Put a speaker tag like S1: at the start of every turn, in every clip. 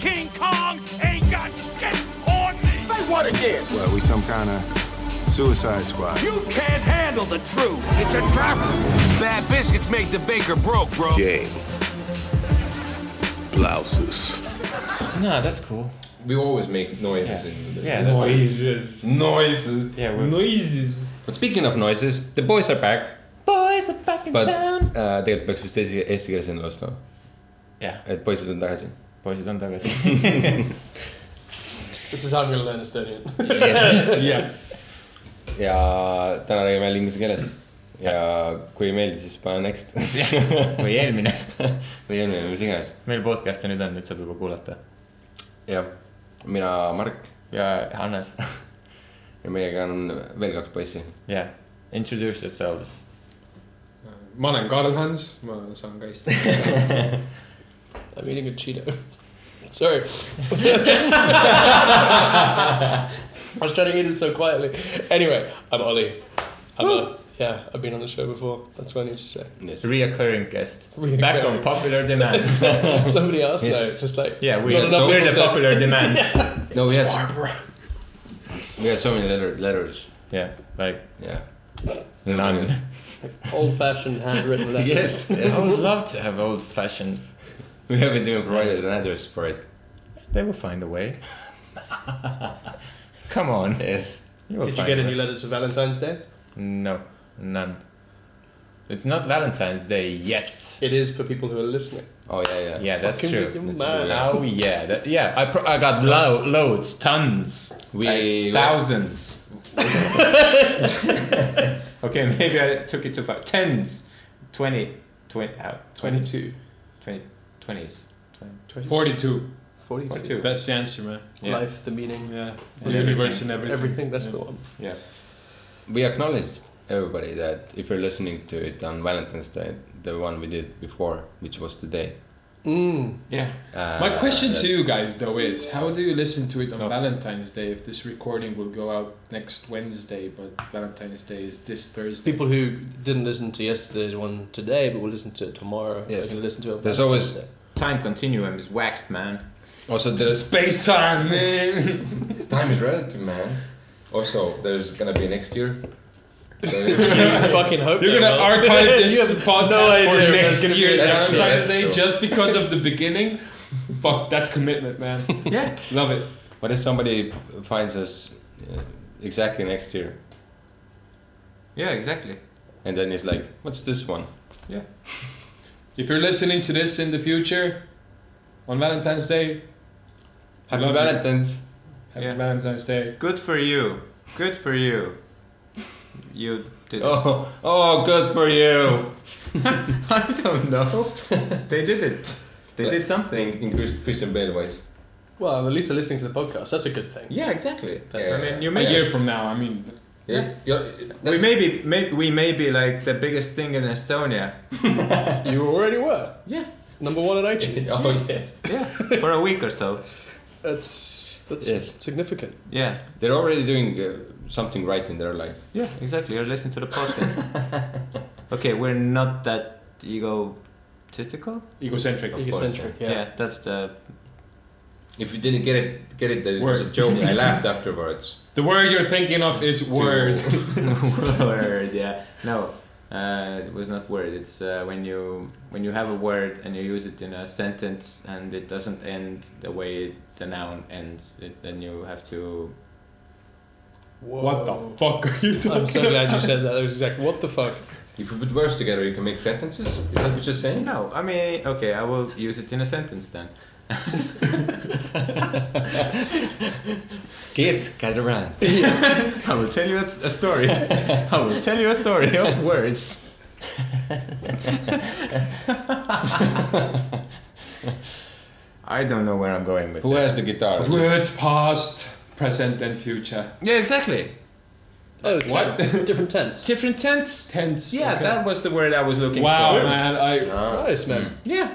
S1: King Kong ain't got shit on me.
S2: Say what again?
S3: Well, we some kind of suicide squad.
S1: You can't handle the truth.
S2: It's a trap.
S4: Bad biscuits make the baker broke, bro.
S5: Gang. Blouses.
S6: No, that's cool.
S7: We always make noises
S6: Yeah.
S7: in the
S6: Yeah, that's,
S8: Noises.
S7: noises.
S6: yeah. We're,
S8: Noises.
S7: But speaking of noises, the boys are back,
S6: boys are back in
S7: but
S6: town.
S7: uh, tegelikult peaks vist eesti , eesti keeles enne ostma ,
S6: Yeah,
S7: et poisid on tagasi .
S6: poisid on tagasi .
S8: This is how I'm gonna learn Estonian.
S7: jah . ja täna räägime jälle inglise keeles ja kui ei meeldi , siis pane next
S6: või eelmine .
S7: või eelmine , mis iganes .
S6: meil podcast'e nüüd on , nüüd saab juba kuulata .
S7: jah , mina , Mark
S6: ja Hannes ,
S7: ja meiega on veel kaks poissi .
S6: yeah , introduce yourselves .
S8: ma olen Karl-Hans , ma saan ka eesti . I m eating a cheeto . Sorry . I was trying to eat it so quietly . Anyway , I m Olli . I m a , yeah , I ve been on the show before , that's what I need to say .
S6: Reoccurring guest
S8: Reoccurring.
S6: back on popular demand .
S8: Somebody else
S7: Yes.
S8: though , just like .
S6: Yeah , we
S8: Not
S6: are
S8: enough
S6: so we're the
S8: people
S6: popular demand .
S7: no we had so, we had so many letter, letters ,
S6: Yeah , like
S7: yeah .
S6: none .
S8: Old fashioned handwritten letters .
S7: Yes,
S6: I
S7: yes.
S6: would love to have old fashioned .
S7: we haven't even provided an address for it .
S6: They will find a way . Come on .
S7: Yes .
S6: will
S8: Did you
S6: find
S8: get
S6: a
S8: any
S6: way.
S8: letters for Valentine's Day?
S6: No , none . It's not Valentine's Day yet .
S8: It is for people who are listening.
S7: oh yeah , yeah,
S6: Yeah , that's
S8: Fucking
S6: true
S8: make them
S7: That's
S8: mad.
S7: true, yeah.
S6: oh yeah, that, yeah. I pro- I got lo- loads, tons,
S7: We-
S6: Like, thousands.
S4: okay , maybe I took it too far . Tens , twenty , twenty , twenty ,
S8: 22.
S4: twenty , twenties .
S8: 42.
S4: 42.
S8: 42. That's
S4: That's
S8: the answer, man.
S4: Yeah.
S8: Life, the meaning, yeah.
S4: The
S8: The
S4: universe
S8: universe and everything. Everything, that's the one.
S4: Yeah.
S7: we acknowledged everybody that if you're listening to it on Valentine's Day, the one we did before, which was today.
S8: Mm.
S4: Yeah.
S7: Uh,
S9: My question
S7: that-
S9: to you guys though is, how do you listen to it on
S4: No.
S9: Valentine's Day if this recording will go out next Wednesday, but Valentine's Day is this Thursday?
S8: People who didn't listen to yesterday's one today, but will listen to it tomorrow.
S7: Yes.
S8: They can listen to it. on
S7: There's
S8: Valentine's
S7: always-
S8: Day.
S6: Time continuum is waxed, man.
S7: Also, the
S9: Space time, man.
S7: time is relative, man. Also, there's gonna be next year. So
S8: You fucking hope
S9: You're
S8: they're
S9: gonna
S8: not.
S9: archive this
S8: You have
S9: podcast
S8: no
S9: for
S8: idea if that's
S9: next
S8: gonna be
S9: year's
S8: next
S7: year.
S9: Valentine's
S7: That's
S9: Day
S7: true.
S9: just because of the beginning. Fuck, that's commitment, man.
S6: Yeah.
S9: Love it.
S7: what if somebody finds us uh, exactly next year,
S4: Yeah, exactly.
S7: and then he's like, "What's this one?"
S9: If you're listening to this in the future, on Valentine's Day,
S7: Happy
S9: Love you.
S7: Valentine's.
S9: happy
S4: Yeah.
S9: Valentine's Day.
S4: Good for you. Good for you. You did. it.
S7: Oh, oh, good for you.
S4: I don't know. they did it. They did something.
S7: In Chris- Christian Bale voice.
S8: Well, at least they're listening to the podcast. That's a good thing.
S4: Yeah, exactly.
S7: Yes.
S4: I mean, you
S9: A
S4: may.
S9: year from now, I mean,
S7: Yeah, you're-
S4: We
S7: that's-
S4: may be, may, we may be like the biggest thing in Estonia
S8: You already were.
S9: yeah.
S8: Number one on iTunes.
S7: Oh yes.
S4: for a week or so.
S8: That's that's
S7: Yes.
S8: significant.
S4: Yeah,
S7: They're already doing uh, something right in their life.
S4: yeah, exactly. You're listening to the podcast. okay, we're not that egotistical.
S9: Egocentric.
S7: Of course,
S8: Egocentric.
S4: Yeah,
S8: yeah.
S4: that's the
S7: If you didn't get it, get it that it was a
S9: Word.
S7: joke. I laughed afterwards.
S9: The word you're thinking of is word.
S4: word. Yeah, no, uh, it was not word. It's uh, when you when you have a word and you use it in a sentence and it doesn't end the way the noun ends. It, then you have to.
S9: What the fuck are you talking
S8: I'm so glad you said that. That was exactly what the fuck.
S7: If you put words together, you can make sentences. Is that what you're saying?
S4: No, I mean, okay, I will use it in a sentence then.
S7: Kids, get around.
S4: I will tell you a, a story. I will tell you a story of words. I don't know where I'm going with
S7: Who
S4: this.
S7: has the guitar?
S9: Words past, present, and future.
S4: Yeah, exactly.
S8: Oh,
S9: What?
S8: tense. Different tense.
S4: Different tense.
S9: Tense.
S4: Yeah,
S9: okay.
S4: that was the word I was looking
S9: Wow,
S4: for.
S9: man. I.
S7: Ah,
S8: Nice man.
S4: Yeah.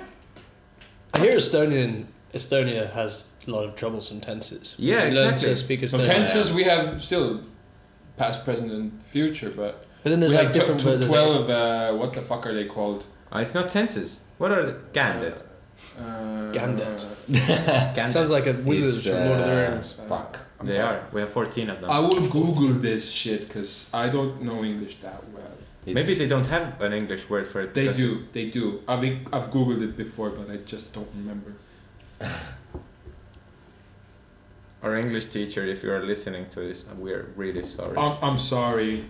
S8: I hear Estonian Estonia has a lot of troublesome tenses.
S4: Yeah,
S8: we learn
S4: exactly.
S8: to speak
S9: Some
S8: Estonian.
S9: tenses we have still past, present, and future, but
S8: But then there's
S9: we
S8: like
S9: have tw-
S8: different
S9: tw-
S8: words. there's like-
S4: Ah,
S9: twelve. Uh, what the fuck are they called?
S4: Uh, it's not tenses. What are the candid?
S9: Uh,
S8: Gandalf.
S4: Gandalf.
S8: Sounds like a wizard
S7: It's,
S8: from Lord of the
S7: uh,
S8: Rings.
S7: Fuck.
S4: They are. We have 14 of them.
S9: I will Google this shit because I don't know English that well.
S4: Maybe they don't have an English word for it.
S9: They
S4: because
S9: do, they do. I've I've googled it before, but I just don't remember.
S4: Our English teacher, if you are listening to this, we're really sorry.
S9: I'm, I'm sorry,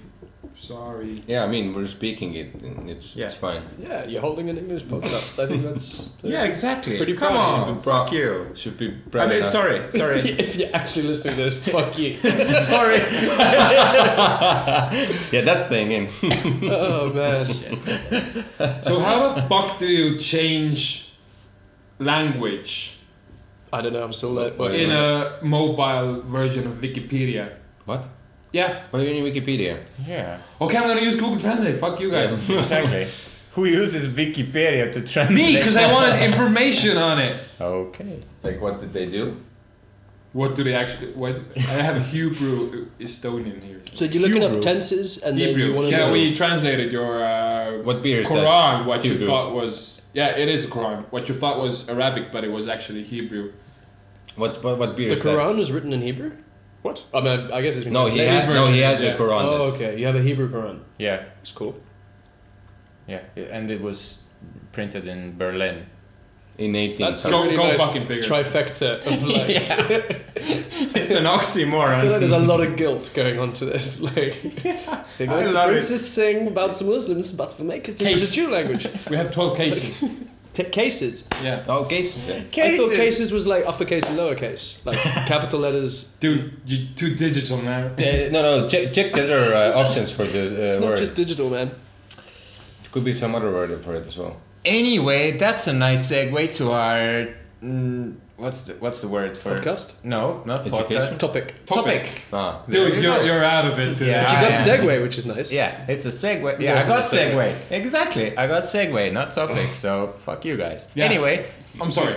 S9: sorry.
S7: Yeah, I mean we're speaking it. and It's it's fine.
S8: Yeah, you're holding an English podcast. I think that's.
S4: yeah, exactly.
S8: Pretty
S4: Come
S8: proud.
S4: on, fuck you.
S7: Should be
S4: I
S7: proud.
S4: mean,
S7: enough.
S4: sorry, sorry,
S8: if you're actually listening to this, fuck you.
S4: sorry.
S7: Yeah, that's staying in.
S8: Oh man.
S9: So how the fuck do you change language
S8: I don't know. I'm still at work.
S7: Wait.
S9: in a mobile version of Wikipedia?
S7: What?
S9: Yeah.
S7: What are you in Wikipedia?
S6: Yeah,
S9: Okay, I'm gonna use Google Translate. Fuck you guys.
S6: exactly. Who uses Wikipedia to translate?
S9: Me, because I wanted information on it.
S6: Okay.
S7: Like what did they do?
S9: What do they actually? What I have Hebrew Estonian here.
S8: So you're looking up tenses, and then you
S9: Hebrew.
S8: want to
S9: Yeah,
S8: know.
S9: we translated your uh,
S7: What beer is that?
S9: Quran. What you
S7: Hebrew.
S9: thought was yeah, it is a Quran. What you thought was Arabic, but it was actually Hebrew.
S7: What's what, what beer
S8: the
S7: is
S8: Quran was written in Hebrew. What? I mean, I guess it's been
S7: that? No, he
S8: translated.
S7: has no, he has
S9: yeah.
S7: a Quran.
S8: Oh,
S7: that's-
S8: okay. You have a Hebrew Quran.
S6: Yeah,
S8: It's cool.
S6: yeah, yeah, and it was printed in Berlin.
S7: In 18.
S8: That's a
S9: Go-
S8: really
S9: go
S8: nice
S9: fucking figure.
S8: Trifecta of like.
S6: it's an
S8: I feel
S6: oxymoron.
S8: like there's a lot of guilt going on to this. Like, they
S6: I
S8: want to
S6: love it.
S8: princess sing about some Muslims, but they make it into
S9: Case.
S8: Jew language.
S9: We have twelve cases.
S8: T- cases.
S9: yeah,
S7: oh, cases. yeah.
S8: I thought cases was like uppercase and lowercase, like capital letters.
S9: dude, you two digital man.
S7: Uh, no, no. Check, check the other uh, options for the
S8: It's
S7: uh,
S8: not
S7: word.
S8: just digital, man.
S7: Could be some other word for it as well.
S6: Anyway, that's a nice segue to our mm, what's the what's the word for
S8: Podcast?
S6: No, not
S7: Education?
S6: podcast.
S8: Topic.
S9: Topic.
S7: Ah,
S6: There
S9: Dude,
S6: you
S9: you're,
S6: go.
S9: you're out of it. Today.
S6: Yeah.
S8: But you
S6: Ah,
S8: got
S6: yeah.
S8: segue, which is nice.
S6: Yeah, it's a segue. Yeah, I
S8: wasn't
S6: got
S8: a segue.
S6: segue. Exactly, I got segue, not topic. So fuck you guys.
S9: Yeah.
S6: Anyway,
S9: I'm sorry.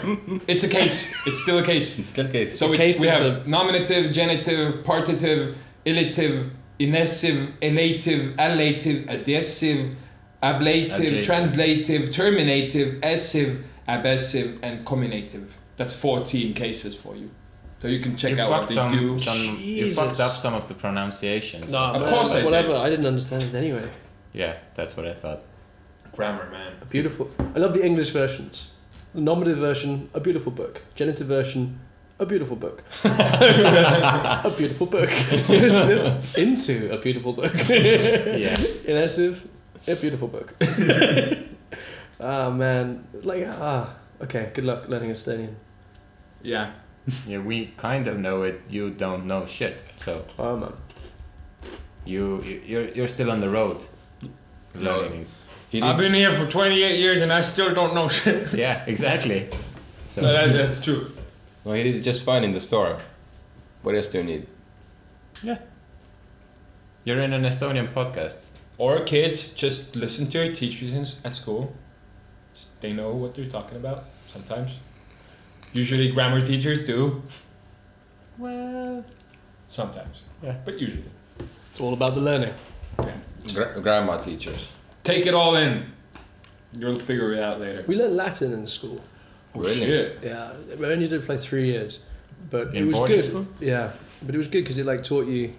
S9: It's a case. It's still a case.
S7: it's still cases.
S9: So
S8: case
S9: it's, we
S8: of
S9: have
S8: the-
S9: nominative, genitive, partitive, illative, inessive, elative, allative, adhesive, ablative,
S6: Adjacent.
S9: translative, terminative, essive, abassive, and cominative. That's 14 cases for you. So you can check
S6: you
S9: out what
S6: fucked
S9: they
S6: some,
S9: do.
S6: some you fucked
S8: Jesus.
S6: up some of the pronunciations.
S8: Nah,
S9: Of
S8: man,
S9: course I did.
S8: Uh, Whatever. I didn't understand it anyway.
S6: Yeah, that's what I thought.
S9: Grammar, man.
S8: Beautiful. I love the English versions. The nominative version, a beautiful book. Genitive version, a beautiful book. a beautiful book. Into a beautiful book.
S6: Yeah.
S8: Inessive, a beautiful book. ah man, like ah. Okay, good luck learning Estonian.
S9: Yeah.
S6: Yeah, we kind of know it. You don't know shit, so
S8: Oh man.
S6: you you- you're you're still on the road.
S7: No.
S6: Learning.
S7: He did-
S9: been here for 28 years and I still don't know shit.
S6: Yeah, exactly. So
S9: No, that, that's true.
S7: no, he did just fine in the store. What else do you need?
S6: yeah, you're in an Estonian podcast.
S9: Or kids, just listen to your teachers in, s- at school. S- They know what they're talking about sometimes. Usually, grammar teachers do.
S6: Well,
S9: Sometimes.
S6: Yeah.
S9: But usually.
S8: It's all about the learning.
S7: Gra- grandma teachers.
S8: Oh,
S9: Take it all in. You'll figure it out later.
S8: We learned Latin in school.
S7: really?
S9: Shit.
S8: Yeah, we only did it for like three years, but it
S6: In
S8: was
S6: boarding
S8: good.
S6: school?
S8: Yeah, but it was good because it like taught you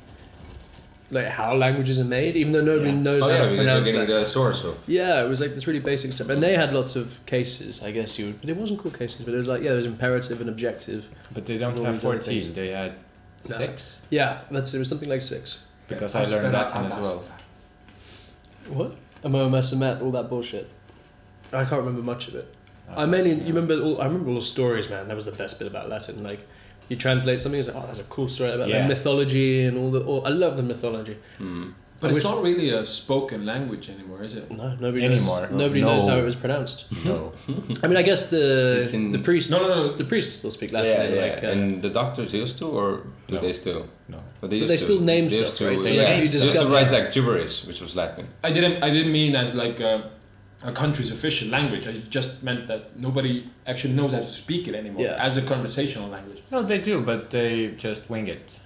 S8: like how languages are made, even though nobody knows
S7: Oh
S8: how
S7: yeah,
S8: to
S7: because you're
S8: pronounce
S7: getting
S8: that.
S7: the store. So
S8: Yeah, it was like this really basic stuff, and they had lots of cases. I guess you, would, but it wasn't called cases, but it was like yeah, there was imperative and objective.
S6: but they don't
S8: All
S6: have
S8: these other
S6: fourteen.
S8: things.
S6: They had
S8: No.
S6: six
S8: Yeah, that's it was something like six.
S6: because I learned Latin as well.
S8: What? Amoa met all that bullshit. I can't remember much of it.
S6: Uh,
S8: I mainly
S6: yeah.
S8: you remember all. I remember all the stories, man. That was the best bit about Latin. Like, you translate something, it's like, oh, that's a cool story about
S6: Yeah.
S8: the mythology and all the. All, I love the mythology. I
S9: But it's
S8: wish-
S9: not really a spoken language anymore, is it?
S8: No, nobody
S6: Anymore.
S8: knows. Nobody
S6: No.
S8: knows how it was pronounced.
S6: No.
S8: I mean, I guess the
S7: It's in-
S8: the priests
S9: No, no, no.
S8: the priests still speak Latin.
S7: yeah,
S8: and,
S7: yeah.
S8: Like, uh,
S7: and the doctors used to, or do
S6: No.
S7: they still?
S6: No.
S7: But they,
S8: But
S7: used
S8: they
S7: to.
S8: still name
S7: they used
S8: stuff,
S7: to,
S8: right? So,
S7: yeah,
S8: like, you
S7: they used to
S8: discover-
S7: write like gibberish, which was Latin.
S9: I didn't. I didn't mean as like a, a country's official language. I just meant that nobody actually knows how to speak it anymore
S8: Yeah.
S9: as a conversational language.
S6: No, they do, but they just wing it.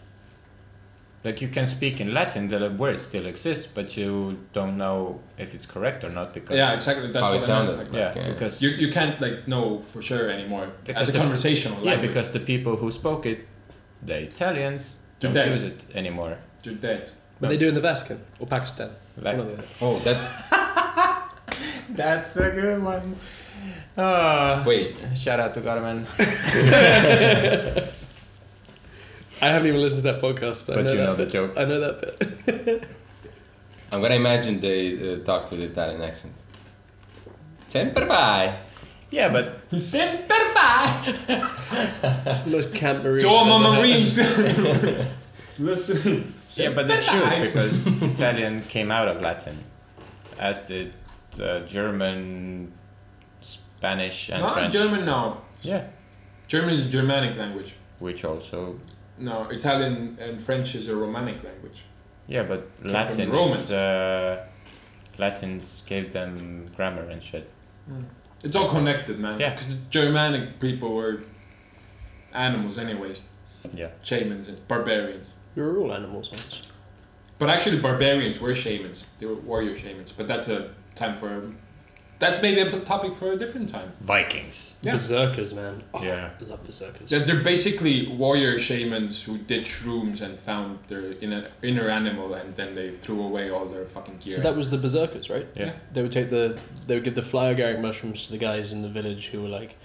S6: Like you can speak in Latin, the word still exists, but you don't know if it's correct or not because
S9: Yeah, exactly. That's
S7: how
S9: what
S7: it
S9: I meant,
S7: sounded.
S9: like,
S6: yeah,
S7: Okay.
S6: because
S9: You, you can't like know for sure anymore
S6: Because
S9: as a
S6: the-
S9: conversational
S6: yeah,
S9: language.
S6: because the people who spoke it, the Italians,
S9: They're
S6: don't
S9: dead.
S6: use it anymore.
S9: you're dead.
S8: But they do in the Vatican or Pakistan.
S6: Like-
S8: one or the other.
S7: Oh, that
S6: That's a good one. Uh,
S7: Wait.
S6: Shout out to Garmin.
S8: I haven't even listened to that podcast, but, I
S6: But
S8: know
S6: you
S8: that
S6: know the
S8: bit.
S6: joke.
S8: I know that bit.
S7: I'm gonna imagine they uh, talked with Italian accent. Semper fi.
S6: Yeah, but
S7: Semper fi.
S8: It's the most camp marine.
S9: To all
S8: I've
S9: my
S8: ever heard.
S9: Marines, listen.
S6: yeah, but it should because Italian came out of Latin, as did uh, German, Spanish, and
S9: Not
S6: French.
S9: Ah, German now.
S6: Yeah,
S9: German is a Germanic language.
S6: which also
S9: No, Italian and French is a Romanic language.
S6: yeah, but
S9: from
S6: Latin
S9: Romans.
S6: is uh, Latins gave them grammar and shit.
S9: It's all connected, man.
S6: Yeah.
S9: Because the Germanic people were animals, anyways.
S6: Yeah.
S9: Shamans and barbarians.
S8: We were all animals once.
S9: But actually, barbarians were shamans. They were warrior shamans. But that's a time for. A, that's maybe a topic for a different time.
S6: Vikings.
S9: Yeah.
S8: Berserkers, man. Oh,
S6: Yeah.
S8: I love berserkers.
S9: They're they're basically warrior shamans who did shrooms and found their inner, inner animal and then they threw away all their fucking gear.
S8: So that was the berserkers, right?
S6: Yeah.
S8: They would take the they would give the fly agaric mushrooms to the guys in the village who were like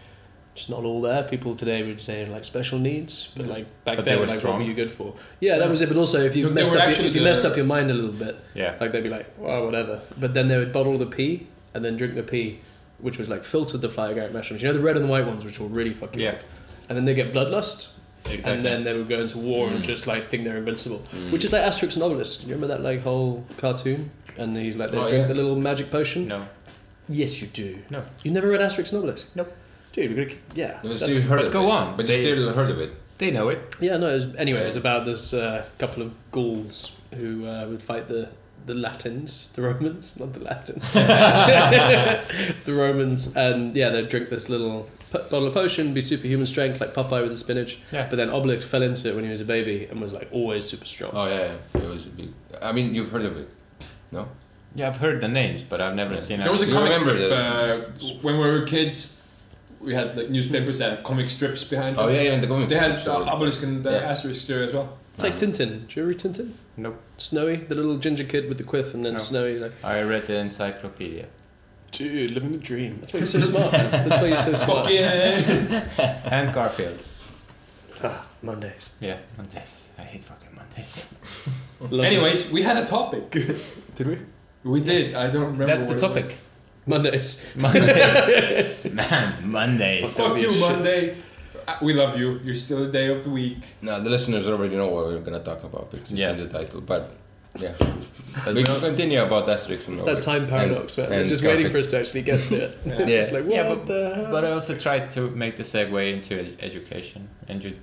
S8: it's not all there. People today would say like special needs, but
S9: Yeah.
S8: like back
S6: But they
S8: then,
S6: were
S8: like
S6: strong.
S8: what were you good for? Yeah, that was it. But also, if you
S9: Look, they
S8: messed
S9: were
S8: up, your,
S9: actually
S8: if you
S9: the-
S8: messed up your mind a little bit,
S6: Yeah.
S8: like they'd be like, "Wow, whatever." But then they would bottle the pee and then drink the pee, which was like filtered the fly agaric mushrooms. You know the red and white ones, which were really fucking.
S6: Yeah.
S8: And then they get bloodlust,
S6: Exactly. Mm.
S8: and then they would go into war
S9: Mm.
S8: and just like think they're invincible, which is like Asterix and Obelisk. You remember that like whole cartoon? And he's like they
S7: Oh,
S8: drink
S7: yeah.
S8: the little magic potion.
S6: no.
S8: Yes, you do.
S6: No.
S8: you never read Asterix and Obelisk.
S6: Nope.
S8: Dude, we're gonna, yeah.
S7: No,
S8: that's-
S7: you heard
S6: but
S7: of
S6: go
S7: it.
S6: on,
S7: But
S6: they-
S7: you still heard of it.
S6: They know it.
S8: Yeah, no. It was, anyway, it was about this uh, couple of Gauls who uh, would fight the the Latins, the Romans, not the Latins, the Romans, and yeah, they'd drink this little p- bottle of potion, be superhuman strength like Popeye with the spinach.
S6: Yeah.
S8: But then Obelix fell into it when he was a baby and was like always super strong.
S7: Oh yeah, yeah, it was a big. I mean, you've heard of it, no?
S6: Yeah, I've heard the names, but I've never
S7: Yeah.
S6: seen
S9: There was a
S7: You
S9: comic
S7: remember
S9: strip
S7: the-
S9: uh, when we were kids. We had like newspapers that had comic strips behind.
S7: Oh
S9: them.
S7: yeah, yeah, in the comics.
S9: They had
S7: sure.
S9: uh, obelisk and uh,
S7: Yeah.
S9: asterisk there as well.
S8: It's like Tintin. Do you read Tintin?
S6: Nope.
S8: Snowy, the little ginger kid with the quiff, and then
S6: No.
S8: Snowy like,
S6: I read the encyclopedia.
S8: dude, living the dream. That's why you're so smart. That's why you're so smart.
S9: Fuck yeah!
S6: and Garfield.
S8: Ah, Mondays.
S6: Yeah, Montes. I hate fucking Montes.
S8: Love
S9: Anyways, we had a topic.
S8: Did we?
S9: We did. I don't remember.
S6: That's the
S9: what it was.
S6: topic.
S8: Mondays.
S6: Mondays. Man, Mondays.
S9: Fuck you, Monday. Uh, We love you. You're still a day of the week.
S7: No, the listeners already know what we're gonna talk about because
S6: Yeah.
S7: it's in the title. But yeah,
S6: But
S7: we
S6: we
S7: can continue about Asterix and
S8: It's that
S7: Obelix
S8: time
S7: and-
S8: paradox, man. We're
S7: and
S8: just
S7: Garfield.
S8: waiting for us to actually get to it.
S9: Yeah.
S7: Yeah.
S8: It's like, what
S6: Yeah,
S8: the hell?
S6: But I also tried to make the segue into ed- education, and you,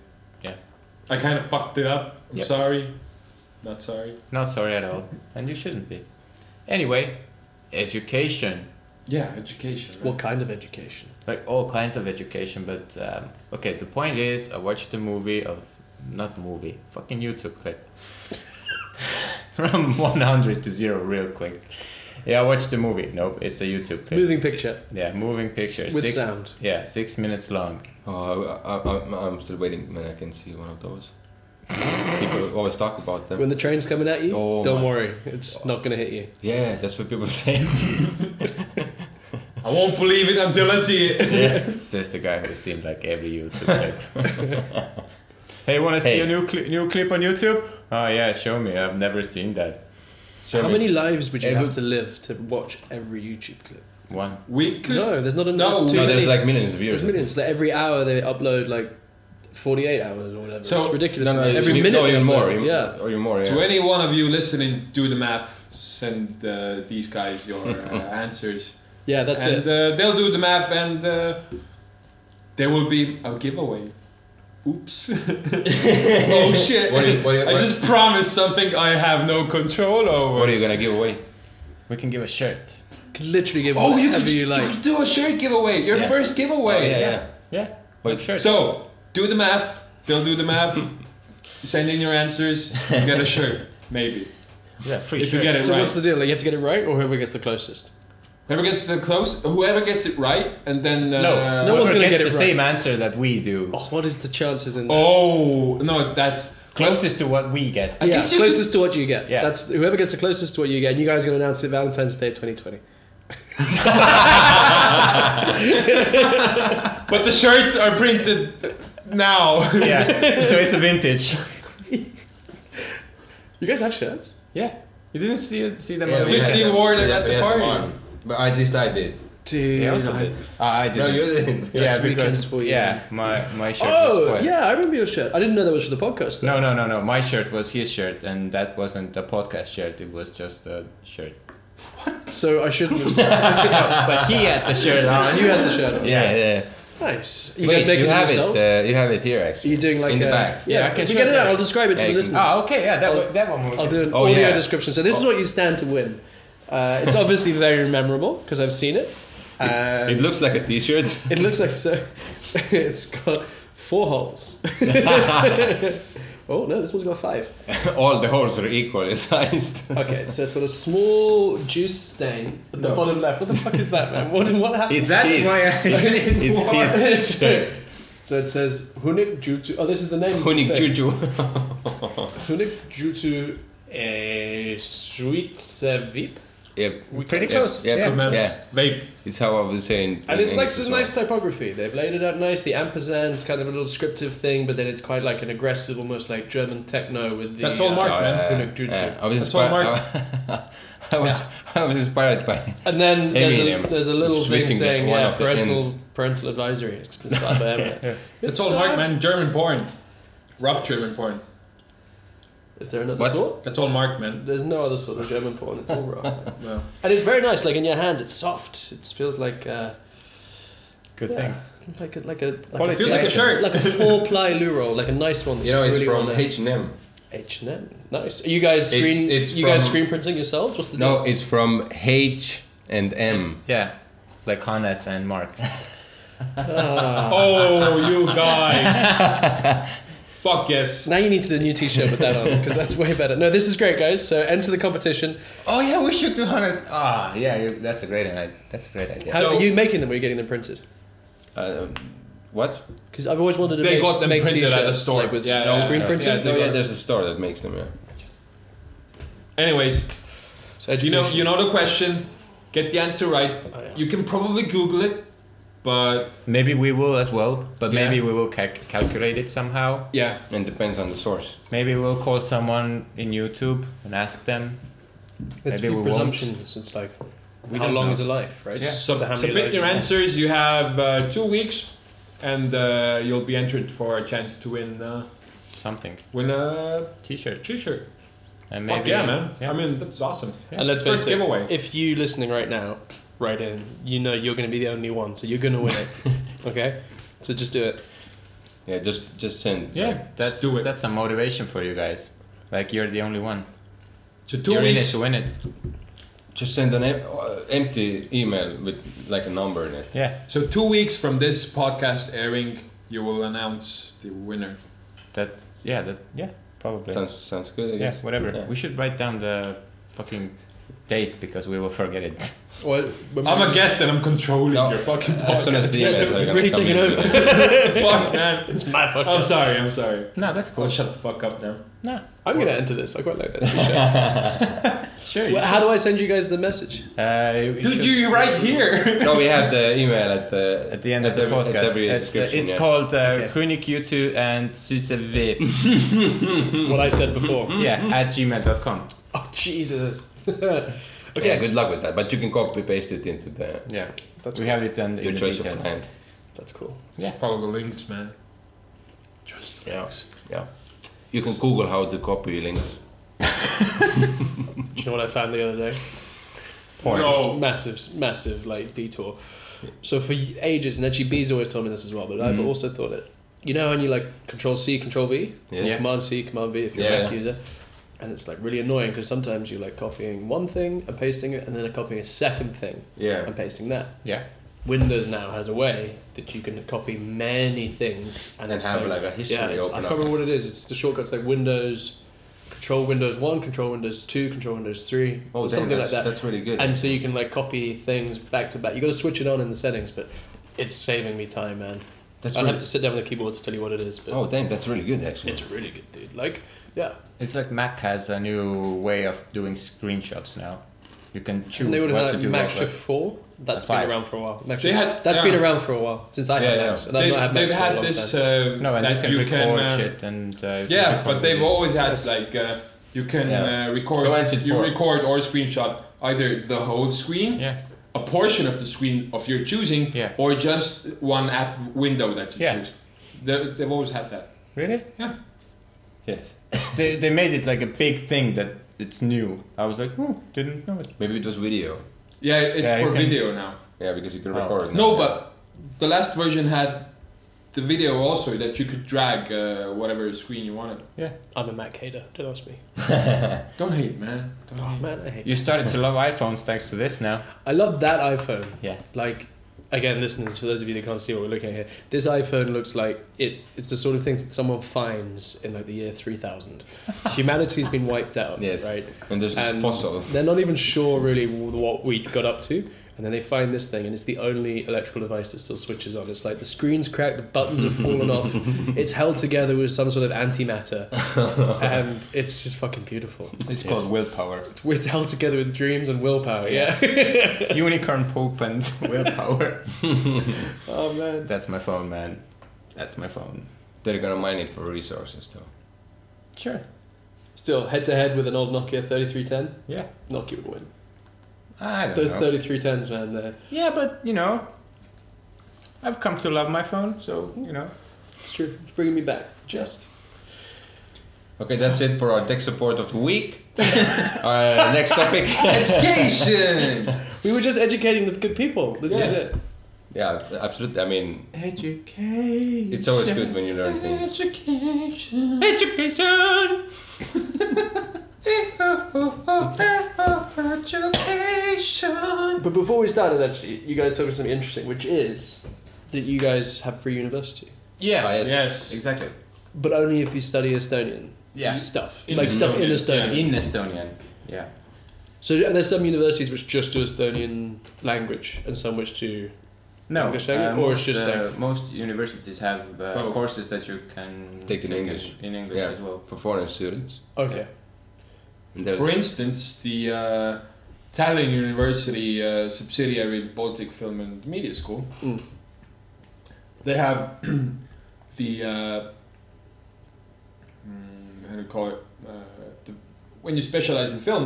S9: I kind of fucked it up. I'm
S6: Yep.
S9: sorry. Not sorry.
S6: not sorry at all, and you shouldn't be. Anyway, education,
S9: Yeah, education. Right?
S8: what kind of education?
S6: like all kinds of education, but um, okay. The point is, I watched the movie of not movie, fucking YouTube clip from one hundred to zero, real quick. Yeah, I watched the movie. Nope, it's a YouTube clip.
S8: Moving picture
S6: Yeah, moving picture.
S8: with
S6: six,
S8: sound.
S6: Yeah, six minutes long.
S7: Oh, I, I, I, I'm still waiting when I can see one of those. people always talk about them.
S8: When the train's coming at you,
S7: Oh
S8: don't
S7: my-
S8: worry, it's not gonna hit you.
S7: Yeah, that's what people say.
S9: I won't believe it until I see it.
S6: Says the guy who's seen like every YouTube clip. hey, want to see
S7: Hey.
S6: a new cli new clip on YouTube? Oh yeah, show me. I've never seen that.
S7: Show
S8: How
S7: me.
S8: many lives would you
S7: It
S8: have
S7: would-
S8: to live to watch every YouTube clip?
S6: One.
S9: We could.
S8: No, there's not enough.
S9: No,
S8: too
S7: No, there's
S8: many.
S7: like millions of
S8: There's
S7: viewers.
S8: millions. Like every hour they upload like 48 hours or whatever.
S9: So-
S8: it's ridiculous.
S7: No, no,
S8: every
S7: you-
S8: minute.
S7: or
S8: they
S7: even
S8: upload,
S7: more. you-
S8: Yeah.
S7: or even more. Yeah.
S9: To any one of you listening, do the math. Send uh, these guys your uh, answers.
S8: Yeah, that's
S9: and
S8: it.
S9: Uh, they'll do the math, and uh, there will be a giveaway. Oops. oh shit.
S7: What do you- what do you-
S9: I just promised something I have no control over.
S7: What are you gonna give away?
S6: We can give a shirt.
S8: You can literally give
S9: Oh, you
S8: whatever
S9: could
S8: you like. Oh,
S9: do a shirt giveaway. Your
S6: Yeah.
S9: first giveaway.
S7: yeah, yeah.
S6: Yeah.
S7: Wait,
S6: shirt.
S9: So do the math. They'll do the math. Send in your answers. You get a shirt, maybe.
S6: Yeah, free
S9: If you get it
S8: So
S9: right.
S8: what's the deal? Like, you have to get it right, or whoever gets the closest.
S9: Whoever gets the close, whoever gets it right, and then
S6: no,
S9: uh,
S8: no
S6: no
S8: one's
S6: one's
S8: gonna
S6: gets
S8: get
S6: the
S8: it right.
S6: same answer that we do.
S8: Oh, what is the chances in?
S9: Oh no, that's
S6: Closest to what we get.
S9: I
S8: yeah,
S9: guess you
S8: closest to what you get.
S6: Yeah.
S8: That's whoever gets the closest to what you get. And you guys are going to announce it Valentine's Day 2020.
S9: But the shirts are printed now.
S6: yeah, so it's a vintage.
S8: You guys have shirts?
S6: Yeah, you didn't see see them.
S7: Yeah,
S6: on
S7: we
S9: Did
S7: had
S9: you
S7: that-
S9: award it
S7: we-
S9: at
S7: we
S9: the
S7: had
S9: party?
S7: one. But at least I did.
S8: Dude, I-
S6: Ah, I
S7: No,
S6: didn't.
S7: you didn't.
S6: yeah,
S8: That's weekends
S6: because
S8: for you.
S6: yeah, my my shirt was
S8: Oh,
S6: spoiled.
S8: yeah, I remember your shirt. I didn't know that was for the podcast. Though.
S6: No, no, no, no. My shirt was his shirt, and that wasn't a podcast shirt. It was just a shirt.
S8: So I shouldn't have said
S6: But he had the shirt on.
S8: you had the shirt on.
S6: Yeah, yeah.
S8: Nice. You
S7: You, Wait,
S8: guys make
S7: you
S8: it
S7: have
S8: yourselves?
S7: it. Uh, you have it here
S8: Are
S7: actually.
S8: you doing like
S7: in the
S8: a,
S7: back.
S8: Yeah,
S6: Yeah, I can
S8: if you
S6: show
S8: get it
S6: you.
S8: out, I'll describe it to
S7: Yeah,
S8: the
S7: you can-
S8: listeners.
S6: Oh, okay. Yeah, that one, that one was.
S8: I'll do an
S7: Oh,
S8: audio
S7: yeah.
S8: description. So this is what you stand to win. Uh, it's obviously very memorable because I've seen it. And
S7: It looks like a T-shirt.
S8: It looks like so. it's got four holes. oh no, this one's got five.
S7: All the holes are equally sized.
S8: Okay, so it's got a small juice stain at the
S6: No.
S8: bottom left. What the fuck is that, man? What, what happened?
S7: It's
S6: That's
S7: his.
S6: why I didn't
S7: It's
S6: watch.
S7: his shirt.
S8: So it says Hunik Jutu. Oh, this is the name. of the
S7: Hunik
S8: thing.
S7: Juju.
S8: Hunik Jutu a sweet vip.
S7: Yep.
S8: Pretty
S7: Yes. Yep.
S9: Remember,
S7: Yeah.
S9: Vape.
S7: It's how I was saying.
S8: And
S7: in
S8: it's like
S7: English as
S8: some
S7: well.
S8: nice typography. They've laid it out nice. The ampersand's kind of a little descriptive thing, but then it's quite like an aggressive, almost like German techno with the. uh,
S9: That's all
S7: Oh,
S9: Mark, man.
S7: yeah,
S8: Hunik Juju.
S7: yeah. I was
S9: That's all
S7: inspired. I was, I was inspired by
S8: And then there's a,
S7: Eminem.
S8: there's a little thing
S7: Switching
S8: saying
S7: one
S8: yeah,
S7: of the
S8: parental
S7: ends.
S8: parental advisory. It's been spelled by Eminem.
S9: That's
S8: It's,
S9: all
S8: uh,
S9: Mark, man. German porn. Rough German porn.
S8: Is there another
S7: What?
S8: sort?
S9: That's all Mark, man.
S8: There's no other sort of German porn. It's all raw.
S9: Well,
S8: and it's very nice. Like in your hands, it's soft. It feels like uh,
S6: Good
S8: yeah,
S6: thing.
S8: Like a like a like
S9: it feels like a shirt.
S8: like a four ply loo roll, like a nice one. that
S7: You know, it's
S8: really
S7: from
S8: wanna-
S7: H and M.
S8: H and M. Nice. Are you guys
S7: It's-
S8: screen?
S7: it's
S8: you guys
S7: from-
S8: screen printing yourselves? What's the
S7: No,
S8: deal?
S7: it's from H and M.
S6: Yeah, like Hannes and Mark.
S9: oh, you guys. Fuck yes.
S8: Now you need to do a new T-shirt with that on because that's way better. No, this is great, guys. So enter the competition.
S6: Oh yeah, we should do Hannes. Ah, yeah, you, that's a great idea. That's a great idea.
S8: How
S9: So-
S8: are you making them? Or are you getting them printed?
S7: Uh, what?
S8: Because I've always wanted to
S9: They
S8: make,
S9: got them
S8: make
S9: printed at
S8: t-shirts,
S9: the store.
S8: like with
S9: Yeah, yeah,
S8: screen
S9: yeah.
S8: printing.
S7: No,
S9: Yeah, they
S7: yeah,
S9: were-
S7: there's a store that makes them. Yeah.
S9: Anyways,
S8: So
S9: you know,
S8: education.
S9: you know the question. Get the answer right.
S8: Oh, yeah.
S9: You can probably Google it, but
S6: Maybe we will as well, but
S9: Yeah.
S6: maybe we will cal- calculate it somehow.
S9: yeah,
S7: And depends on the source.
S6: Maybe we'll call someone in YouTube and ask them.
S8: It's
S6: maybe
S8: big
S6: we won't.
S8: presumptions. It's like
S6: We
S8: how
S6: don't
S8: long
S6: know.
S8: is a life, right?
S9: Sub-
S8: So how many
S9: submit
S8: lives
S9: your
S8: is-
S9: answers. You have uh, two weeks, and uh, you'll be entered for a chance to win uh,
S6: Something.
S9: win a
S6: T-shirt.
S9: t-shirt.
S6: And
S9: Fuck
S6: maybe.
S9: yeah, man!
S6: Yeah.
S9: I mean, that's awesome.
S8: And let's face
S9: First
S8: it,
S9: giveaway.
S8: if you listening right now, right in, you know you're going to be the only one, so you're going to win it. okay, so just do it.
S7: Yeah, just just send.
S9: Yeah,
S7: like,
S6: that's
S9: do it.
S6: that's a motivation for you guys. Like you're the only one.
S9: So 2
S6: you're in it
S9: weeks.
S6: to win it.
S7: just send an em- uh, empty email with like a number in it.
S6: Yeah,
S9: So two weeks from this podcast airing, you will announce the winner.
S6: that's yeah that yeah probably.
S7: Sounds sounds good. I
S6: yeah,
S7: guess.
S6: whatever.
S7: Yeah.
S6: We should write down the fucking date because we will forget it.
S8: Well,
S9: I'm a guest and I'm controlling
S7: No,
S9: your fucking podcast.
S7: As soon as the emails are gonna
S8: really
S7: come
S8: taking
S7: in.
S8: over.
S9: Fuck, man.
S8: it's my podcast.
S9: I'm sorry. I'm sorry.
S6: No, that's
S9: Well,
S6: cool.
S9: shut the fuck up now.
S6: No,
S8: I'm going to enter this. I quite like that. T-shirt.
S6: sure. you
S8: well, how do I send you guys the message?
S9: Mm-hmm.
S6: should. Uh, you
S9: Dude,
S6: should-
S9: you are right here.
S7: No, we have the email at the
S6: at the end of the
S7: every-
S6: podcast.
S7: At every
S6: it's uh,
S7: description,
S6: it's
S7: yeah.
S6: called uh,
S8: Okay.
S6: Kunik U2 and Suitsev.
S8: what I said before.
S6: yeah, at gmail.com.
S9: Mm-hmm.
S8: Oh Jesus.
S7: Yeah,
S8: okay,
S7: good luck with that. But you can copy paste it into the
S6: Yeah,
S8: That's
S6: we have it done in
S7: your
S6: the
S7: choice of
S6: details.
S7: plan.
S8: that's cool.
S9: Follow the links, man. Just
S7: Yeah, yeah. You can Google how to copy links.
S8: Do you know what I found the other day?
S6: Porn.
S8: This is massive, massive like detour. So for ages, and actually B's always told me this as well, but I've
S7: Mm-hmm.
S8: also thought it. You know, and you like Control C, Control V,
S7: Yes.
S8: Or
S7: Yeah.
S8: Command C, Command V if you're a
S7: Yeah.
S8: Mac user, and it's like really annoying because sometimes you're like copying one thing and pasting it, and then copying a second thing
S7: Yeah.
S8: and pasting that.
S6: Yeah.
S8: Windows now has a way that you can copy many things and,
S7: And
S8: it's
S7: have, like, a history
S8: Yeah, it's- I
S7: open
S8: can't
S7: up.
S8: remember what it is. It's the shortcuts like Windows, Control Windows One, Control Windows Two, Control Windows Three,
S7: Oh,
S8: or
S7: damn,
S8: something like
S7: that's,
S8: that.
S7: that's really good.
S8: and so you can like copy things back to back. You got to switch it on in the settings, but it's saving me time, man.
S7: that's
S8: I'll
S7: really,
S8: have to sit down with a keyboard to tell you what it is, but
S7: oh, damn, that's really good, actually.
S8: it's really good, dude. Like, yeah,
S6: It's like Mac has a new way of doing screenshots now. You can choose
S8: they would have
S6: what
S8: had like
S6: to do.
S8: Mac
S6: over-
S8: Shift Four. That's
S6: A
S8: been
S6: five.
S8: around for a while. Mac
S9: They
S8: Shift-
S9: had-
S8: that's
S9: yeah.
S8: been around for a while since I
S9: Yeah,
S8: had
S9: yeah.
S8: Macs, and I've
S9: They-
S8: not had Macs
S9: they've
S8: for a
S9: had
S8: long
S9: this
S8: time.
S9: uh,
S6: No, and
S9: that
S6: you can
S9: you
S6: record
S9: uh,
S6: shit and. Uh, you can
S9: Yeah,
S6: record
S9: but they've
S6: videos.
S9: always had like uh, you can
S6: Yeah.
S9: uh, record
S7: Go into
S9: you
S7: four.
S9: record or screenshot either the whole screen,
S6: Yeah.
S9: a portion of the screen of your choosing,
S6: Yeah.
S9: or just one app window that you
S6: Yeah.
S9: choose. They, they've always had that.
S6: Really?
S9: Yeah.
S6: Yes. they, they made it like a big thing that it's new. I was like, oh, didn't know it.
S7: Maybe it was video.
S9: Yeah, it's
S6: Yeah, you
S9: for
S6: can-
S9: video now.
S7: Yeah, because you can
S6: Oh.
S7: record. now.
S9: No, but the last version had the video also that you could drag uh, whatever screen you wanted.
S8: I'm a Mac hater. Don't ask me.
S9: Don't hate, man. Don't
S8: Oh
S9: hate.
S8: man, I hate.
S6: You started to love iPhones thanks to this now.
S8: I love that iPhone.
S6: Yeah.
S8: Like, again, listeners, for those of you that can't see what we're looking at here, this iPhone looks like it. It's the sort of thing that someone finds in like the year three thousand. Humanity's been wiped out.
S7: Yes.
S8: Right.
S7: And there's this
S8: And
S7: fossil.
S8: They're not even sure really what we got up to. And then they find this thing, and it's the only electrical device that still switches on. It's like the screen's cracked, the buttons have fallen off, it's held together with some sort of antimatter, and it's just fucking beautiful.
S6: It's called willpower.
S8: It's held together with dreams and willpower, yeah.
S6: Unicorn poop and willpower.
S8: oh man.
S6: That's my phone, man. That's my phone.
S7: They're gonna mine it for resources, though.
S6: Sure.
S8: Still, head to head with an old Nokia 3310,
S6: Yeah.
S8: Nokia would win.
S6: I don't
S8: Those
S6: know.
S8: 3310s, man, they're,
S6: Yeah, but you know, I've come to love my phone, so you know.
S8: it's true. It's bringing me back. Just.
S7: Okay, that's it for our tech support of the week. uh, next topic.
S9: Education.
S8: We were just educating the good people. This is
S9: Yeah.
S8: it.
S7: yeah, absolutely. I mean,
S9: Education.
S7: it's always good when you learn things.
S9: Education.
S6: Education.
S9: Education.
S8: But before we started, actually, you guys told me something interesting, which is that you guys have free university,
S6: Yeah.
S7: Ah, yes.
S9: Yes.
S6: Exactly.
S8: but only if you study Estonian
S6: Yeah.
S8: stuff,
S9: In
S8: like stuff in
S9: Estonian,
S8: Estonian.
S9: yeah.
S6: In Estonian. Yeah.
S8: So there's some universities which just do Estonian language, and some which do.
S6: No.
S8: English only, or
S6: most,
S8: it's just
S6: uh, most universities have uh,
S9: Both.
S6: courses that you can
S7: Take in English.
S6: in English
S7: Yeah.
S6: as well.
S7: For foreign students.
S8: Okay,
S7: And there's-
S9: For instance, the uh, Tallinn University uh, subsidiary of Baltic Film and Media School,
S8: Mm.
S9: they have the uh, mm, how do you call it? Uh, the, when you specialize in film,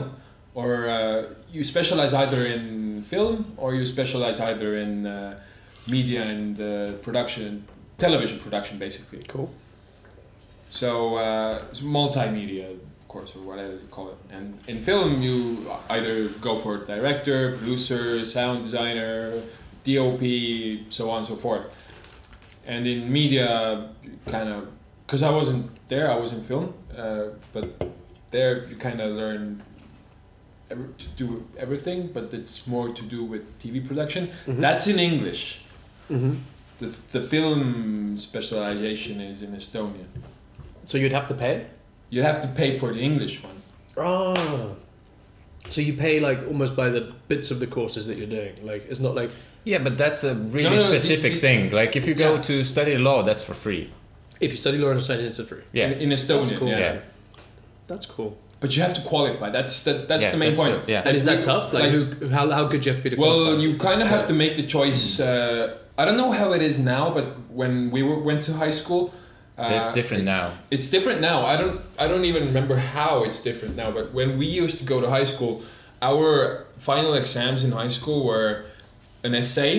S9: or uh, you specialize either in film or you specialize either in uh, media and uh, production, television production, basically.
S8: cool.
S9: So uh, it's multimedia, of course, or whatever you call it. And in film, you either go for director, producer, sound designer, DOP, so on and so forth. And in media, kind of, because I wasn't there, I was in film, uh, but there you kind of learn ev- to do everything, but it's more to do with TV production. That's in English.
S8: Mhm.
S9: The, the film specialization is in Estonian.
S8: So you'd have to pay.
S9: You have to pay for the English one.
S8: Ah. So you pay like almost by the bits of the courses that you're doing. Like it's not like
S6: Yeah, but that's a really
S9: no, no,
S6: specific
S9: the- the-
S6: thing. Like if you go
S9: Yeah.
S6: to study law, that's for free.
S8: if you study law in Estonian, it's a free.
S6: Yeah.
S9: In, in Estonian,
S8: That's cool.
S9: yeah.
S6: Yeah.
S8: That's cool.
S9: But you have to qualify. That's the, that's
S6: Yeah,
S9: the main
S6: that's
S9: point.
S6: the- yeah.
S8: And, is that tough? Like,
S9: like-
S8: who, how, how good do you have to be to
S9: Well,
S8: qualify?
S9: you kind of have to make the
S6: Mm.
S9: choice. Uh, I don't know how it is now, but when we were, went to high school, uh,
S6: That's different
S9: it's-
S6: now.
S9: It's different now. I don't I don't even remember how it's different now. But when we used to go to high school, our final exams in high school were an essay,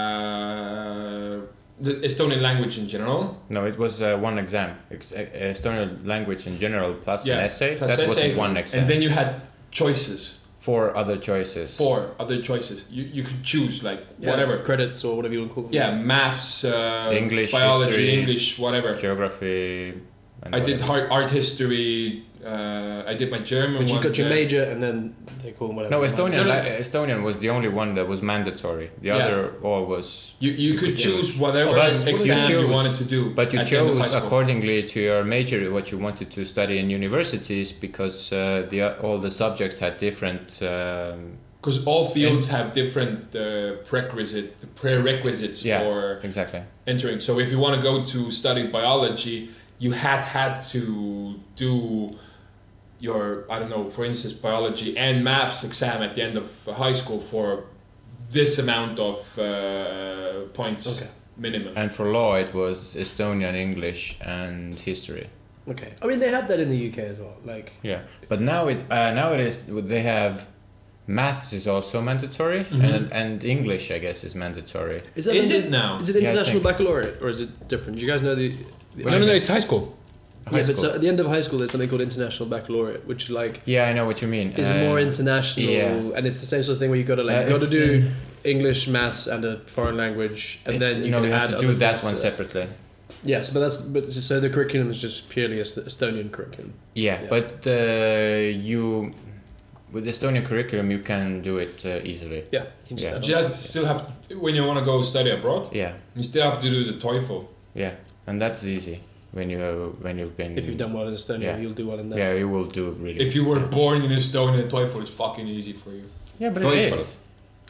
S9: uh, the Estonian language in general,
S6: No, it was uh, one exam. Ex- e- Estonian language in general plus an essay.
S9: plus
S6: that
S9: essay,
S6: was one exam.
S9: And then you had choices,
S6: four other choices.
S9: four other choices. You, you could choose like
S8: Yeah,
S9: whatever.
S8: credits or whatever you want to call them.
S9: Yeah, maths, uh,
S6: English,
S9: biology,
S6: history.
S9: English, whatever.
S6: Geography, and
S9: I did
S6: whatever.
S9: art, art history. Uh, I did my German.
S8: But you
S9: one
S8: got your
S9: there.
S8: major, and then they call them whatever.
S6: No,
S8: they
S6: Estonian.
S8: want.
S9: No, no.
S6: la- Estonian was the only one that was mandatory. The
S9: Yeah.
S6: other all was.
S9: You, you could choose whatever
S6: Oh, But you
S9: exam you,
S6: chose-
S9: wanted to do.
S6: But you
S9: at the end of high
S6: chose
S9: school.
S6: accordingly to your major what you wanted to study in universities because uh, the o- all the subjects had different. Um,
S9: Because all fields have different uh, prerequisite prerequisites
S6: Yeah.
S9: for
S6: exactly.
S9: entering. So if you want to go to study biology, you had had to do your I don't know, for instance, biology and maths exam at the end of high school for this amount of uh, points
S8: Okay.
S9: minimum.
S6: And for law, it was Estonian, English, and history.
S8: Okay. I mean, they have that in the UK as well. Like,
S6: Yeah, but now it uh, now it is they have maths is also mandatory and and English I guess is mandatory.
S8: is
S9: Is
S8: in
S9: it now?
S8: Is it
S6: Yeah, I
S8: international
S6: think.
S8: baccalaureate or is it different? Do you guys know the? the
S7: No, no, no, it's high school.
S6: High
S8: yeah, but
S6: school.
S8: so at the end of high school, there's something called international baccalaureate, which like
S6: Yeah, I know what you mean.
S8: is
S6: Uh,
S8: more international,
S6: yeah.
S8: and it's the same sort of thing where you got to like
S6: Uh,
S8: you got to
S6: it's,
S8: do English, maths, and a foreign language, and
S6: it's-
S8: then you
S6: no,
S8: can
S6: you
S8: add
S6: have to
S8: other
S6: do that
S8: things
S6: one
S8: to
S6: separately.
S8: Yes, but that's but so the curriculum is just purely Est- Estonian curriculum.
S6: Yeah,
S8: Yeah.
S6: but uh, you with Estonian curriculum you can do it uh, easily.
S8: Yeah, you can just
S6: Yeah.
S8: add on.
S9: You just still have when you want to go study abroad,
S6: Yeah,
S9: you still have to do the TOEFL.
S6: yeah, and that's easy when you when you've been
S8: if you've done well in Estonia,
S6: Mm. Yeah.
S8: you'll do well in there.
S6: Yeah, you will do really.
S9: If you were born in Estonia, TOEFL is fucking easy for you.
S6: yeah, but it
S7: Toilet.
S6: is.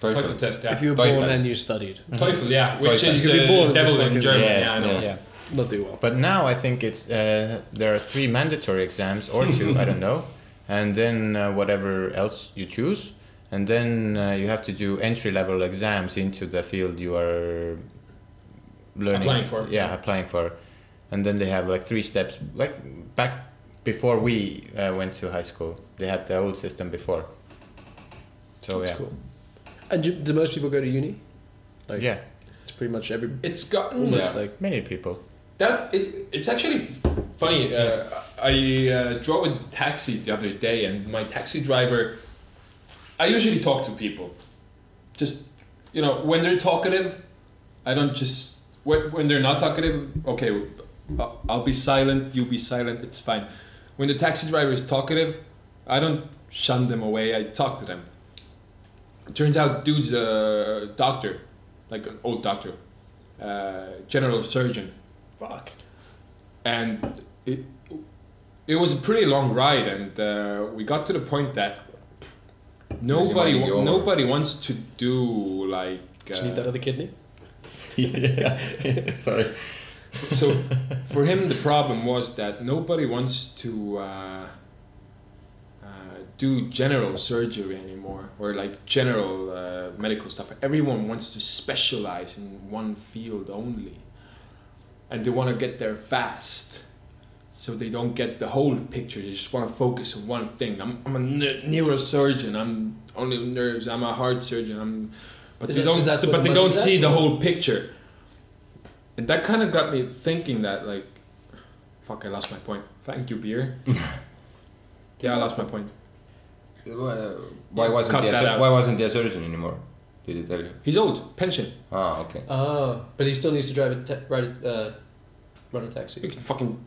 S9: TOEFL test, yeah.
S8: If you were
S7: Teufel.
S8: born and you studied,
S9: TOEFL, yeah, which
S7: TOEFL.
S8: You
S9: is
S8: could be
S9: uh,
S8: born with
S9: devil
S8: this
S9: in
S8: fucking-
S9: German. Yeah,
S6: Yeah,
S9: I know.
S7: yeah.
S6: Mm. Yeah.
S8: not do well.
S6: But now I think it's uh, there are three mandatory exams or two, I don't know, and then uh, whatever else you choose, and then uh, you have to do entry level exams into the field you are learning.
S9: Applying for.
S6: Yeah, applying for, and then they have like three steps. Like back before we uh, went to high school, they had the old system before. So
S8: That's
S6: yeah,
S8: cool. And do, do most people go to uni? Like,
S6: yeah,
S8: it's pretty much every
S9: It's gotten
S8: almost
S9: yeah.
S8: like
S6: many people.
S9: that. It, it's actually funny. Uh, I uh, drove a taxi the other day, and my taxi driver. I usually talk to people, just you know, when they're talkative, I don't just when, when they're not talkative. Okay, I'll- I'll be silent. You be silent. It's fine. When the taxi driver is talkative, I don't shun them away. I talk to them. Turns out, dude's a doctor, like an old doctor, uh, general surgeon. Fuck. And it it was a pretty long ride, and uh, we got to the point that nobody
S7: minding you
S9: wa-
S7: over.
S9: nobody wants to do like.
S8: just need that other kidney.
S6: Sorry.
S9: uh, so for him the problem was that nobody wants to uh, uh, do general surgery anymore or like general uh, medical stuff everyone wants to specialize in one field only and they want to get there fast so they don't get the whole picture they just want to focus on one thing i'm, I'm a ne- neurosurgeon i'm only nerves i'm a heart surgeon i'm but
S8: Is
S9: they
S8: that-
S9: don't
S8: is that what
S9: but
S8: the
S9: they
S8: money's
S9: don't
S8: at?
S9: see the whole picture and that kind of got me thinking that, like, fuck, I lost my point. Thank you, beer. yeah, I lost my point.
S7: Why why wasn't
S9: Cut
S7: the
S9: that
S7: asser-
S9: out.
S7: why wasn't the assertion anymore? Did it tell you?
S9: He's old, pension.
S7: Ah, okay.
S8: Oh, but he still needs to drive a ta- ride a, uh, run a
S9: You
S8: taxi.
S9: can fucking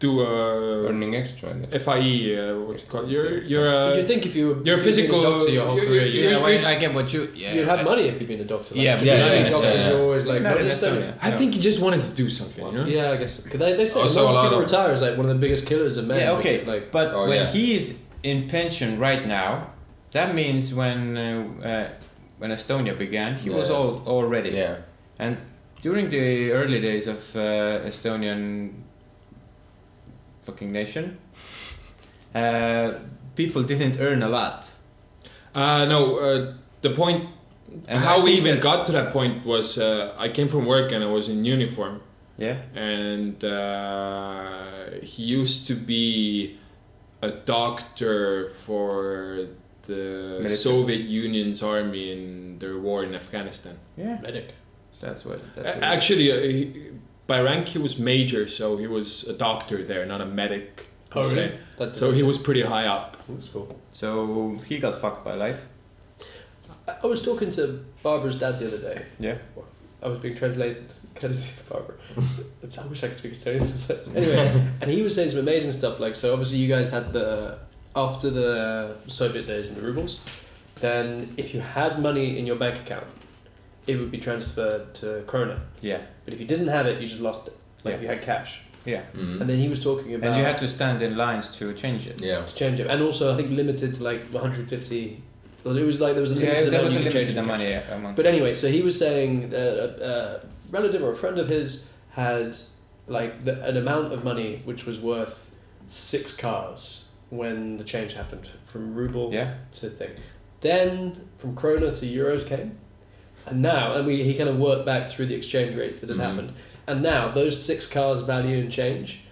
S9: do a
S7: Earning extra, I guess.
S9: FIE. Uh, what's it called? You're you're
S8: You'd
S9: a
S8: think if you were
S9: you're a
S8: you've been
S9: physical.
S8: uh, a doctor your whole
S9: you're-
S8: career,
S9: you're-
S8: you-
S9: you're-
S6: I get what you. Yeah,
S8: you'd have money if you'd been a doctor. Like,
S6: Yeah, but
S7: yeah,
S8: traditionally
S7: yeah, in
S8: doctors
S7: Estonia.
S8: are always like
S6: Not
S8: "What
S6: in
S8: is Estonia?"
S6: Estonia.
S9: I think he just wanted to do something. You know?
S8: Yeah, I guess 'Cause they they say
S7: Also,
S8: a lot
S7: a
S8: of
S7: lot
S8: people
S7: of-
S8: retire is like one of the biggest killers of men.
S6: Yeah, okay.
S8: because, like
S6: but
S7: Oh,
S6: when
S7: yeah.
S6: he is in pension right now, that means when uh, uh, when Estonia began, he was
S7: Yeah.
S6: old already.
S7: Yeah.
S6: And during the early days of uh, Estonian fucking nation, uh, people didn't earn a lot.
S9: Uh, no, uh, the point.
S6: And
S9: how
S6: I
S9: we
S6: think
S9: even
S6: that-
S9: got to that point was uh, I came from work and I was in uniform.
S6: Yeah.
S9: and uh, he used to be a doctor for the
S6: Military.
S9: Soviet Union's army in their war in Afghanistan.
S6: Yeah.
S8: medic.
S6: That's what. That's
S9: A-
S6: what
S9: Actually, uh, he, by rank he was major, so he was a doctor there, not a medic. per
S8: Oh,
S9: se.
S8: really? That's
S9: So he was pretty high up.
S8: That's cool.
S6: So he got fucked by life.
S8: I I was talking to Barbara's dad the other day.
S6: Yeah.
S8: I was being translated courtesy of Barbara. It's- I wish I could speak Estonian sometimes. Anyway, and he was saying some amazing stuff. Like, so obviously you guys had the after the Soviet days and the rubles. Then, if you had money in your bank account, it would be transferred to krona.
S4: Yeah.
S8: But if you didn't have it, you just lost it. Like
S4: Yeah.
S8: if you had cash.
S4: Yeah.
S8: And then he was talking about
S4: And you had to stand in lines to change it.
S7: Yeah.
S8: to change it, and also I think limited to like 150. Well, it was like there was a limited
S4: Yeah, there
S8: amount
S4: was
S8: you
S4: a
S8: could change
S4: limited
S8: it to.
S4: amount.
S6: uh,
S4: Yeah, amount.
S8: But anyway, so he was saying that a, a relative or a friend of his had like the, an amount of money which was worth six cars when the change happened from ruble
S4: yeah,
S8: to thing. Then from krona to euros came, and now and we he kind of worked back through the exchange rates that had
S7: Mhm.
S8: happened, and now those six cars value and change,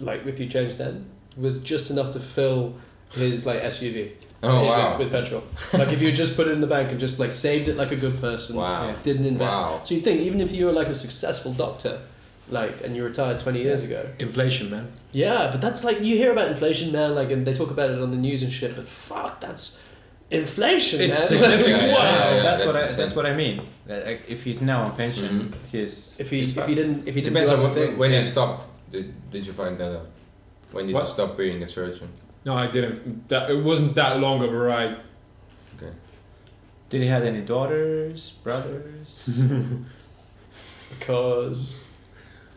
S8: like if you change them, was just enough to fill his like SUV
S7: Oh
S8: with-
S7: wow.
S8: with petrol. like if you just put it in the bank and just like saved it like a good person,
S7: Wow.
S8: yeah, didn't invest.
S7: Wow.
S8: So you think even if you were like a successful doctor, like and you retired twenty years ago,
S9: Inflation, man.
S8: yeah, but that's like you hear about inflation, man. Like, and they talk about it on the news and shit. But fuck, that's inflation,
S9: It's
S8: man.
S9: significant,
S8: Like,
S7: yeah,
S8: wow.
S7: yeah, yeah.
S4: that's,
S7: that's
S4: what I,
S7: insane. Mm-hmm.
S4: that's what I mean. That, like, if he's now on pension, he's
S8: If he
S4: he's
S8: if
S4: fucked.
S8: he didn't if he
S7: It
S8: didn't
S7: depends
S8: do
S7: on
S8: other
S7: what,
S8: things.
S7: when you stopped. Did, did you find that out? When did
S9: What?
S7: you stop being a surgeon?
S9: No, I didn't. That, it wasn't that long of a ride.
S4: did he have any daughters, brothers?
S8: because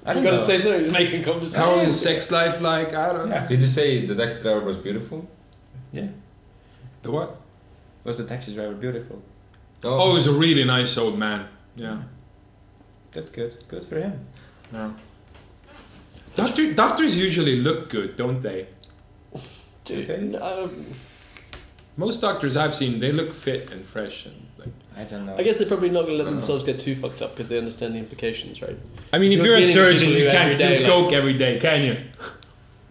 S4: I
S8: you
S4: don't
S8: gotta
S4: know.
S8: say something. You're making
S9: How was
S8: conversation.
S9: his sex life like? I don't know.
S4: Yeah.
S7: Did you say the taxi driver was beautiful?
S9: The what?
S4: Was the taxi driver beautiful?
S9: Oh, he's a really nice old man. Yeah.
S4: That's good. Good for him.
S9: No. Doctor, doctors usually look good, don't they?
S8: Dude,
S4: Okay.
S8: no,
S9: Most doctors I've seen, they look fit and fresh and like.
S4: I don't know.
S8: I guess they're probably not gonna let
S7: I know.
S8: themselves get too fucked up because they understand the implications, right?
S9: I mean, if
S8: You're
S9: you're, a
S8: dealing with
S9: surgeon,
S8: people
S9: you
S8: who
S9: can't
S8: every day,
S9: do
S8: like-
S9: coke every day, can you?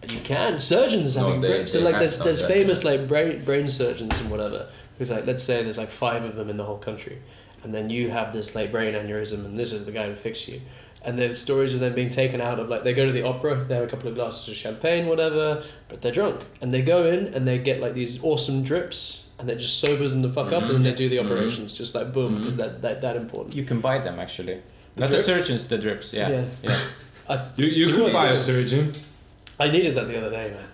S8: And you can. Surgeons
S7: No,
S8: having
S7: they-
S8: brain. So
S7: they
S8: like,
S7: have
S8: there's
S7: done
S8: there's
S7: that.
S8: famous like brain brain surgeons and whatever. Who's like, let's say there's like five of them in the whole country, and then you have this like brain aneurysm, and this is the guy who fixed you. And there's stories of them being taken out of like they go to the opera, they have a couple of glasses of champagne, whatever, but they're drunk, and they go in and they get like these awesome drips, and that just sobers them the fuck
S7: Mm-hmm.
S8: up, and then they do the operations just like boom, because that, that that important.
S4: you can buy them actually.
S8: The
S4: Not
S8: drips?
S4: the surgeons, the drips. Yeah.
S8: Yeah.
S9: You, you
S8: know
S9: could buy a
S8: this-
S9: surgeon.
S8: I needed that the other day, man.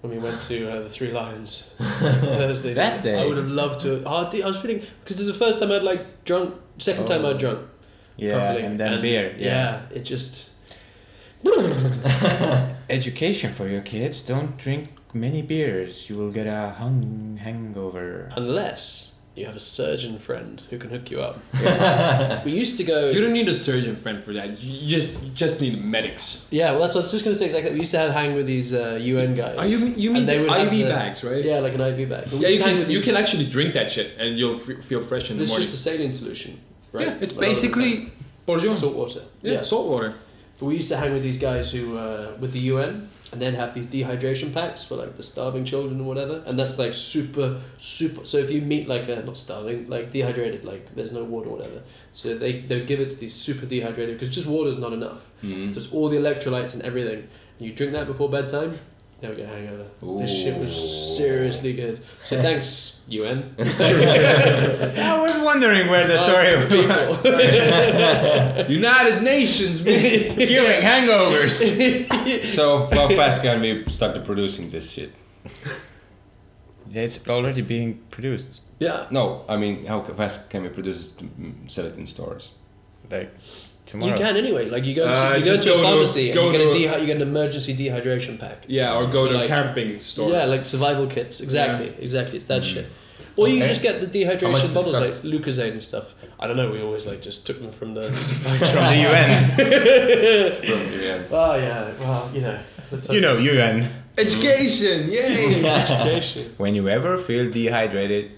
S8: When we went to uh, the Three Lions Thursday.
S4: That day?
S8: I would have loved to. Oh, I did- I was feeling because it's the first time I'd like drunk. Second time
S4: Oh.
S8: I'd drunk.
S4: Yeah,
S8: properly.
S4: and then beer. Yeah.
S8: yeah, it just.
S4: Education for your kids. Don't drink many beers. You will get a hung hangover.
S8: Unless you have a surgeon friend who can hook you up. we used to go.
S9: You don't need a surgeon friend for that. You just, you just need medics.
S8: Yeah, well, that's what I was just gonna say. Exactly, we used to have hang with these uh, UN guys.
S9: Are you you
S8: and
S9: mean
S8: they
S9: the
S8: would have
S9: IV
S8: the-
S9: bags, right?
S8: Yeah, like an IV bag. But we
S9: Yeah,
S8: used
S9: you
S8: to hang
S9: can,
S8: with
S9: you
S8: these-
S9: can actually drink that shit and you'll f- feel fresh in the
S8: It's
S9: morning.
S8: just a saline solution, right?
S9: Yeah, it's
S8: A lot of the time.
S9: basically Borjon.
S8: salt water.
S9: yeah, salt water.
S8: But we used to hang with these guys who uh, with the UN and then have these dehydration packs for like the starving children and whatever. And that's like super, super. So if you meet like a not starving, like dehydrated, like there's no water, or whatever. So they they give it to these super dehydrated because just water's not enough.
S7: Mhm.
S8: So it's all the electrolytes and everything. And you drink that before bedtime, never get a hangover. This shit was
S7: Ooh.
S8: seriously good. So thanks UN.
S4: I was wondering where the story of
S9: Oh, United Nations, man.
S4: curing hangovers.
S7: So how fast can we start producing this shit?
S6: Yeah, it's already being produced.
S8: yeah.
S7: No, I mean how fast can we produce this to mm, sell it in stores?
S6: Like tomorrow.
S8: You can anyway. Like you go to,
S9: Uh,
S8: you go
S9: just
S8: to a
S9: go to-
S8: pharmacy
S9: go
S8: and you
S9: to
S8: get, a dehy- you get an emergency dehydration pack.
S9: yeah, or go
S8: For
S9: to a
S8: like-
S9: camping store.
S8: Yeah, like survival kits. Exactly, exactly. It's
S9: Mm.
S8: that shit. Or you just get the
S7: How much
S8: dehydration
S7: does
S8: bottles
S7: it
S8: like
S7: cost?
S8: Lucozade and stuff. I don't know. We always like just took them from the.
S6: From the UN.
S7: yeah.
S8: oh yeah. Well, you know. Let's
S6: you know, UN.
S9: Education, yay!
S8: education.
S6: When you ever feel dehydrated,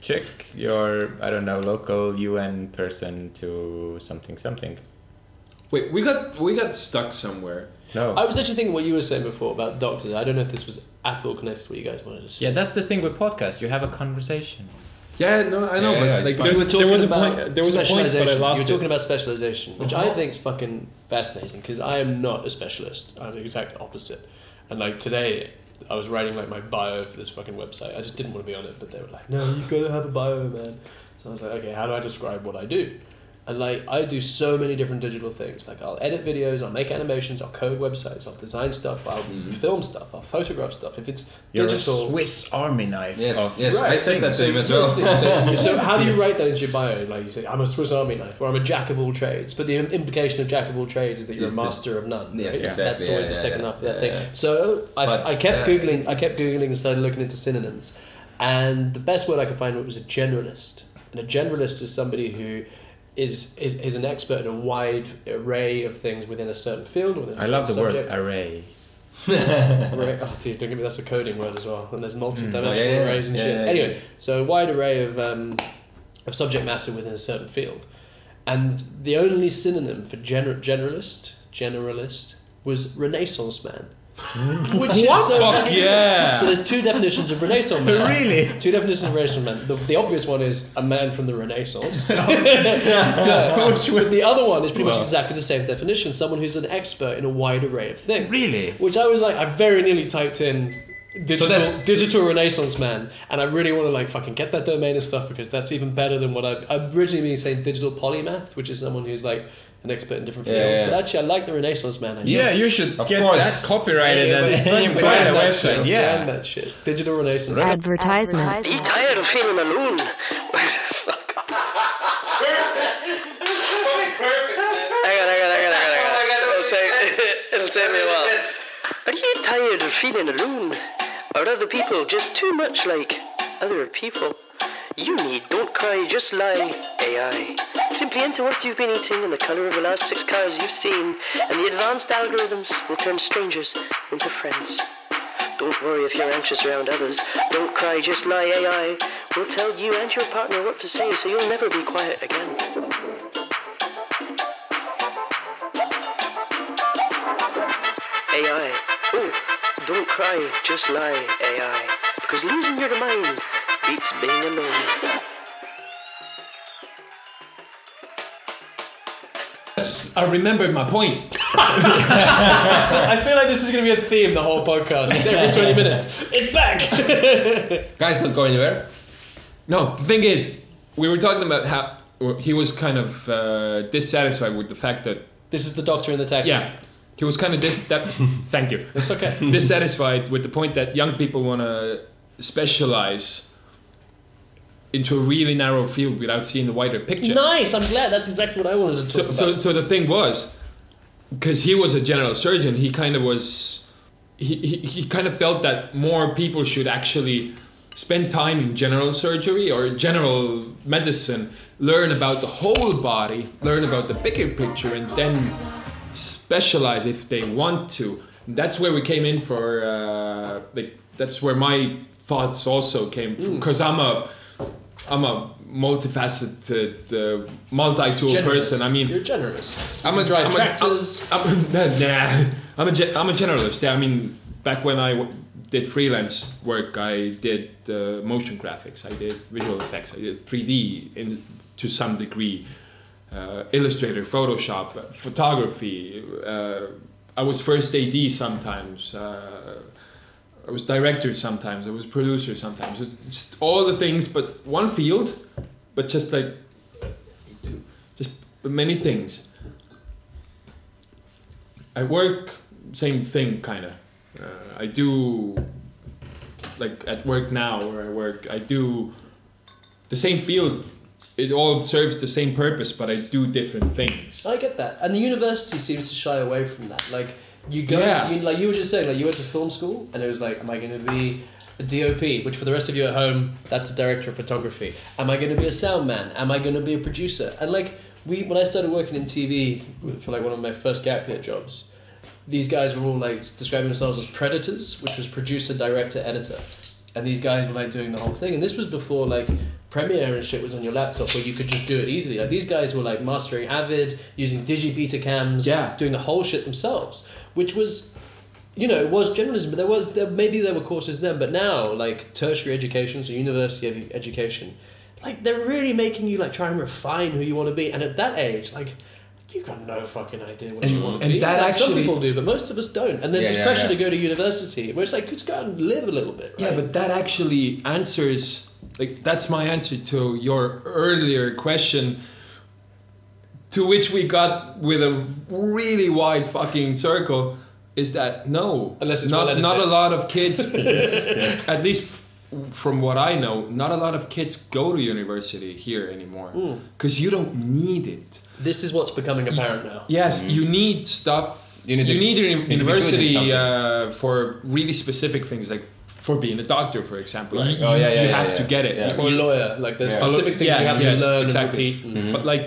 S6: check your, I don't know, local UN person to something, something.
S9: Wait, we got we got stuck somewhere.
S6: No.
S8: I was actually thinking what you were saying before about doctors. I don't know if this was at all connected to what you guys wanted to say.
S6: yeah, that's the thing with podcasts. You have a conversation.
S9: Yeah, no, I know,
S7: Yeah, yeah,
S9: but like
S7: it's
S9: there's-
S8: You were
S9: there
S8: talking
S9: was a
S8: about
S9: point. There was a point,
S8: specialization.
S9: but I
S8: you
S9: lost
S8: were talking
S9: it.
S8: about specialization, which I
S9: Uh-huh.
S8: think is fucking fascinating because I am not a specialist. I'm the exact opposite. And like today, I was writing like my bio for this fucking website. I just didn't want to be on it, but they were like, "No, you gotta have a bio, man." So I was like, "Okay, how do I describe what I do?" And like I do so many different digital things. Like I'll edit videos, I'll make animations, I'll code websites, I'll design stuff, I'll
S9: Mm-hmm.
S8: film stuff, I'll photograph stuff. If it's
S6: You're
S8: digital,
S6: a Swiss Army knife.
S7: Yes,
S6: of-
S7: yes, I said that to him as well.
S8: so, so how do you write that into your bio? Like you say, I'm a Swiss Army knife, or I'm a jack of all trades. But the im- implication of jack of all trades is that you're a
S7: Is the-
S8: master of none.
S7: Yes,
S8: right?
S7: exactly,
S8: That's
S7: yeah,
S8: always the
S7: yeah,
S8: second
S7: yeah,
S8: half of that
S7: yeah,
S8: thing.
S7: yeah.
S8: So I,
S7: But,
S8: I kept
S7: uh,
S8: googling, I kept googling and started looking into synonyms, and the best word I could find was a generalist. And a generalist is somebody who. Is, is, is an expert in a wide array of things within a certain field. Within a
S6: I love the
S8: certain
S6: word
S8: subject.
S6: array.
S8: Array. Oh, dude, don't give me that's a coding word as well. And there's multi-dimensional
S7: Oh, yeah, yeah,
S8: arrays and
S7: yeah,
S8: shit.
S7: yeah, yeah.
S8: anyway, so a wide array of um, of subject matter within a certain field, and the only synonym for gener- generalist generalist was Renaissance man.
S7: Hmm.
S8: Which is so
S9: Fuck yeah!
S8: So there's two definitions of Renaissance man. really? Two definitions of Renaissance man. The, the obvious one is a man from the Renaissance. But the other one is pretty much exactly the same definition. Someone who's an expert in a wide array of things.
S6: Really?
S8: Which I was like, I very nearly typed in digital,
S7: that's-
S8: digital renaissance man, and I really want to like fucking get that domain and stuff because that's even better than what I, I originally been saying digital polymath, which is someone who's like an expert in different
S7: Yeah,
S8: fields.
S7: yeah.
S8: But actually, I like the renaissance man. I
S6: Yeah,
S8: guess.
S6: you should
S7: Of
S6: get
S7: course.
S6: that copyrighted
S7: Yeah,
S6: and
S7: but-
S6: and
S7: but
S6: buy the
S7: that's
S6: website.
S7: actually-
S6: yeah.
S8: Brand that shit. Digital renaissance.
S2: Advertisement.
S5: tired of feeling alone. Hang on, hang on, hang on, hang on, hang on. It'll take, it'll take me a while. Are you tired of feeling alone? Are other people just too much like other people? You need Don't Cry, Just Lie AI. Simply enter what you've been eating and the color of the last six cars you've seen, and the advanced algorithms will turn strangers into friends. Don't worry if you're anxious around others. Don't cry, just lie. AI will tell you and your partner what to say, so you'll never be quiet again. AI. Oh, don't cry, just lie. AI. Because losing your mind beats being alone.
S9: I remembered my point.
S8: I feel like this is going to be a theme the whole podcast. It's every twenty minutes. It's back.
S7: Guys, not go anywhere.
S9: No, the thing is, we were talking about how well, he was kind of uh, dissatisfied with the fact that
S8: this is the doctor in the taxi.
S9: yeah, he was kind of dis. That, thank you.
S8: It's okay.
S9: dissatisfied with the point that young people want to specialize into a really narrow field without seeing the wider picture.
S8: Nice. I'm glad. That's exactly what I wanted to talk
S9: so,
S8: about.
S9: so, so the thing was, because he was a general surgeon, he kind of was, he, he, he kind of felt that more people should actually spend time in general surgery or general medicine, learn about the whole body, learn about the bigger picture, and then specialize if they want to. That's where we came in for, uh, like, that's where my thoughts also came from, because I'm a, I'm a multifaceted, uh, multi-tool
S8: Generalist.
S9: person. I mean,
S8: you're generous.
S9: I'm a
S8: drive
S9: I'm
S8: tractors.
S9: A, I'm, I'm, nah, I'm a ge- I'm a generalist. Yeah, I mean, back when I w- did freelance work, I did uh, motion graphics, I did visual effects, I did 3D in to some degree, uh, Illustrator, Photoshop, uh, photography. Uh, I was first AD sometimes. Uh, I was director sometimes. I was producer sometimes. It's just all the things, but one field, but just like just many things. I work same thing kind of. Uh, I do like at work now where I work. I do the same field. It all serves the same purpose, but I do different things.
S8: I get that, and the university seems to shy away from that. Like you go,
S9: Yeah.
S8: to, you, like you were just saying, like you went to film school, and it was like, am I going to be a DOP? Which for the rest of you at home, that's a director of photography. Am I going to be a sound man? Am I going to be a producer? And like we, when I started working in TV for like one of my first gap year jobs, these guys were all like describing themselves as predators, which was producer, director, editor, and these guys were like doing the whole thing. And this was before like Premiere and shit was on your laptop, where you could just do it easily. Like these guys were like mastering Avid, using digi beta cams,
S9: Yeah.
S8: doing the whole shit themselves, which was. You know, it was generalism, but there was there, maybe there were courses then, but now like tertiary education, so university edu- education, like they're really making you like try and refine who you want to be, and at that age, like you've got no fucking idea what you want to
S9: and
S8: be.
S9: that
S8: Like, some
S9: actually-
S8: people do, but most of us don't. And there's
S7: Yeah,
S8: this
S7: yeah,
S8: pressure
S7: yeah.
S8: to go to university, where it's like, just go out and live a little bit. Right?
S9: Yeah, but that actually answers like that's my answer to your earlier question to which we got with a really wide fucking circle is that no
S8: Unless it's
S9: not
S8: well
S9: not a
S8: edited.
S9: lot of kids at least from what i know not a lot of kids go to university here anymore
S8: Hmm.
S9: because you don't need it
S8: This is what's becoming apparent now.
S9: yes you need stuff you
S7: Mm-hmm. You
S9: need,
S7: need to-
S9: your
S7: to be good at
S9: university
S7: something.
S9: uh, for really specific things like for being a doctor for example you,
S7: Oh, yeah, yeah,
S9: you
S7: yeah,
S9: have
S7: yeah.
S9: to get it
S7: Yeah.
S8: Or a lawyer, like there's
S7: Yeah.
S8: specific things you
S9: Yes,
S8: have
S9: yes,
S8: to learn
S9: exactly.
S8: and repeat.
S7: Mm-hmm.
S8: And
S9: But like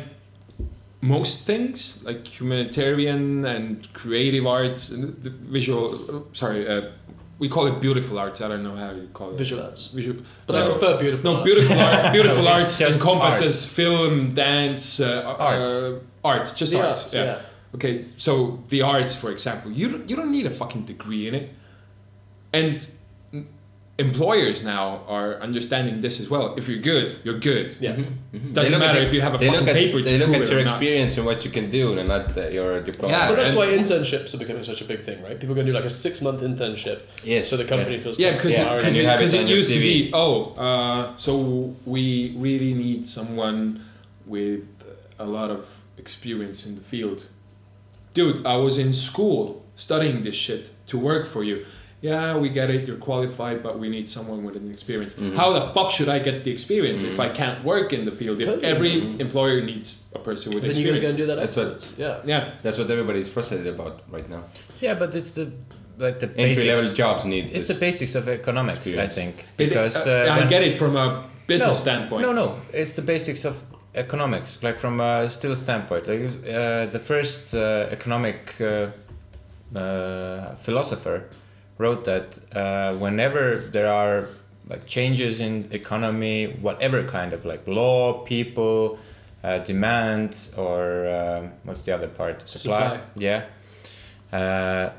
S9: most things, like humanitarian and creative arts and the visual, sorry, uh, we call it beautiful arts. I don't know how you call it.
S8: Visual arts.
S9: Visual.
S8: But I
S9: no.
S8: prefer beautiful.
S9: No,
S8: art.
S9: beautiful art. Beautiful
S6: No, it's
S9: arts
S6: just
S9: encompasses film, dance, uh,
S6: Arts.
S9: uh, arts, just
S8: The
S9: arts.
S8: arts,
S9: yeah.
S8: yeah.
S9: Okay, so the arts, for example, you don't, you don't need a fucking degree in it, and m- employers now are understanding this as well. If you're good, you're good. Mm-hmm.
S8: Yeah.
S9: Doesn't
S7: look at
S9: matter
S7: the-
S9: if you have a
S7: they
S9: fucking
S7: look at,
S9: paper. to
S7: They look at
S9: prove it
S7: your
S9: or not.
S7: experience and what you can do, and not uh, your diploma.
S9: Yeah.
S8: But that's
S9: And-
S8: why internships are becoming such a big thing, right? People are going to do like a six month internship.
S7: Yes,
S8: So the company
S7: yeah.
S8: feels
S9: Yeah,
S8: comfortable
S9: because
S7: Yeah,
S9: it,
S7: and you have it
S9: because
S7: on
S9: it
S7: your
S9: used to
S7: CV.
S9: be, oh, uh, so we really need someone with a lot of experience in the field. Dude, I was in school studying this shit to work for you. Yeah, we get it, you're qualified, but we need someone with an experience.
S7: Mm-hmm.
S9: How the fuck should I get the experience if I can't work in the field? If
S8: Totally.
S9: every
S7: Mm-hmm.
S9: employer needs a person with
S8: But you're going to go
S9: experience.
S8: and do that
S7: That's what-
S8: afterwards. Yeah.
S9: Yeah.
S7: That's what everybody's frustrated about right now.
S6: Yeah, but it's the like the
S7: Entry level
S6: basics.
S7: jobs need
S6: It's the
S7: this.
S6: basics of economics, I
S7: Experience.
S6: think,
S9: But,
S6: because
S9: uh, I
S6: when-
S9: get it from a business
S6: no,
S9: standpoint.
S6: No, no, it's the basics of economics, like from a still standpoint. Like uh, the first uh, economic uh, uh, philosopher wrote that uh, whenever there are like changes in economy, whatever kind of like law, people, uh, demand, or um, what's the other part?
S8: Supply.
S6: Yeah. Uh,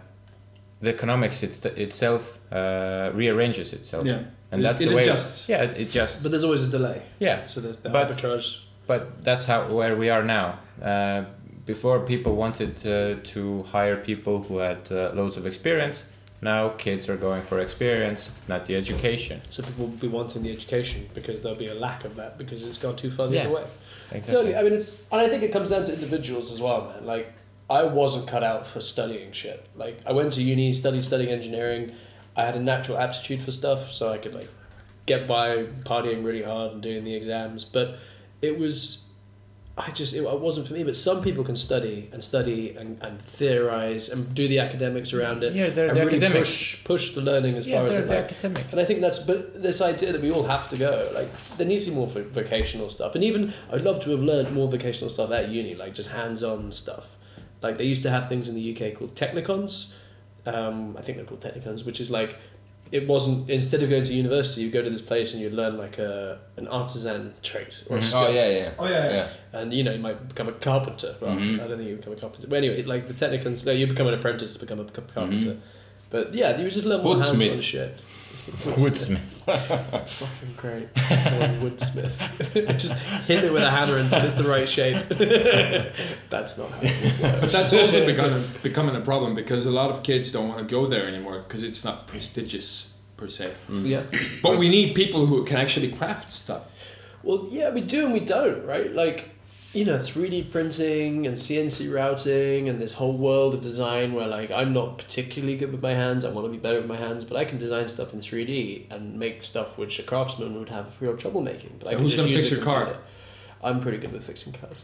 S6: the economics it's itself uh, rearranges itself.
S9: Yeah.
S6: And
S9: It-
S6: that's
S9: it
S6: the way.
S9: adjusts.
S6: Yeah, it, it just.
S8: But there's always a delay.
S6: Yeah,
S8: So there's the
S6: But-
S8: arbitrage.
S6: but that's how where we are now. Uh, before people wanted uh, to hire people who had uh, loads of experience. Now kids are going for experience, not the education.
S8: So people will be wanting the education because there'll be a lack of that because it's gone too far the
S6: Yeah.
S8: other way.
S6: Exactly.
S8: Totally. I mean, it's and I think it comes down to individuals as well, man. Like I wasn't cut out for studying shit. Like I went to uni, studied studying engineering. I had a natural aptitude for stuff, so I could like get by partying really hard and doing the exams. But it was, I just it, wasn't for me. But some people can study and study and, and theorize and do the academics around it.
S6: Yeah, they're-
S8: and
S6: they're
S8: really
S6: academics.
S8: push push the learning as
S6: Yeah,
S8: far as
S6: they're-
S8: it
S6: they're
S8: like-
S6: academics.
S8: And I think that's but this idea that we all have to go like there needs to be more vo- vocational stuff. And even I'd love to have learned more vocational stuff at uni, like just hands on stuff. Like they used to have things in the UK called technicons. Um, I think they're called technicons, which is like it wasn't instead of going to university, you go to this place and you learn like a an artisan trade or a skill
S7: Oh yeah, yeah.
S9: Oh, yeah, yeah.
S8: and you know you might become a carpenter. Well, I don't think you become a carpenter. But anyway, like the technicons, no, you become an apprentice to become a c- carpenter. But yeah, you just learn more
S7: Woodsmith.
S8: hands-on shit. Woodsmith. That's fucking great. Or Woodsmith. just hit it with a hammer until it's the right shape. That's not how it works.
S9: But that's also becoming becoming a problem because a lot of kids don't want to go there anymore because it's not prestigious per se.
S8: Yeah.
S9: But we need people who can actually craft stuff.
S8: Well, yeah, we do and we don't, right? Like, you know, 3D printing and CNC routing and this whole world of design where, like, I'm not particularly good with my hands. I want to be better with my hands, but I can design stuff in 3D and make stuff which a craftsman would have real trouble making. But I
S9: And
S8: can
S9: who's
S8: just
S9: gonna
S8: use
S9: fix
S8: a
S9: your car?
S8: computer. I'm pretty good with fixing cars.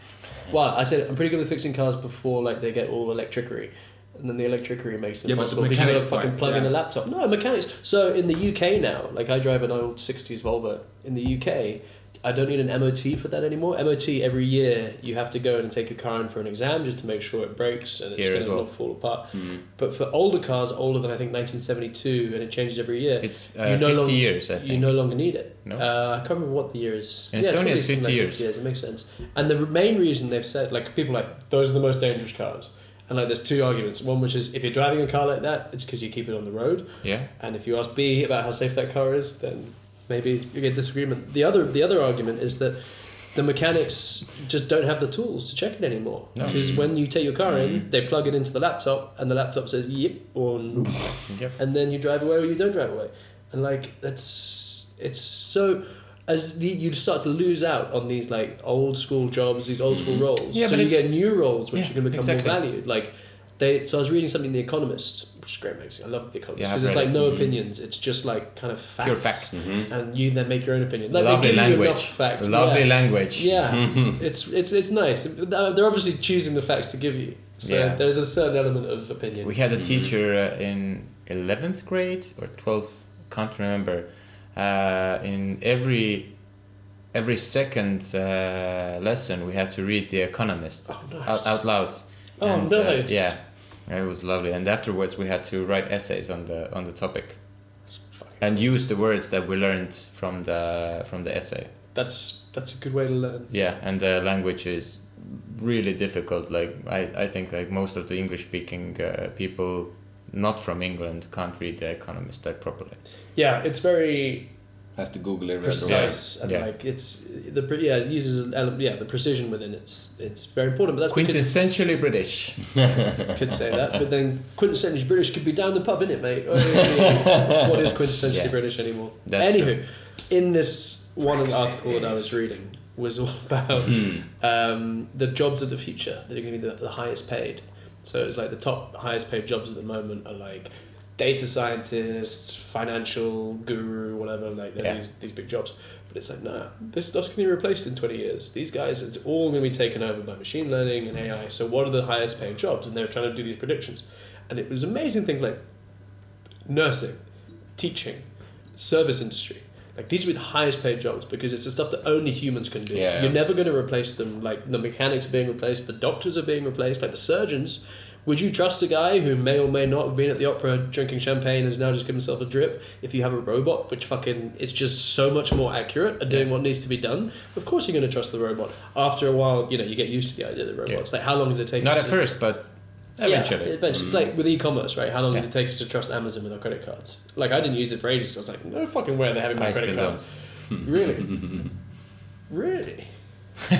S8: Well, I said I'm pretty good with fixing cars before, like, they get all electricary. And then the electricary makes it
S9: Yeah, but the
S8: impossible because you've got to
S9: mechanic
S8: fucking
S9: part,
S8: plug in
S9: yeah.
S8: a laptop. No, mechanics. So in the UK now, like I drive an old 60s Volvo. In the UK, I don't need an MOT for that anymore. MOT every year, you have to go in and take your car in for an exam just to make sure it breaks and it's
S6: Here
S8: going
S6: as
S8: to
S6: well. Hmm.
S8: not fall apart. But for older cars, older than I think 1972, and it changes every year,
S6: It's, uh, 50 years, I
S8: You
S6: think.
S8: no longer need it.
S6: No?
S8: Uh, I can't remember what the year is.
S6: In
S8: probably
S6: Estonia, it's 50
S8: something like
S6: years.
S8: It makes sense. And the main reason they've said, like, people are like, those are the most dangerous cars. And, like, there's two arguments. One, which is if you're driving a car like that, it's because you keep it on the road.
S6: Yeah.
S8: And if you ask B about how safe that car is, then maybe you get disagreement. The other the other argument is that the mechanics just don't have the tools to check it anymore. Because when you take your car
S6: Mm.
S8: in, they plug it into the laptop, and the laptop says yep or no,
S6: Yep.
S8: and then you drive away or you don't drive away. And like that's it's so as the, you start to lose out on these like old school jobs, these old school roles.
S6: Mm. Yeah,
S8: so
S6: but
S8: you
S6: it's-
S8: get new roles which
S6: Yeah,
S8: are going to become
S6: exactly.
S8: more valued. Like they, so I was reading something in The Economist, which is a great magazine. I love The Economist
S6: Yeah,
S8: because
S6: I've
S8: it's
S6: read
S8: like
S6: it.
S8: no opinions. It's just like kind of facts.
S6: Pure facts. mm-hmm.
S8: And you then make your own opinion. Like
S6: Lovely
S8: they give you
S6: language.
S8: enough facts.
S6: Lovely
S8: yeah.
S6: language. Mm-hmm.
S8: Yeah, it's it's it's nice. They're they're obviously choosing the facts to give you. So
S6: Yeah.
S8: there's a certain element of opinion.
S6: We had a teacher uh, in 11th grade or 12th, can't remember. Uh, in every every second uh, lesson, we had to read The Economist
S8: Oh, nice.
S6: out, out loud.
S8: Oh,
S6: and, uh,
S8: nice.
S6: yeah, it was lovely. And afterwards, we had to write essays on the on the topic and use the words that we learned from the from the essay.
S8: that's that's a good way to learn.
S6: Yeah, and the language is really difficult. Like I, I think like most of the English speaking uh, people not from England can't read The Economist like properly.
S8: Yeah, it's very
S7: have to Google it. right away.
S8: precise and
S6: Yeah.
S8: like it's the pre- yeah it uses an ele- yeah the precision within it's it's very important. But that's because
S6: Quintessentially British.
S8: you could say that. But then quintessentially British could be down the pub, innit, mate? Oh, what is quintessentially
S6: Yeah.
S8: British anymore?
S6: That's
S8: Anywho, in this one article that I was reading was all about um, the jobs of the future that are going to be the, the highest paid. So it's like the top highest paid jobs at the moment are like data scientists, financial guru, whatever. Like they're
S6: Yeah.
S8: these these big jobs. But it's like nah, this stuff's going to be replaced in twenty years. These guys, it's all going to be taken over by machine learning and AI. So what are the highest paid jobs? And they were trying to do these predictions, and it was amazing things like nursing, teaching, service industry. Like these would be the highest paid jobs because it's the stuff that only humans can do.
S7: Yeah.
S8: You're never going to replace them. Like the mechanics are being replaced, the doctors are being replaced, like the surgeons. Would you trust a guy who may or may not have been at the opera drinking champagne and has now just given himself a drip if you have a robot which fucking is just so much more accurate at doing what needs to be done? Of course you're going to trust the robot. After a while, you know, you get used to the idea of the robots. Like how long does it take?
S6: Not
S8: to-
S6: at first, but eventually.
S8: yeah, eventually. It's like with e-commerce, right? How long
S6: Yeah.
S8: did it take us to trust Amazon with our credit cards? Like I didn't use it for ages. I was like, no fucking way they're having my
S6: I
S8: credit
S6: still
S8: card.
S6: don't.
S8: Really? really?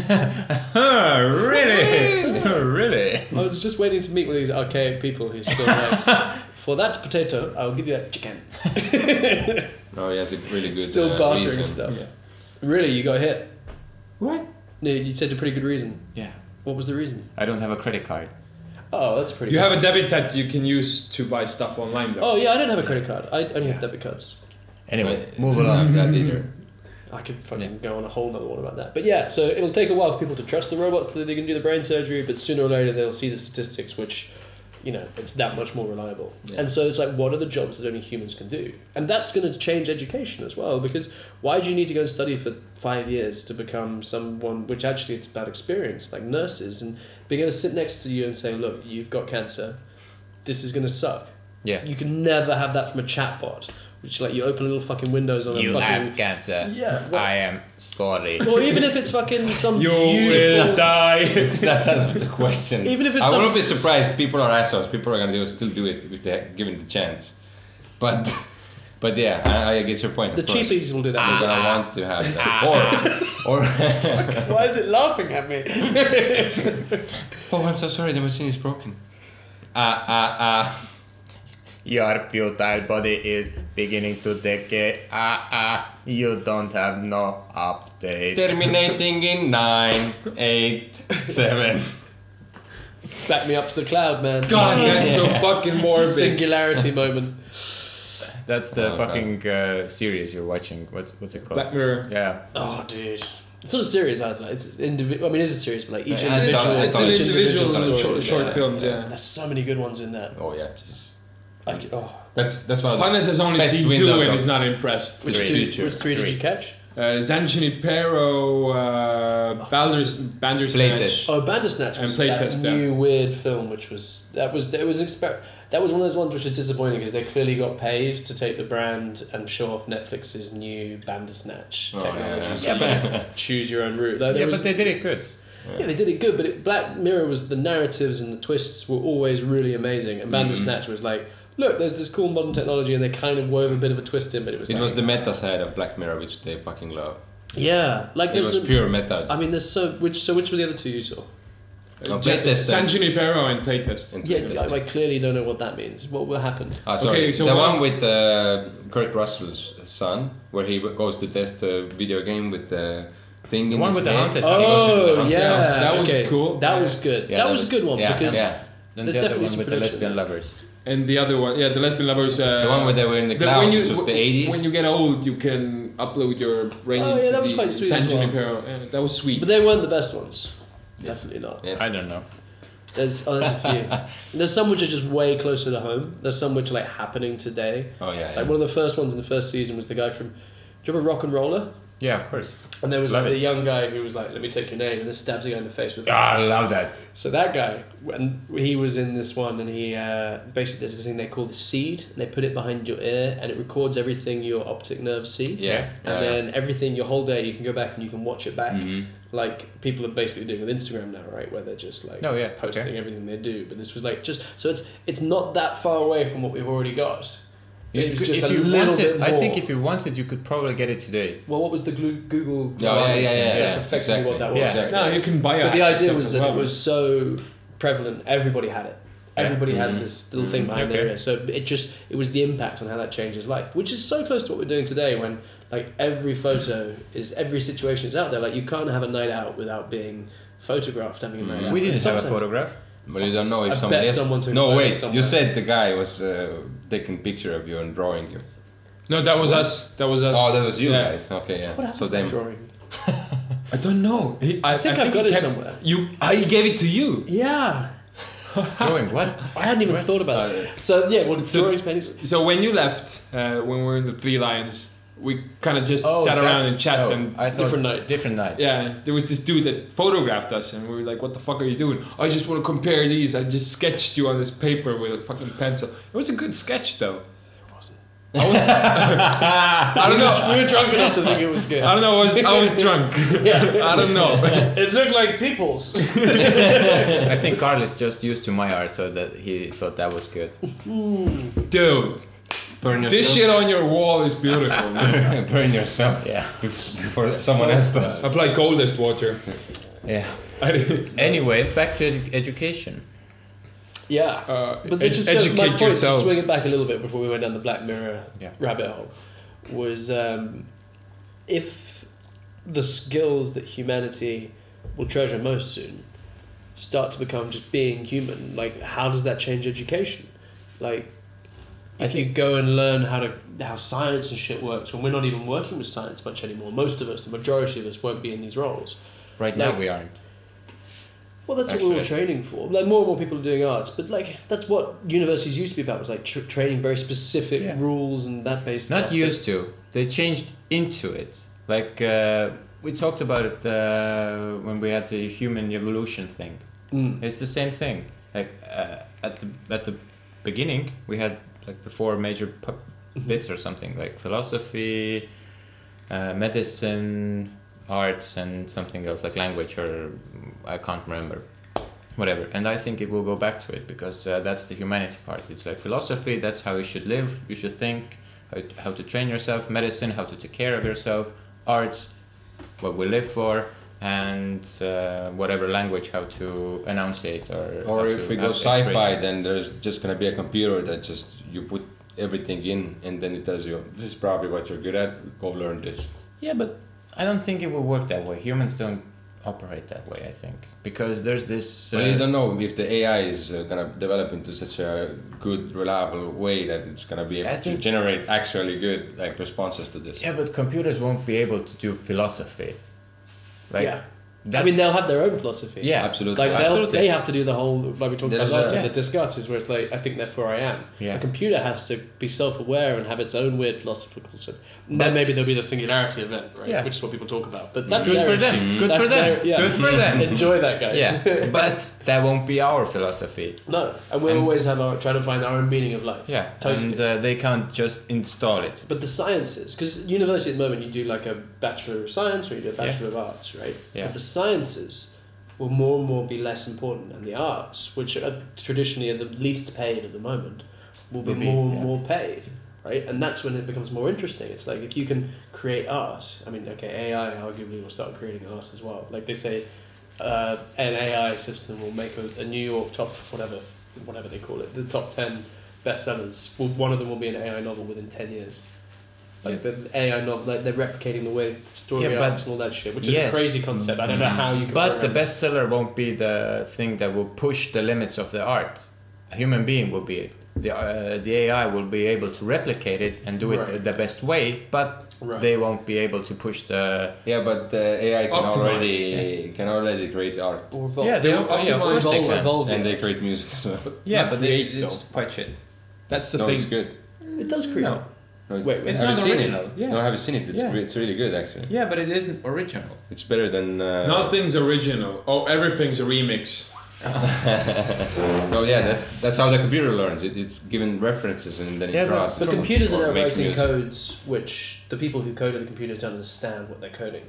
S6: Huh, really? really?
S8: I was just waiting to meet one of these archaic people who's still like, for that potato, I'll give you that chicken.
S7: No, yes, it's really good.
S8: still
S7: uh,
S8: bartering
S7: reason.
S8: stuff. Really, you got hit?
S6: What?
S8: No, you said a pretty good reason.
S6: Yeah.
S8: What was the reason?
S6: I don't have a credit card.
S8: Oh, that's pretty.
S9: You
S8: good.
S9: have a debit that you can use to buy stuff online, though.
S8: Oh yeah, I don't have a credit card. I only have debit cards.
S6: Anyway,
S7: But
S6: move
S7: I don't
S6: along.
S7: have that either.
S8: I could fucking go on a whole nother one about that. But yeah, so it'll take a while for people to trust the robots that they can do the brain surgery, but sooner or later they'll see the statistics, which, you know, it's that much more reliable. And so it's like, what are the jobs that only humans can do? And that's going to change education as well, because why do you need to go and study for five years to become someone, which actually it's about experience, like nurses, and being able to sit next to you and say, look, you've got cancer, this is going to suck.
S6: Yeah.
S8: You can never have that from a chatbot. Which like you open little fucking windows on
S6: You
S8: a fucking
S6: have cancer.
S8: Yeah, well-
S6: I am sorry.
S8: or even if it's fucking some
S9: You will
S8: beautiful.
S9: die.
S7: It's not out of the question.
S8: Even if it's
S7: I
S8: some
S7: wouldn't be
S8: s-
S7: surprised. People are assholes. People are gonna do, still do it if they're given the chance. But, but yeah, I, I get your point.
S8: The
S7: of course.
S8: cheapies will do
S7: They're
S8: that.
S9: Ah.
S7: gonna want to have that. Or, or
S8: Why is it laughing at me?
S7: oh, I'm so sorry. The machine is broken. Ah, ah, ah.
S6: Your futile body is beginning to decay. Ah, ah. You don't have no update.
S7: Terminating in nine, eight, seven.
S8: Back me up to the cloud, man.
S9: God, that's so fucking morbid.
S8: Singularity moment.
S6: That's the
S7: Oh,
S6: fucking uh, series you're watching. What's what's it called?
S9: Black Mirror.
S6: Yeah.
S8: Oh, dude. It's not a series either. It's indivi- I mean, it is a series, but like each
S7: Yeah,
S8: individual.
S7: I
S9: It's an
S7: thought-
S8: each
S9: individual,
S8: story.
S9: short, short
S7: yeah.
S9: films, yeah.
S8: There's so many good ones in that.
S7: Oh yeah, jeez.
S8: Like, oh,
S7: That's that's one of the
S9: Hannes has only
S7: best
S9: seen two
S7: windows
S9: and
S7: of-
S9: is not impressed.
S8: which
S6: Three.
S8: two?
S6: Two.
S8: Which three, did
S6: Three.
S8: you catch?
S9: Uh, Zanjini Pero, uh, Baldur's, Bandersnatch.
S7: Playtest.
S8: Oh, Bandersnatch
S9: And
S8: was that
S9: Playtest, yeah.
S8: new weird film, which was that was that was exper- that was one of those ones which is disappointing because they clearly got paid to take the brand and show off Netflix's new Bandersnatch
S7: Oh,
S8: technology.
S7: yeah.
S8: choose your own route. Like,
S6: Yeah,
S8: there was-
S6: but they did it good.
S8: yeah, they did it good, but it, Black Mirror was the narratives and the twists were always really amazing,
S7: Mm-hmm.
S8: and Bandersnatch was like, look, there's this cool modern technology, and they kind of wove a bit of a twist in, but it was
S7: It
S8: like,
S7: was the meta side of Black Mirror, which they fucking love.
S8: yeah, like
S7: It
S8: there's
S7: was
S8: some,
S7: pure meta.
S8: I mean, there's so which so which were the other two you saw?
S7: No,
S9: J-
S7: Oh, playtest
S9: San
S7: and-
S9: Junipero and playtest.
S7: and
S8: Yeah,
S7: playtest.
S8: I, I clearly don't know what that means. What will happen?
S7: Ah, sorry.
S9: Okay, so
S7: the
S9: what-
S7: one with uh, Kurt Russell's son, where he goes to test a video game with the thing in
S6: one
S7: his
S6: with the
S7: head.
S6: haunted house.
S7: It
S8: Oh
S7: was-
S8: yeah,
S9: that was
S8: okay.
S9: cool.
S8: That was good.
S7: Yeah,
S8: that, was a good one
S7: yeah,
S8: because
S7: yeah.
S6: Then
S8: There's
S6: the other
S8: definitely
S6: one
S8: some
S6: with the
S8: production
S6: lesbian lovers.
S9: And the other one, yeah, the lesbian lovers. Uh,
S7: the one where they were in the cloud,
S9: when you-
S7: which was the
S9: w-
S7: 80s.
S9: When you get old, you can upload your brain.
S8: Oh, yeah,
S9: to
S8: that was
S9: the
S8: quite sweet
S9: San
S8: as well.
S9: Junipero. Yeah, that was sweet.
S8: but they weren't the best ones. Definitely not.
S7: Yes.
S6: I don't know.
S8: There's oh, there's a few. there's some which are just way closer to home. There's some which are like happening today.
S7: Oh yeah, yeah.
S8: Like one of the first ones in the first season was the guy from. Do you remember Rock and Roller?
S6: Yeah, of course.
S8: And there was
S6: Love
S8: like
S6: it.
S8: the young guy who was like, "Let me take your name," and then stabs a guy in the face with.
S6: Ah, I love that.
S8: So that guy, when he was in this one, and he uh, basically does this thing they call the seed, and they put it behind your ear, and it records everything your optic nerves see.
S7: Yeah,
S8: And
S7: yeah,
S8: then everything your whole day, you can go back and you can watch it back.
S6: Mm-hmm.
S8: Like people are basically doing with Instagram now, right? Where they're just like
S6: Oh, yeah,
S8: posting
S6: okay.
S8: everything they do. But this was like just so it's it's not that far away from what we've already got. It was
S6: If-
S8: just
S6: if
S8: a
S6: you
S8: little
S6: wanted,
S8: bit
S6: I think
S8: more.
S6: if you wanted, you could probably get it today.
S8: Well, what was the Glu- Google?
S7: Yeah, yeah, yeah, yeah, yeah,
S8: That's effectively
S7: exactly.
S8: what that was.
S6: Yeah.
S7: Exactly.
S9: no, you can buy a
S8: But the
S9: hack
S8: idea
S9: yourself
S8: was
S9: as
S8: that
S9: well.
S8: it was so prevalent. Everybody had it. Everybody had this little thing
S9: Mm-hmm.
S8: behind their
S6: Okay.
S8: ear. So it just it was the impact on how that changes life, which is so close to what we're doing today. When like every photo is every situation is out there. Like you can't have a night out without being photographed having a
S7: Mm-hmm.
S8: night out.
S6: We didn't
S8: And
S6: have a
S8: sometimes-
S6: photograph.
S7: But you don't know if
S8: I
S7: somebody
S8: bet
S7: else.
S8: someone took a
S7: no
S8: photo
S7: wait,
S8: somewhere.
S7: you said the guy was uh, taking picture of you and drawing you.
S9: No, that was us. That was us.
S7: Oh, that was you
S9: Yeah.
S7: guys. Okay, yeah.
S8: What happened
S7: so
S8: to that
S7: them.
S8: drawing?
S9: I don't know. He, I,
S8: think I've got
S9: he
S8: it
S9: kept-
S8: somewhere.
S9: You, I gave it to you.
S8: Yeah,
S6: Drawing what?
S8: I hadn't even thought about it. So yeah, well,
S9: so-
S8: drawings, paintings.
S9: So when you left, uh, when we were in the Three Lions, we kind of just
S6: Oh,
S9: sat
S6: that-
S9: around and chatted.
S6: oh,
S9: and
S6: I thought,
S8: different night.
S6: Different night.
S9: yeah, there was this dude that photographed us, and we were like, "What the fuck are you doing?" I just want to compare these. I just sketched you on this paper with a fucking pencil. It was a good sketch, though. I was. I don't know.
S8: We were drunk enough to think it was good.
S9: I don't know. I was, I was drunk.
S8: Yeah,
S9: I don't know.
S8: it looked like people's.
S6: I think Carl is just used to my art, so that he thought that was good.
S9: Dude,
S7: Burn yourself.
S9: this shit on your wall is beautiful. man.
S7: Burn yourself.
S6: Yeah.
S7: Before someone else does.
S9: Apply coldest water.
S6: Yeah.
S9: I didn't-
S6: Anyway, back to edu- education.
S8: Yeah,
S9: Uh,
S8: but this
S9: ed-
S8: is so- my
S9: educate
S8: point
S9: yourselves.
S8: to swing it back a little bit before we went down the Black Mirror
S6: Yeah.
S8: rabbit hole was um, if the skills that humanity will treasure most soon start to become just being human. Like, how does that change education? Like, if you go and learn how to how science and shit works, when we're not even working with science much anymore, most of us, the majority of us, won't be in these roles.
S6: Right
S8: No.
S6: now we aren't.
S8: Well, that's what we were training for. Like more and more people are doing arts, but like that's what universities used to be about was like tr- training very specific
S6: Yeah.
S8: rules and that based.
S6: Not
S8: stuff.
S6: used to. They changed into it. Like uh, we talked about it uh, when we had the human evolution thing.
S8: Mm.
S6: It's the same thing. Like uh, at the at the beginning, we had like the four major pu-
S8: Mm-hmm.
S6: bits or something like philosophy, uh, medicine, arts, and something else like language or mm, I can't remember, whatever. And I think it will go back to it because uh, that's the humanity part. It's like philosophy. That's how you should live. You should think. How to, how to train yourself. Medicine. How to take care of yourself. Arts. What we live for. And uh, whatever language, how to enunciate or. how
S7: Or
S6: to
S7: if we go
S6: have expression.
S7: sci-fi, then there's just gonna be a computer that just you put everything in, and then it tells you this is probably what you're good at. Go learn this.
S6: Yeah, but I don't think it will work that way. Humans don't operate that way. I think because there's this.
S7: But you
S6: uh,
S7: don't know if the AI is uh, gonna develop into such a good, reliable way that it's gonna be
S6: I
S7: able to
S6: think-
S7: generate actually good like responses to this.
S6: yeah, but computers won't be able to do philosophy. Like,
S8: yeah, I
S6: that's,
S8: mean they'll have their own philosophy.
S6: yeah,
S7: absolutely.
S8: Like they'll,
S6: Absolutely.
S8: they have to do the whole like we talked about
S7: There's
S8: last
S7: a-
S8: time the Descartes where it's like I think therefore I am.
S6: Yeah.
S8: A computer has to be self-aware and have its own weird philosophical. Set. And then maybe there'll be the singularity event, right?
S6: Yeah.
S8: Which is what people talk about. But that's
S6: Good
S8: their
S6: for them.
S8: issue.
S6: Good
S8: That's
S6: for them.
S8: their- yeah.
S6: Good for them.
S8: Enjoy that, guys.
S6: Yeah, but that won't be our philosophy.
S8: no, and we'll always have our trying to find our own meaning of life.
S6: Yeah,
S8: Totally.
S6: and uh, they can't just install it.
S8: But the sciences, because university at the moment you do like a bachelor of science or you do a bachelor of arts, right?
S6: Yeah.
S8: But the sciences will more and more be less important, and the arts, which are traditionally are the least paid at the moment, will be
S6: Will be,
S8: more and
S6: yeah.
S8: more paid, right? And that's when it becomes more interesting. It's like if you can create art. I mean, okay, AI arguably will start creating art as well. Like they say, uh, an AI system will make a, a New York top whatever whatever they call it the top ten bestsellers. Well, one of them will be an AI novel within ten years. Like the AI novel, like they're replicating the way story
S6: Yeah, but-
S8: arcs and all that shit, which is
S6: Yes.
S8: a
S6: Mm.
S8: crazy concept. I don't know how you can.
S6: But the
S8: program-
S6: bestseller won't be the thing that will push the limits of the art. A human being will be it. The, uh, the AI will be able to replicate it and do it
S8: Right.
S6: the best way, but
S8: Right.
S6: they won't be able to push the.
S7: Yeah, but the AI can
S9: Optimize,
S7: already can already create art
S8: or evolve.
S6: Yeah, they will- yeah, of course they can.
S8: evolve
S7: and
S8: it.
S7: they create music as well.
S6: Yeah, but they-
S2: create, it's quite shit. That's the
S7: no, it's
S2: thing.
S7: good.
S8: it does create.
S2: No.
S7: No, it-
S8: Wait, it's
S7: have you
S2: not
S7: seen
S2: original,
S7: It?
S2: yeah.
S7: No, have you seen it? It's,
S2: Yeah.
S7: re- it's really good actually.
S2: Yeah, but it isn't original.
S7: It's better than uh,
S9: Nothing's original. Oh, everything's a remix.
S7: No, oh, yeah, that's that's how the computer learns. It, it's given references and then it
S6: Yeah, but-
S7: draws.
S8: But
S7: it
S8: computers
S7: or
S8: are now
S7: makes
S8: writing
S7: music.
S8: codes which the people who coded the computers don't understand what they're coding.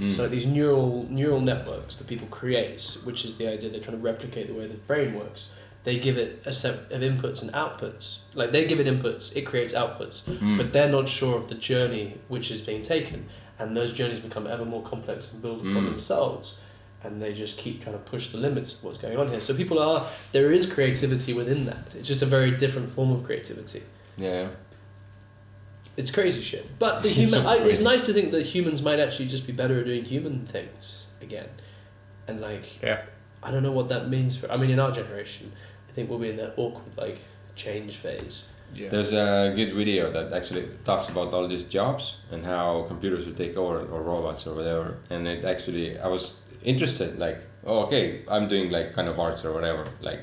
S7: Mm.
S8: So like these neural neural networks that people create, which is the idea they're trying to replicate the way the brain works. They give it a set of inputs and outputs. Like they give it inputs, it creates outputs,
S7: Mm.
S8: but they're not sure of the journey which is being taken, and those journeys become ever more complex and build
S7: Mm.
S8: upon themselves, and they just keep trying to push the limits of what's going on here. So people are there is creativity within that. It's just a very different form of creativity.
S7: Yeah.
S8: It's crazy shit. But the
S7: It's
S8: human,
S7: so
S8: I, it's
S7: crazy.
S8: nice to think that humans might actually just be better at doing human things again, and like
S6: Yeah.
S8: I don't know what that means for. I mean, in our generation, I think we'll be in that awkward like change phase.
S7: There's a good video that actually talks about all these jobs and how computers will take over or robots or whatever. And it actually, I was interested, like, oh, okay, I'm doing like kind of arts or whatever. Like,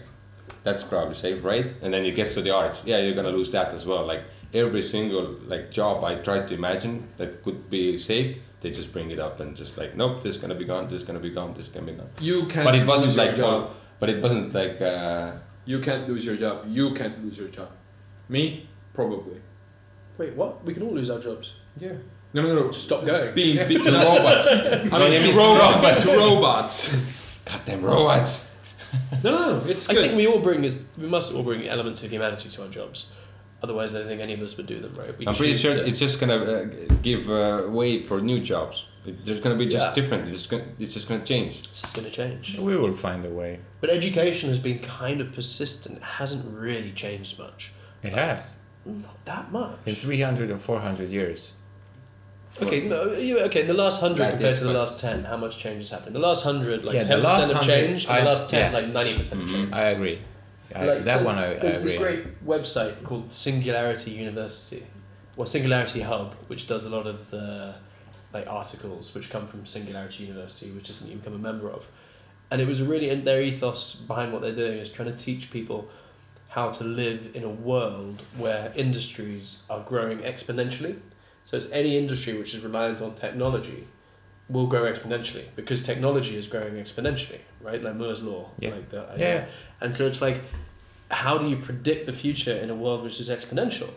S7: that's probably safe, right? And then it gets to the arts. Yeah, you're gonna lose that as well. Like every single like job I tried to imagine that could be safe, they just bring it up and just like, nope, this is gonna be gone. This is gonna be gone. This is gonna be gone.
S9: You can't.
S7: But it wasn't
S9: lose your
S7: like,
S9: job.
S7: well, but it wasn't like. Uh,
S9: You can't lose your job. You can't lose your job. Me, probably.
S8: Wait, what? We can all lose our jobs.
S9: Yeah. No, no, no.
S8: Just stop going.
S9: Being beaten
S7: the robots.
S9: I mean, to robots. To robots.
S7: Goddamn robots.
S9: No, no, no. It's
S8: I
S9: good.
S8: think we all bring is- we must all bring elements of humanity to our jobs. Otherwise, I don't think any of us would do them right. We
S7: I'm pretty
S8: choose
S7: sure
S8: to-
S7: it's just gonna uh, give uh, way for new jobs. It, there's gonna be just
S8: Yeah.
S7: different. It's just gonna, it's just gonna change.
S8: it's just going to change.
S6: We will find a way.
S8: But education has been kind of persistent. It hasn't really changed much.
S6: It has.
S8: Not that much.
S6: In 300 and 400 years.
S8: Okay, no, you- okay. In the last hundred
S7: Like
S8: compared
S7: this
S8: to the
S7: one.
S8: last ten, how much change has happened? The last hundred, like
S6: Yeah, the
S8: ten
S6: last
S8: percent of
S6: 100,
S8: change. and
S6: I-
S8: the last ten,
S6: yeah. Mm-hmm.
S8: like ninety percent of change.
S6: I agree. I,
S8: Mm-hmm. Like,
S6: that
S8: so
S6: one I, I
S8: There's
S6: agree.
S8: this great website called Singularity University, or Singularity Hub, which does a lot of the like articles which come from Singularity University, which isn't you become a member of. And it was really and their ethos behind what they're doing is trying to teach people how to live in a world where industries are growing exponentially. So it's any industry which is reliant on technology will grow exponentially because technology is growing exponentially, right? Like Moore's law,
S6: Yeah.
S8: like the, uh,
S6: Yeah.
S8: And so it's like, how do you predict the future in a world which is exponential?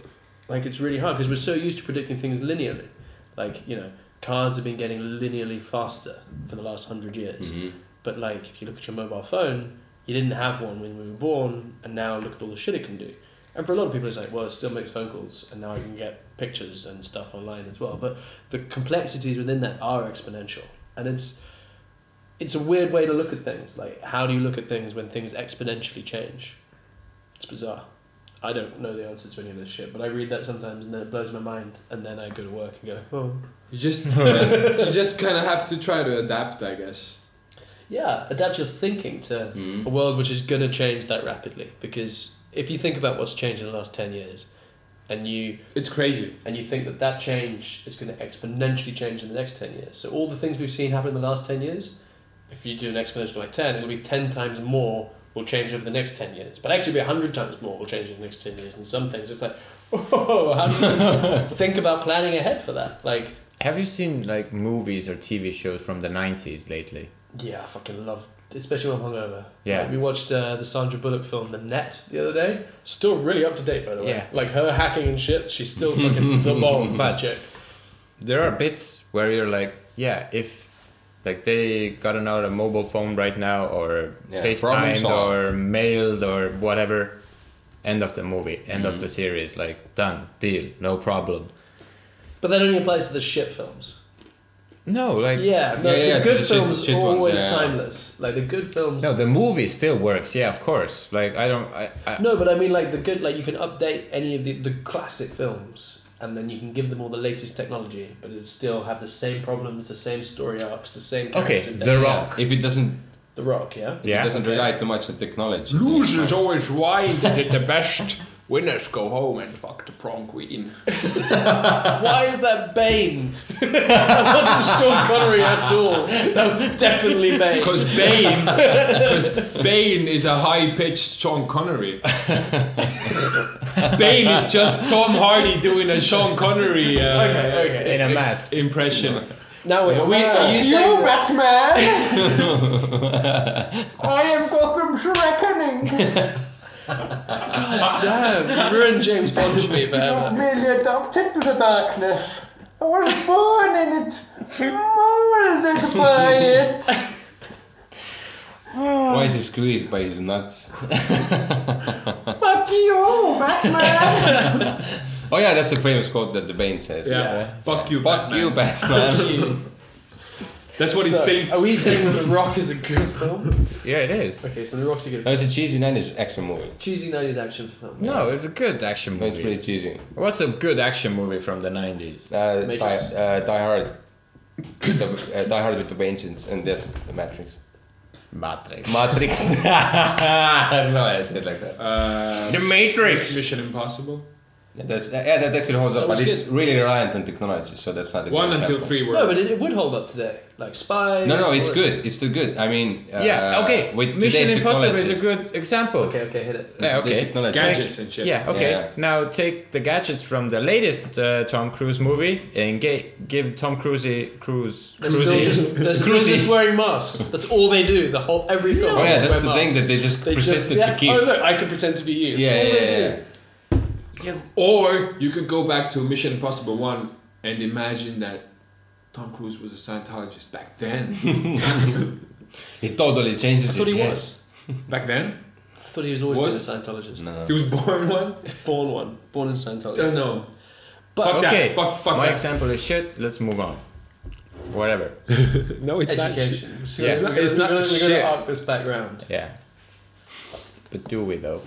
S8: Like it's really hard because we're so used to predicting things linearly. Like you know, cars have been getting linearly faster for the last hundred years.
S6: Mm-hmm.
S8: But like, if you look at your mobile phone, you didn't have one when we were born, and now look at all the shit it can do. And for a lot of people, it's like, well, it still makes phone calls, and now I can get pictures and stuff online as well. But the complexities within that are exponential, and it's it's a weird way to look at things. Like, how do you look at things when things exponentially change? It's bizarre. I don't know the answers to any of this shit, but I read that sometimes, and then it blows my mind. And then I go to work and go, oh,
S9: You just, you just kind of have to try to adapt, I guess.
S8: Yeah, adapt your thinking to
S9: Hmm.
S8: a world which is going to change that rapidly. Because if you think about what's changed in the last ten years, and you
S9: It's crazy.
S8: and you think that that change is going to exponentially change in the next ten years, so all the things we've seen happen in the last ten years, if you do an exponential by ten, it'll be ten times more will change over the next ten years. But actually, it'll be hundred times more will change in the next ten years. And some things, it's like, oh, how do you think about planning ahead for that? Like,
S6: Have you seen like movies or TV shows from the 90s lately?
S8: Yeah, I fucking love, especially when I'm hungover.
S6: Yeah.
S8: Like, we watched uh, the Sandra Bullock film The Net the other day. Still really up to date, by the way.
S6: Yeah.
S8: Like her hacking and shit, she's still fucking the bomb.
S6: But-
S8: But chick.
S6: there are bits where you're like, yeah, if like they gotten out a mobile phone right now or
S7: Yeah, problem
S6: FaceTimed
S7: solved.
S6: or mailed or whatever, end of the movie, end
S8: Mm-hmm.
S6: of the series, like done, deal, no problem.
S8: But that only applies to the shit films.
S6: No, like
S8: Yeah, no,
S7: Yeah, yeah,
S8: the good
S7: shit-
S8: films
S7: shit ones,
S8: always
S7: yeah.
S8: timeless. Like the good films.
S6: No, the movie still works. Yeah, of course. Like I don't. I, I,
S8: No, but I mean like the good. Like you can update any of the the classic films, and then you can give them all the latest technology, but it still have the same problems, the same story arcs, the same.
S6: Okay,
S8: character
S6: The
S8: death.
S6: Rock.
S7: If it doesn't,
S8: The Rock, yeah.
S7: it
S6: Yeah.
S7: doesn't rely too much on technology.
S9: Losers always whine that the best. Winners go home and fuck the prom queen.
S8: Why is that Bane? that wasn't Sean Connery at all. That was definitely Bane.
S9: Because Bane, because Bane is a high-pitched Sean Connery. Bane is just Tom Hardy doing a Sean Connery. Uh,
S8: Okay, okay.
S6: In a
S9: ex-
S6: mask.
S9: impression.
S8: Now wait,
S9: We-
S8: are you saying that-
S9: Batman.
S8: Damn, ruined James Bond for me forever.
S10: Merely adopted to the darkness. I was born in it. Molded by it.
S7: Why is he squeezed by his nuts?
S10: Fuck you, Batman.
S7: Oh yeah, that's a famous quote that the Bane says.
S9: Yeah. Fuck you,
S7: Fuck
S9: Batman.
S7: you, Batman.
S9: That's what
S8: So,
S9: he thinks.
S8: Are we saying that The Rock is a good film?
S6: yeah, it is.
S8: Okay, so The Rock's a good
S7: no,
S8: film.
S7: it's a cheesy '90s action movie.
S8: Cheesy 90s action film.
S6: No, it's a good action
S7: No, it's pretty
S6: movie.
S7: cheesy.
S6: What's a good action movie from the nineties?
S7: Uh, die,
S8: Matrix.
S7: uh, die Hard. With the, uh, die Hard with the Vengeance and yes, the Matrix.
S6: Matrix.
S7: Matrix. I don't know why I said it like that.
S9: Uh,
S6: the Matrix.
S9: Mission Impossible.
S7: Yeah, that's, uh, yeah, that actually holds up,
S8: was
S7: but it's really reliant on technology, so that's not a
S9: One
S7: good
S9: until
S7: example.
S9: three were.
S8: No, but it, it would hold up today. Like Spies.
S7: No, no, it's
S8: or-
S7: good. It's still good. I mean, uh,
S6: yeah. Okay.
S7: With
S6: Mission
S7: today's
S6: Impossible is a
S7: technologies-
S6: good example.
S8: Okay, okay, hit it.
S6: Yeah,
S7: with today's
S6: okay.
S7: technology.
S9: gadgets and shit.
S6: Yeah, okay.
S7: Yeah.
S6: Now take the gadgets from the latest uh, Tom Cruise movie and ga- give Tom Cruise Cruise
S8: They're still
S6: Cruise
S8: just, they're still just wearing masks. That's all they do. The whole every film.
S7: Oh
S8: is
S7: yeah, that's
S8: wear
S7: the
S8: masks.
S7: thing that they just
S8: They just-
S7: persisted
S8: yeah,
S7: to keep.
S8: Oh look, I can pretend to be you. That's
S7: yeah,
S8: all
S7: yeah,
S8: they
S7: yeah,
S8: do.
S7: yeah.
S9: Or you could go back to Mission Impossible 1 and imagine that Tom Cruise was a Scientologist back then.
S7: It totally changes
S8: I thought
S7: it.
S8: he
S7: yes.
S8: was.
S9: back then?
S8: I thought he was always
S9: Was-
S8: was? a Scientologist.
S7: No.
S9: He was born one?
S8: Born one. Born in Scientology.
S9: Don't know.
S8: But-
S9: fuck
S6: Okay.
S9: that. Fuck, fuck
S6: My
S9: that.
S6: example is shit. Let's move on. Whatever.
S9: No, it's
S8: Education. So
S6: Yeah.
S8: We're gonna-
S9: It's not
S8: we're gonna, we're gonna
S9: shit.
S8: arc this back round.
S6: Yeah. But do we though?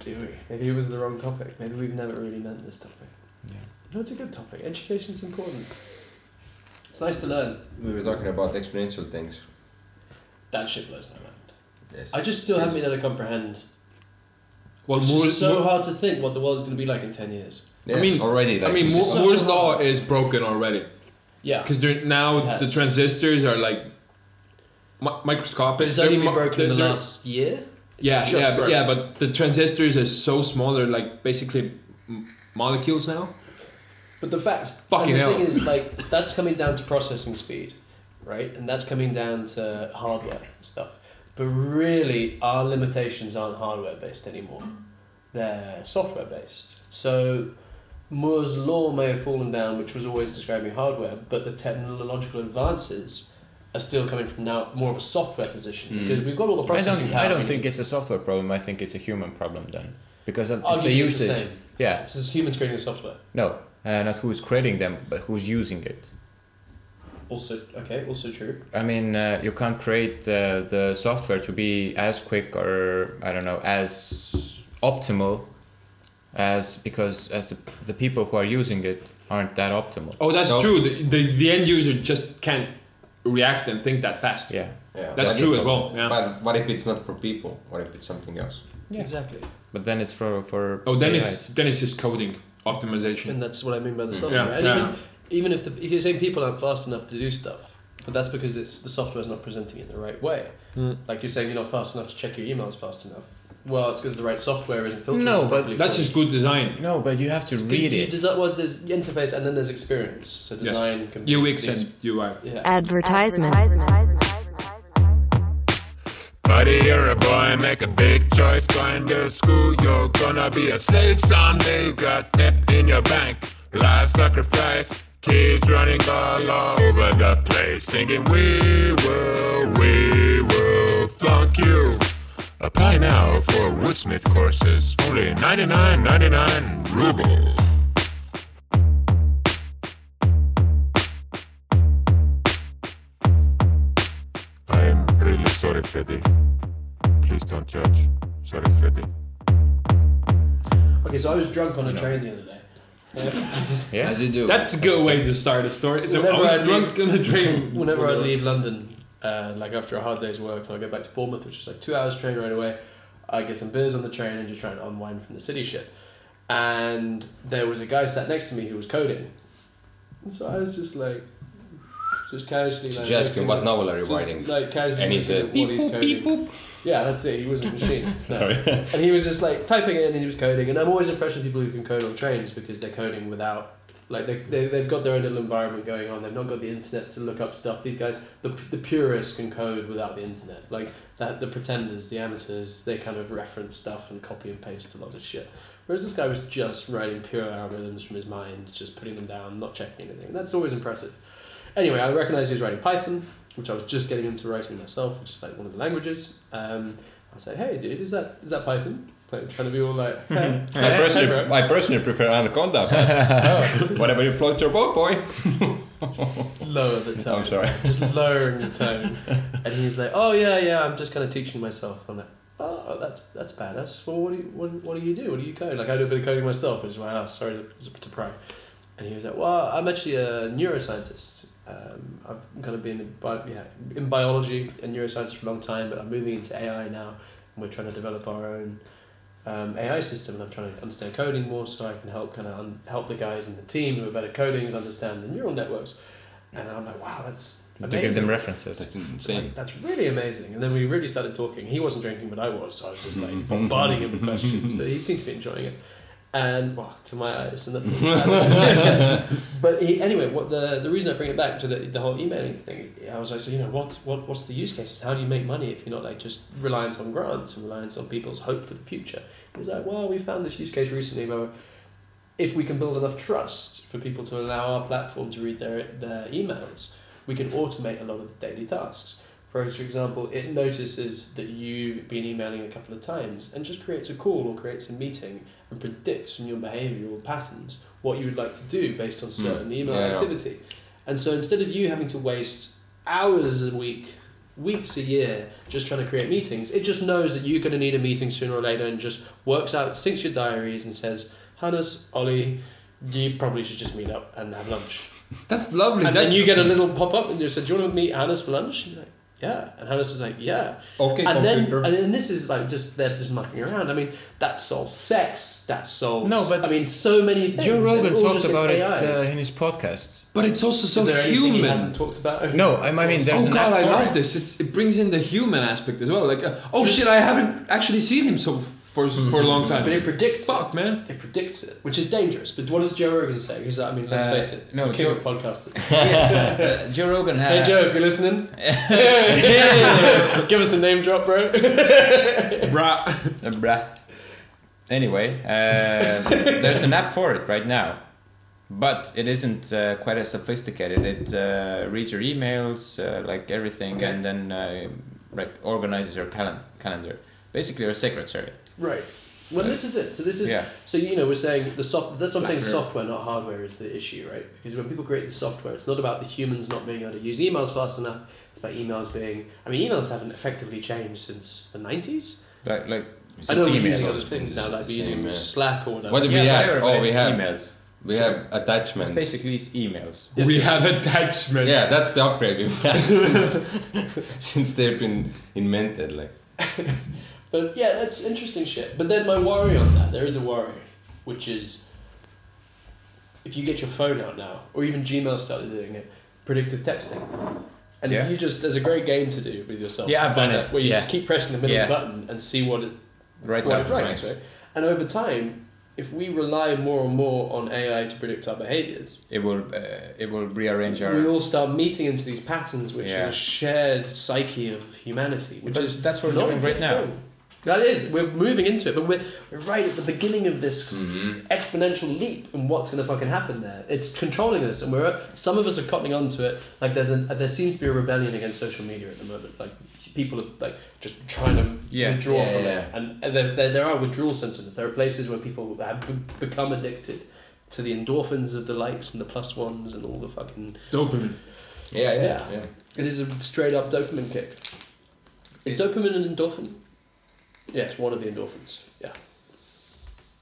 S8: Do we? Maybe it was the wrong topic. Maybe we've never really meant this topic. Yeah. No, it's a good topic. Education's important. It's nice to learn.
S7: We were talking about exponential things.
S8: That shit blows my mind.
S7: Yes.
S8: I just still haven't been able to comprehend.
S9: Well,
S8: It's
S9: Moore's,
S8: just so
S9: Moore-
S8: hard to think what the world's going to be like in 10 years.
S7: Yeah,
S9: I mean-
S7: already. Like,
S9: I mean, Moore-
S8: so
S9: Moore's
S8: hard.
S9: law is broken already.
S8: Yeah.
S9: Because now
S8: Yeah.
S9: the transistors are like mi- microscopic.
S8: But it's only
S9: They're
S8: been
S9: mi-
S8: broken in the
S9: they're-
S8: last year.
S9: Yeah,
S8: Just
S9: yeah, but,
S8: broken.
S9: yeah, but the transistors are so small, they're like basically m- molecules now.
S8: But the fact,
S9: Fucking
S8: and the
S9: hell.
S8: thing is, like, that's coming down to processing speed, right? And that's coming down to hardware and stuff. But really, our limitations aren't hardware based anymore; they're software based. So Moore's law may have fallen down, which was always describing hardware, but the technological advances are still coming from now more of a software position
S9: Hmm.
S8: because we've got all the
S6: I
S8: processing
S6: don't.
S8: power.
S6: I
S8: we
S6: don't
S8: need.
S6: think it's a software problem. I think it's a human problem then, because
S9: Oh,
S6: of, it's a
S8: Arguably it's the
S6: usage.
S8: same.
S6: Yeah.
S8: It's just humans creating the software.
S6: No. Uh, not who's creating them, but who's using it.
S8: Also, okay, also true.
S6: I mean, uh, you can't create uh, the software to be as quick or I don't know as optimal as because as the the people who are using it aren't that optimal.
S9: Oh, that's
S7: No.
S9: true. The, the, the end user just can't react and think that fast.
S6: Yeah,
S7: Yeah,
S9: That's
S7: but-
S9: true as well. Yeah.
S7: But what if it's not for people? What if it's something else?
S8: Yeah. Exactly.
S6: but then it's for for.
S9: oh, then
S6: AIs.
S9: it's then it's just coding optimization.
S8: and that's what I mean by the software.
S9: Yeah,
S8: and
S9: yeah.
S8: Even, even if the if you're saying people aren't fast enough to do stuff, but that's because it's the software's not presenting it in the right way. Like you're saying, you're not fast enough to check your emails fast enough. Well, it's because the right software isn't filtering.
S6: No,
S8: it
S6: but
S8: properly
S9: That's
S8: for you.
S9: just good design.
S6: no, but you have to
S8: You-
S6: read
S8: you
S6: it.
S8: desi- well, there's the interface and then there's experience. So
S9: Yes.
S8: design can be
S9: UX
S8: the
S9: and UI.
S8: ex- yeah.
S2: Advertisement.
S1: Buddy, you're a boy, make a big choice. Going to school, you're gonna be a slave someday. Got debt in your bank, life sacrifice. Kids running all over the place, singing, We will, we will flunk you. Apply now for Woodsmith courses, only 99.99 ruble.
S11: Sorry, Freddy. Please don't judge. Sorry, Freddy.
S8: Okay, so I was drunk on a train the other day.
S6: Yeah.
S7: As you do.
S12: That's a good way to start a story. So I
S8: Whenever
S12: was
S8: I leave-
S12: drunk on a train.
S8: Whenever I leave London, uh, like after a hard day's work, and I go back to Bournemouth, which is like two hours train right away, I get some beers on the train and just try and unwind from the city shit. And there was a guy sat next to me who was coding, and so I was just like, just casually like.
S7: Just asking
S8: looking
S7: what
S8: at-
S7: novel are you
S8: just,
S7: writing?
S8: Like casually.
S7: And he
S8: looking at
S7: said,
S8: what
S7: beep
S8: he's
S7: boop,
S8: coding.
S7: beep boop.
S8: Yeah, that's it. He was a machine. No.
S7: Sorry.
S8: and he was just like typing it in and he was coding. And I'm always impressed with people who can code on trains because they're coding without, like, they, they, they've got their own little environment going on. They've not got the internet to look up stuff. These guys, the, the purists can code without the internet. Like, that, the pretenders, the amateurs, they kind of reference stuff and copy and paste a lot of shit. Whereas this guy was just writing pure algorithms from his mind, just putting them down, not checking anything. That's always impressive. Anyway, I recognised he was writing Python, which I was just getting into writing myself, which is like one of the languages. Um, I said, "Hey, dude, is that is that Python?" Like, trying to be all like, "Hey,
S7: I
S8: hey, Eh? hey,
S7: personally,
S8: bro."
S7: I personally prefer Anaconda. but Whatever you float your boat, boy.
S8: lower the tone."
S7: I'm sorry.
S8: just lowering the tone. And he's like, "Oh yeah, yeah, I'm just kind of teaching myself." I'm like, "Oh, that's that's badass. Well, what do you what, what do you do? What do you code?" Like, I do a bit of coding myself, which is why I asked. "Oh, Sorry to, to pry. And he was like, "Well, I'm actually a neuroscientist. Um, I've kind of been in, bi- yeah, in biology and neuroscience for a long time, but I'm moving into AI now, and we're trying to develop our own." Um, AI system, and I'm trying to understand coding more, so I can help kind of un- help the guys in the team who are better codings understand the neural networks. And I'm like, wow, that's
S6: To give
S8: amazing.
S6: them references.
S7: That's insane.
S8: Like, that's really amazing. And then we really started talking. He wasn't drinking, but I was, so I was just like bombarding him with questions. But he seemed to be enjoying it. And well, to my eyes, and that's all that matters. But he, anyway, what the the reason I bring it back to the, the whole emailing thing, I was like, so you know, what what what's the use cases? How do you make money if you're not like just reliance on grants and reliance on people's hope for the future? He was like, well, we found this use case recently where if we can build enough trust for people to allow our platform to read their their emails, we can automate a lot of the daily tasks. For example, it notices that you've been emailing a couple of times and just creates a call or creates a meeting and predicts from your behavioral patterns what you would like to do based on certain email
S7: Hmm. Yeah, yeah.
S8: activity. And so instead of you having to waste hours a week, weeks a year just trying to create meetings, it just knows that you're going to need a meeting sooner or later and just works out, syncs your diaries and says, Hannes, Ollie, you probably should just meet up and have lunch.
S9: That's lovely.
S8: And
S9: that,
S8: then you get a little pop up and you said, Do you want to meet Hannes for lunch? And you're like, Yeah. And Hannes is like, Yeah.
S7: Okay,
S8: and then
S7: computer.
S8: and then this is like just they're just mucking around. I mean, that solves sex, that solves
S6: No, but-
S8: I mean so many things.
S6: Joe
S8: It
S6: Rogan
S8: all
S6: talked
S8: just
S6: about it
S8: hits AI.
S6: uh, in his podcast.
S9: but it's also so
S8: is there anything he
S9: human.
S8: hasn't talked about?
S6: No, I, I mean, there's
S9: Oh
S6: an
S9: god,
S6: app
S9: I
S6: for
S9: love
S6: it.
S9: this. It's, it brings in the human aspect as well. Like, uh, oh shit, I haven't actually seen him so for for a long time.
S8: But it predicts
S9: Fuck, man.
S8: it. It predicts it, which is dangerous. But what does Joe Rogan say? Because I mean, let's
S6: Uh,
S8: face it,
S6: no,
S8: the king
S6: Joe-
S8: of podcasters.
S6: Uh, Joe Rogan
S8: Hey
S6: had.
S8: Joe, if you're listening, give us a name drop, bro.
S6: Uh, bruh. Anyway, uh, there's an app for it right now, but it isn't uh, quite as sophisticated. It uh, reads your emails, uh, like everything, and then uh, rec- organizes your calen- calendar. Basically, your secretary.
S8: Right. Well, this is it. So this is
S6: Yeah.
S8: so you know we're saying the soft. That's what I'm saying. Software, not hardware, is the issue, right? Because when people create the software, it's not about the humans not being able to use emails fast enough. It's about emails being. I mean, emails haven't effectively changed since the nineties.
S6: Like, like
S8: I know
S6: it's
S8: we're
S6: emails.
S8: using other things now, like we're using
S7: Same, yeah.
S8: Slack or whatever.
S7: What do we
S6: Yeah,
S7: have?
S6: whatever,
S7: Oh,
S6: but
S7: we
S6: it's
S7: have
S6: emails.
S7: we have
S6: It's
S7: attachments.
S6: basically it's emails.
S13: We have attachments.
S7: Yeah, that's the upgrade we've had since, since they've been invented. Like,
S8: But yeah, that's interesting shit. But then my worry on that, there is a worry, which is if you get your phone out now, or even Gmail started doing it, predictive texting. And
S6: Yeah.
S8: if you just, there's a great game to do with yourself.
S6: Yeah, I've done it.
S8: Where you
S6: Yeah.
S8: just keep pressing the middle
S6: Yeah.
S8: button and see what it
S6: Right.
S8: what
S6: up,
S8: it writes, right? And over time, if we rely more and more on AI to predict our behaviors,
S6: It will. Uh, it will rearrange
S8: we
S6: our.
S8: all start meeting into these patterns which
S6: Yeah.
S8: are a shared psyche of humanity which
S6: But
S8: is
S6: that's what we're
S8: not
S6: doing
S8: a
S6: right
S8: good
S6: now.
S8: thing. that is we're moving into it but we're, we're right at the beginning of this
S7: Mm-hmm.
S8: exponential leap and what's going to fucking happen there it's controlling us and we're some of us are cottoning onto it like there's a there seems to be a rebellion against social media at the moment like people are like just trying to
S6: Yeah.
S8: withdraw
S7: Yeah,
S8: from
S7: yeah,
S8: it and, and there, there, there are withdrawal symptoms there are places where people have be- become addicted to the endorphins of the likes and the plus ones and all the fucking
S13: Dopamine.
S7: yeah,
S8: yeah. It is a straight up dopamine kick. Is dopamine an endorphin? Yeah, it's one of the endorphins. Yeah.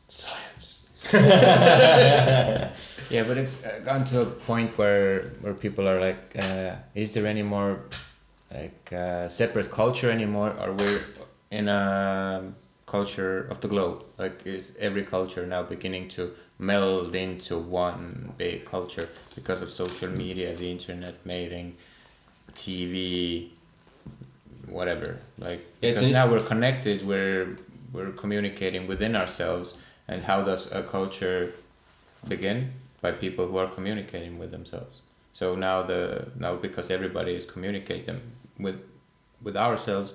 S8: Science.
S6: Yeah, but it's uh, gone to a point where where people are like, uh, is there any more like uh, separate culture anymore? Are we in a culture of the globe? Like, is every culture now beginning to meld into one big culture because of social media, the internet, mailing, TV, whatever? Like,
S7: Yeah, it's
S6: because
S7: an-
S6: now we're connected. We're we're communicating within ourselves. And how does a culture begin by people who are communicating with themselves. So now the now because everybody is communicating with with ourselves,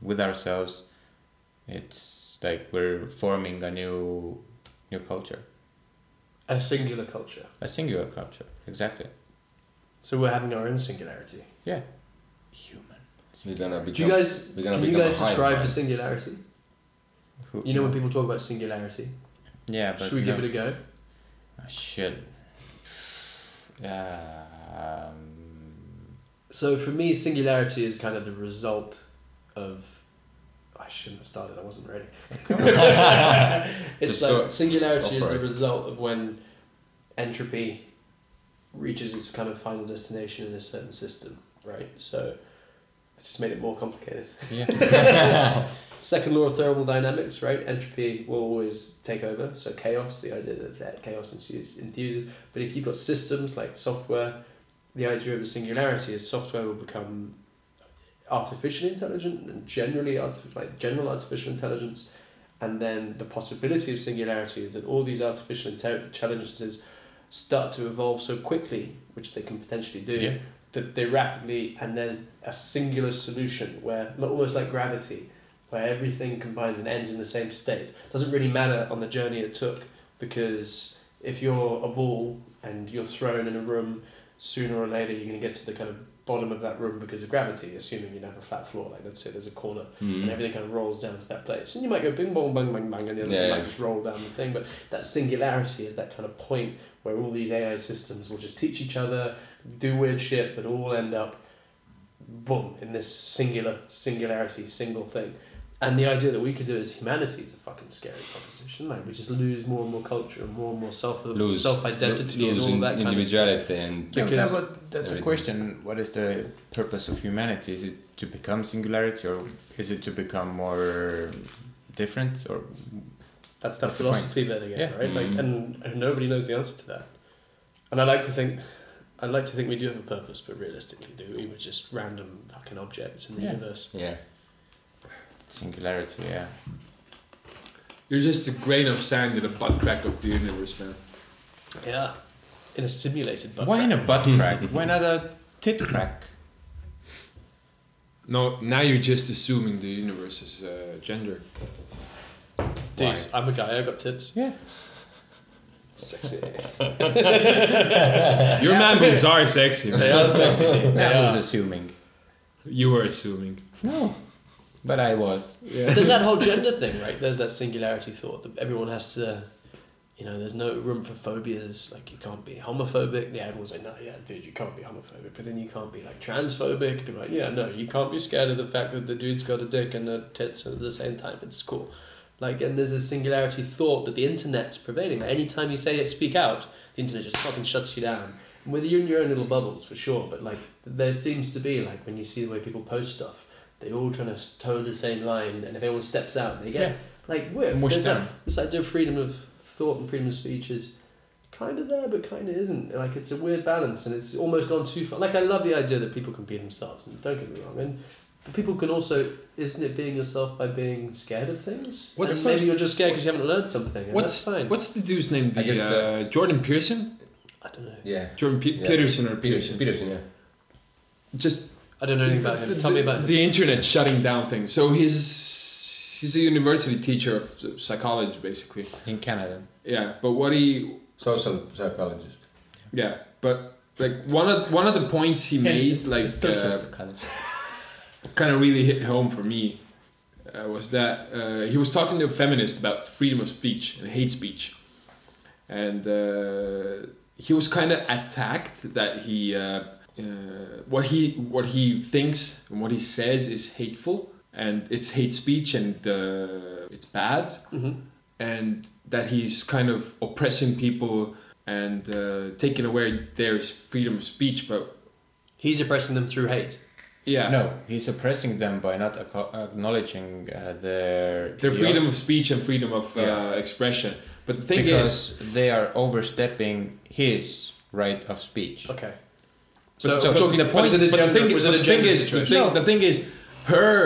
S6: with ourselves, it's like we're forming a new new culture,
S8: A singular culture.
S6: a singular culture. Exactly.
S8: So we're having our own singularity.
S6: Yeah.
S7: We're gonna become.
S8: Do you guys
S7: we're gonna
S8: can you
S7: become
S8: guys
S7: a hive
S8: describe
S7: mind.
S8: the singularity?
S6: Who,
S8: You know when people talk about singularity.
S6: Yeah, but
S8: Should we give
S6: no.
S8: it a go?
S6: Should. Um,
S8: So for me, singularity is kind of the result of. I shouldn't have started. I wasn't ready. it's
S7: Just
S8: like
S7: go-
S8: singularity is
S7: go for
S8: the
S7: it.
S8: result of when entropy reaches its kind of final destination in a certain system, right? So I just made it more complicated.
S6: yeah.
S8: Second law of thermodynamics, right? Entropy will always take over. So chaos, the idea that, that chaos ensues, enthuses. But if you've got systems like software, the idea of the singularity is software will become artificially intelligent and generally artificial, like general artificial intelligence. And then the possibility of singularity is that all these artificial inte- intelligences start to evolve so quickly, which they can potentially do,
S6: Yeah.
S8: that they rapidly and there's a singular solution where almost like gravity where everything combines and ends in the same state. Doesn't really matter on the journey it took because if you're a ball and you're thrown in a room, sooner or later you're going to get to the kind of bottom of that room because of gravity, assuming you don't have a flat floor. Like, let's say there's a corner
S7: Hmm.
S8: and everything kind of rolls down to that place. And you might go bing bong bang bang bang, and the other
S7: Yeah,
S8: might
S7: yeah.
S8: just roll down the thing. But that singularity is that kind of point where all these AI systems will just teach each other, do weird shit, but all end up, boom, in this singular singularity, single thing. And the idea that we could do it as humanity is a fucking scary proposition. Like we just lose more and more culture and more and more self
S7: Lose
S8: self identity
S7: lo-
S8: and
S7: lose
S8: all that
S7: in-
S8: kind of stuff.
S7: individuality and
S6: Yeah, but
S8: Because-
S6: that- but that's a
S7: Everything.
S6: question. What is the purpose of humanity? Is it to become singularity, or is it to become more different? Or
S8: That's that
S6: That's the point.
S8: philosophy bit again,
S6: Yeah.
S8: right? Like,
S7: Mm.
S8: and, and nobody knows the answer to that. And I like to think, I like to think we do have a purpose, but realistically, do we? We're just random fucking objects in the
S6: Yeah.
S8: universe.
S7: yeah.
S6: singularity, yeah.
S9: You're just a grain of sand in a butt crack of the universe, man.
S8: Yeah, in a simulated.
S6: Why in a butt crack? Why not a tit crack?
S9: No, now you're just assuming the universe is uh, gender.
S8: Dude, I'm a guy. I got tits.
S6: Yeah.
S8: Sexy.
S9: Your man boobs are sexy.
S8: they
S9: Man.
S8: are sexy. They
S6: I
S8: are.
S6: was assuming.
S9: You were assuming.
S6: No, but I was.
S8: There's that whole gender thing, right? There's that singularity thought that everyone has to, you know, there's no room for phobias. Like you can't be homophobic. Yeah, everyone's like, no, yeah, dude, you can't be homophobic. But then you can't be like transphobic. People are like, yeah, no, you can't be scared of the fact that the dude's got a dick and a tits at the same time. It's cool. Like, and there's a singularity thought that the internet's pervading. Like, anytime you say it, speak out, the internet just fucking shuts you down. And whether you're in your own little bubbles, for sure, but like, there seems to be, like, when you see the way people post stuff, they're all trying to toe the same line, and if anyone steps out, they get, like, whipped.
S6: Mushed
S8: There's that-
S6: down.
S8: This idea of freedom of thought and freedom of speech is kind of there, but kind of isn't. Like, it's a weird balance, and it's almost gone too far. Like, I love the idea that people can be themselves, and don't get me wrong, and but people can also, isn't it being yourself by being scared of things?
S9: What's-
S8: and maybe you're just scared because you haven't learned something. And
S9: What's
S8: that's fine.
S9: what's the dude's name?
S7: I
S9: The,
S7: guess the-
S9: uh, Jordan Pearson.
S8: I don't know.
S7: Yeah.
S9: Jordan Pe-
S7: Yeah.
S9: Peterson or
S7: Peterson.
S9: Peterson.
S7: Peterson. Yeah.
S9: Just
S8: I don't know anything about him.
S9: the,
S8: Tell me about him.
S9: the internet shutting down things. So he's he's a university teacher of psychology, basically.
S6: In Canada.
S9: Yeah, but what he
S7: Social psychologist.
S9: Yeah, but like one of one of the points he made, like uh, kind of really hit home for me, uh, was that uh, he was talking to a feminist about freedom of speech and hate speech, and uh, he was kind of attacked that he uh, uh, what he what he thinks and what he says is hateful, and it's hate speech and uh, it's bad
S8: Mhm.
S9: and that he's kind of oppressing people and uh, taking away their freedom of speech but
S8: He's oppressing them through hate.
S9: yeah
S6: No, he's oppressing them by not aco- acknowledging uh, their
S9: their freedom of speech and freedom of uh,
S6: Yeah.
S9: expression but the thing is
S6: because they are overstepping his right of speech.
S8: Okay.
S9: So,
S6: so-
S9: but
S6: talking
S9: the
S6: about-
S9: point,
S6: was it a
S9: but the
S6: gender-
S9: thing,
S6: was it
S9: but
S6: a
S9: the thing
S6: gender
S9: is, the
S6: situation?
S9: thing, the thing is, her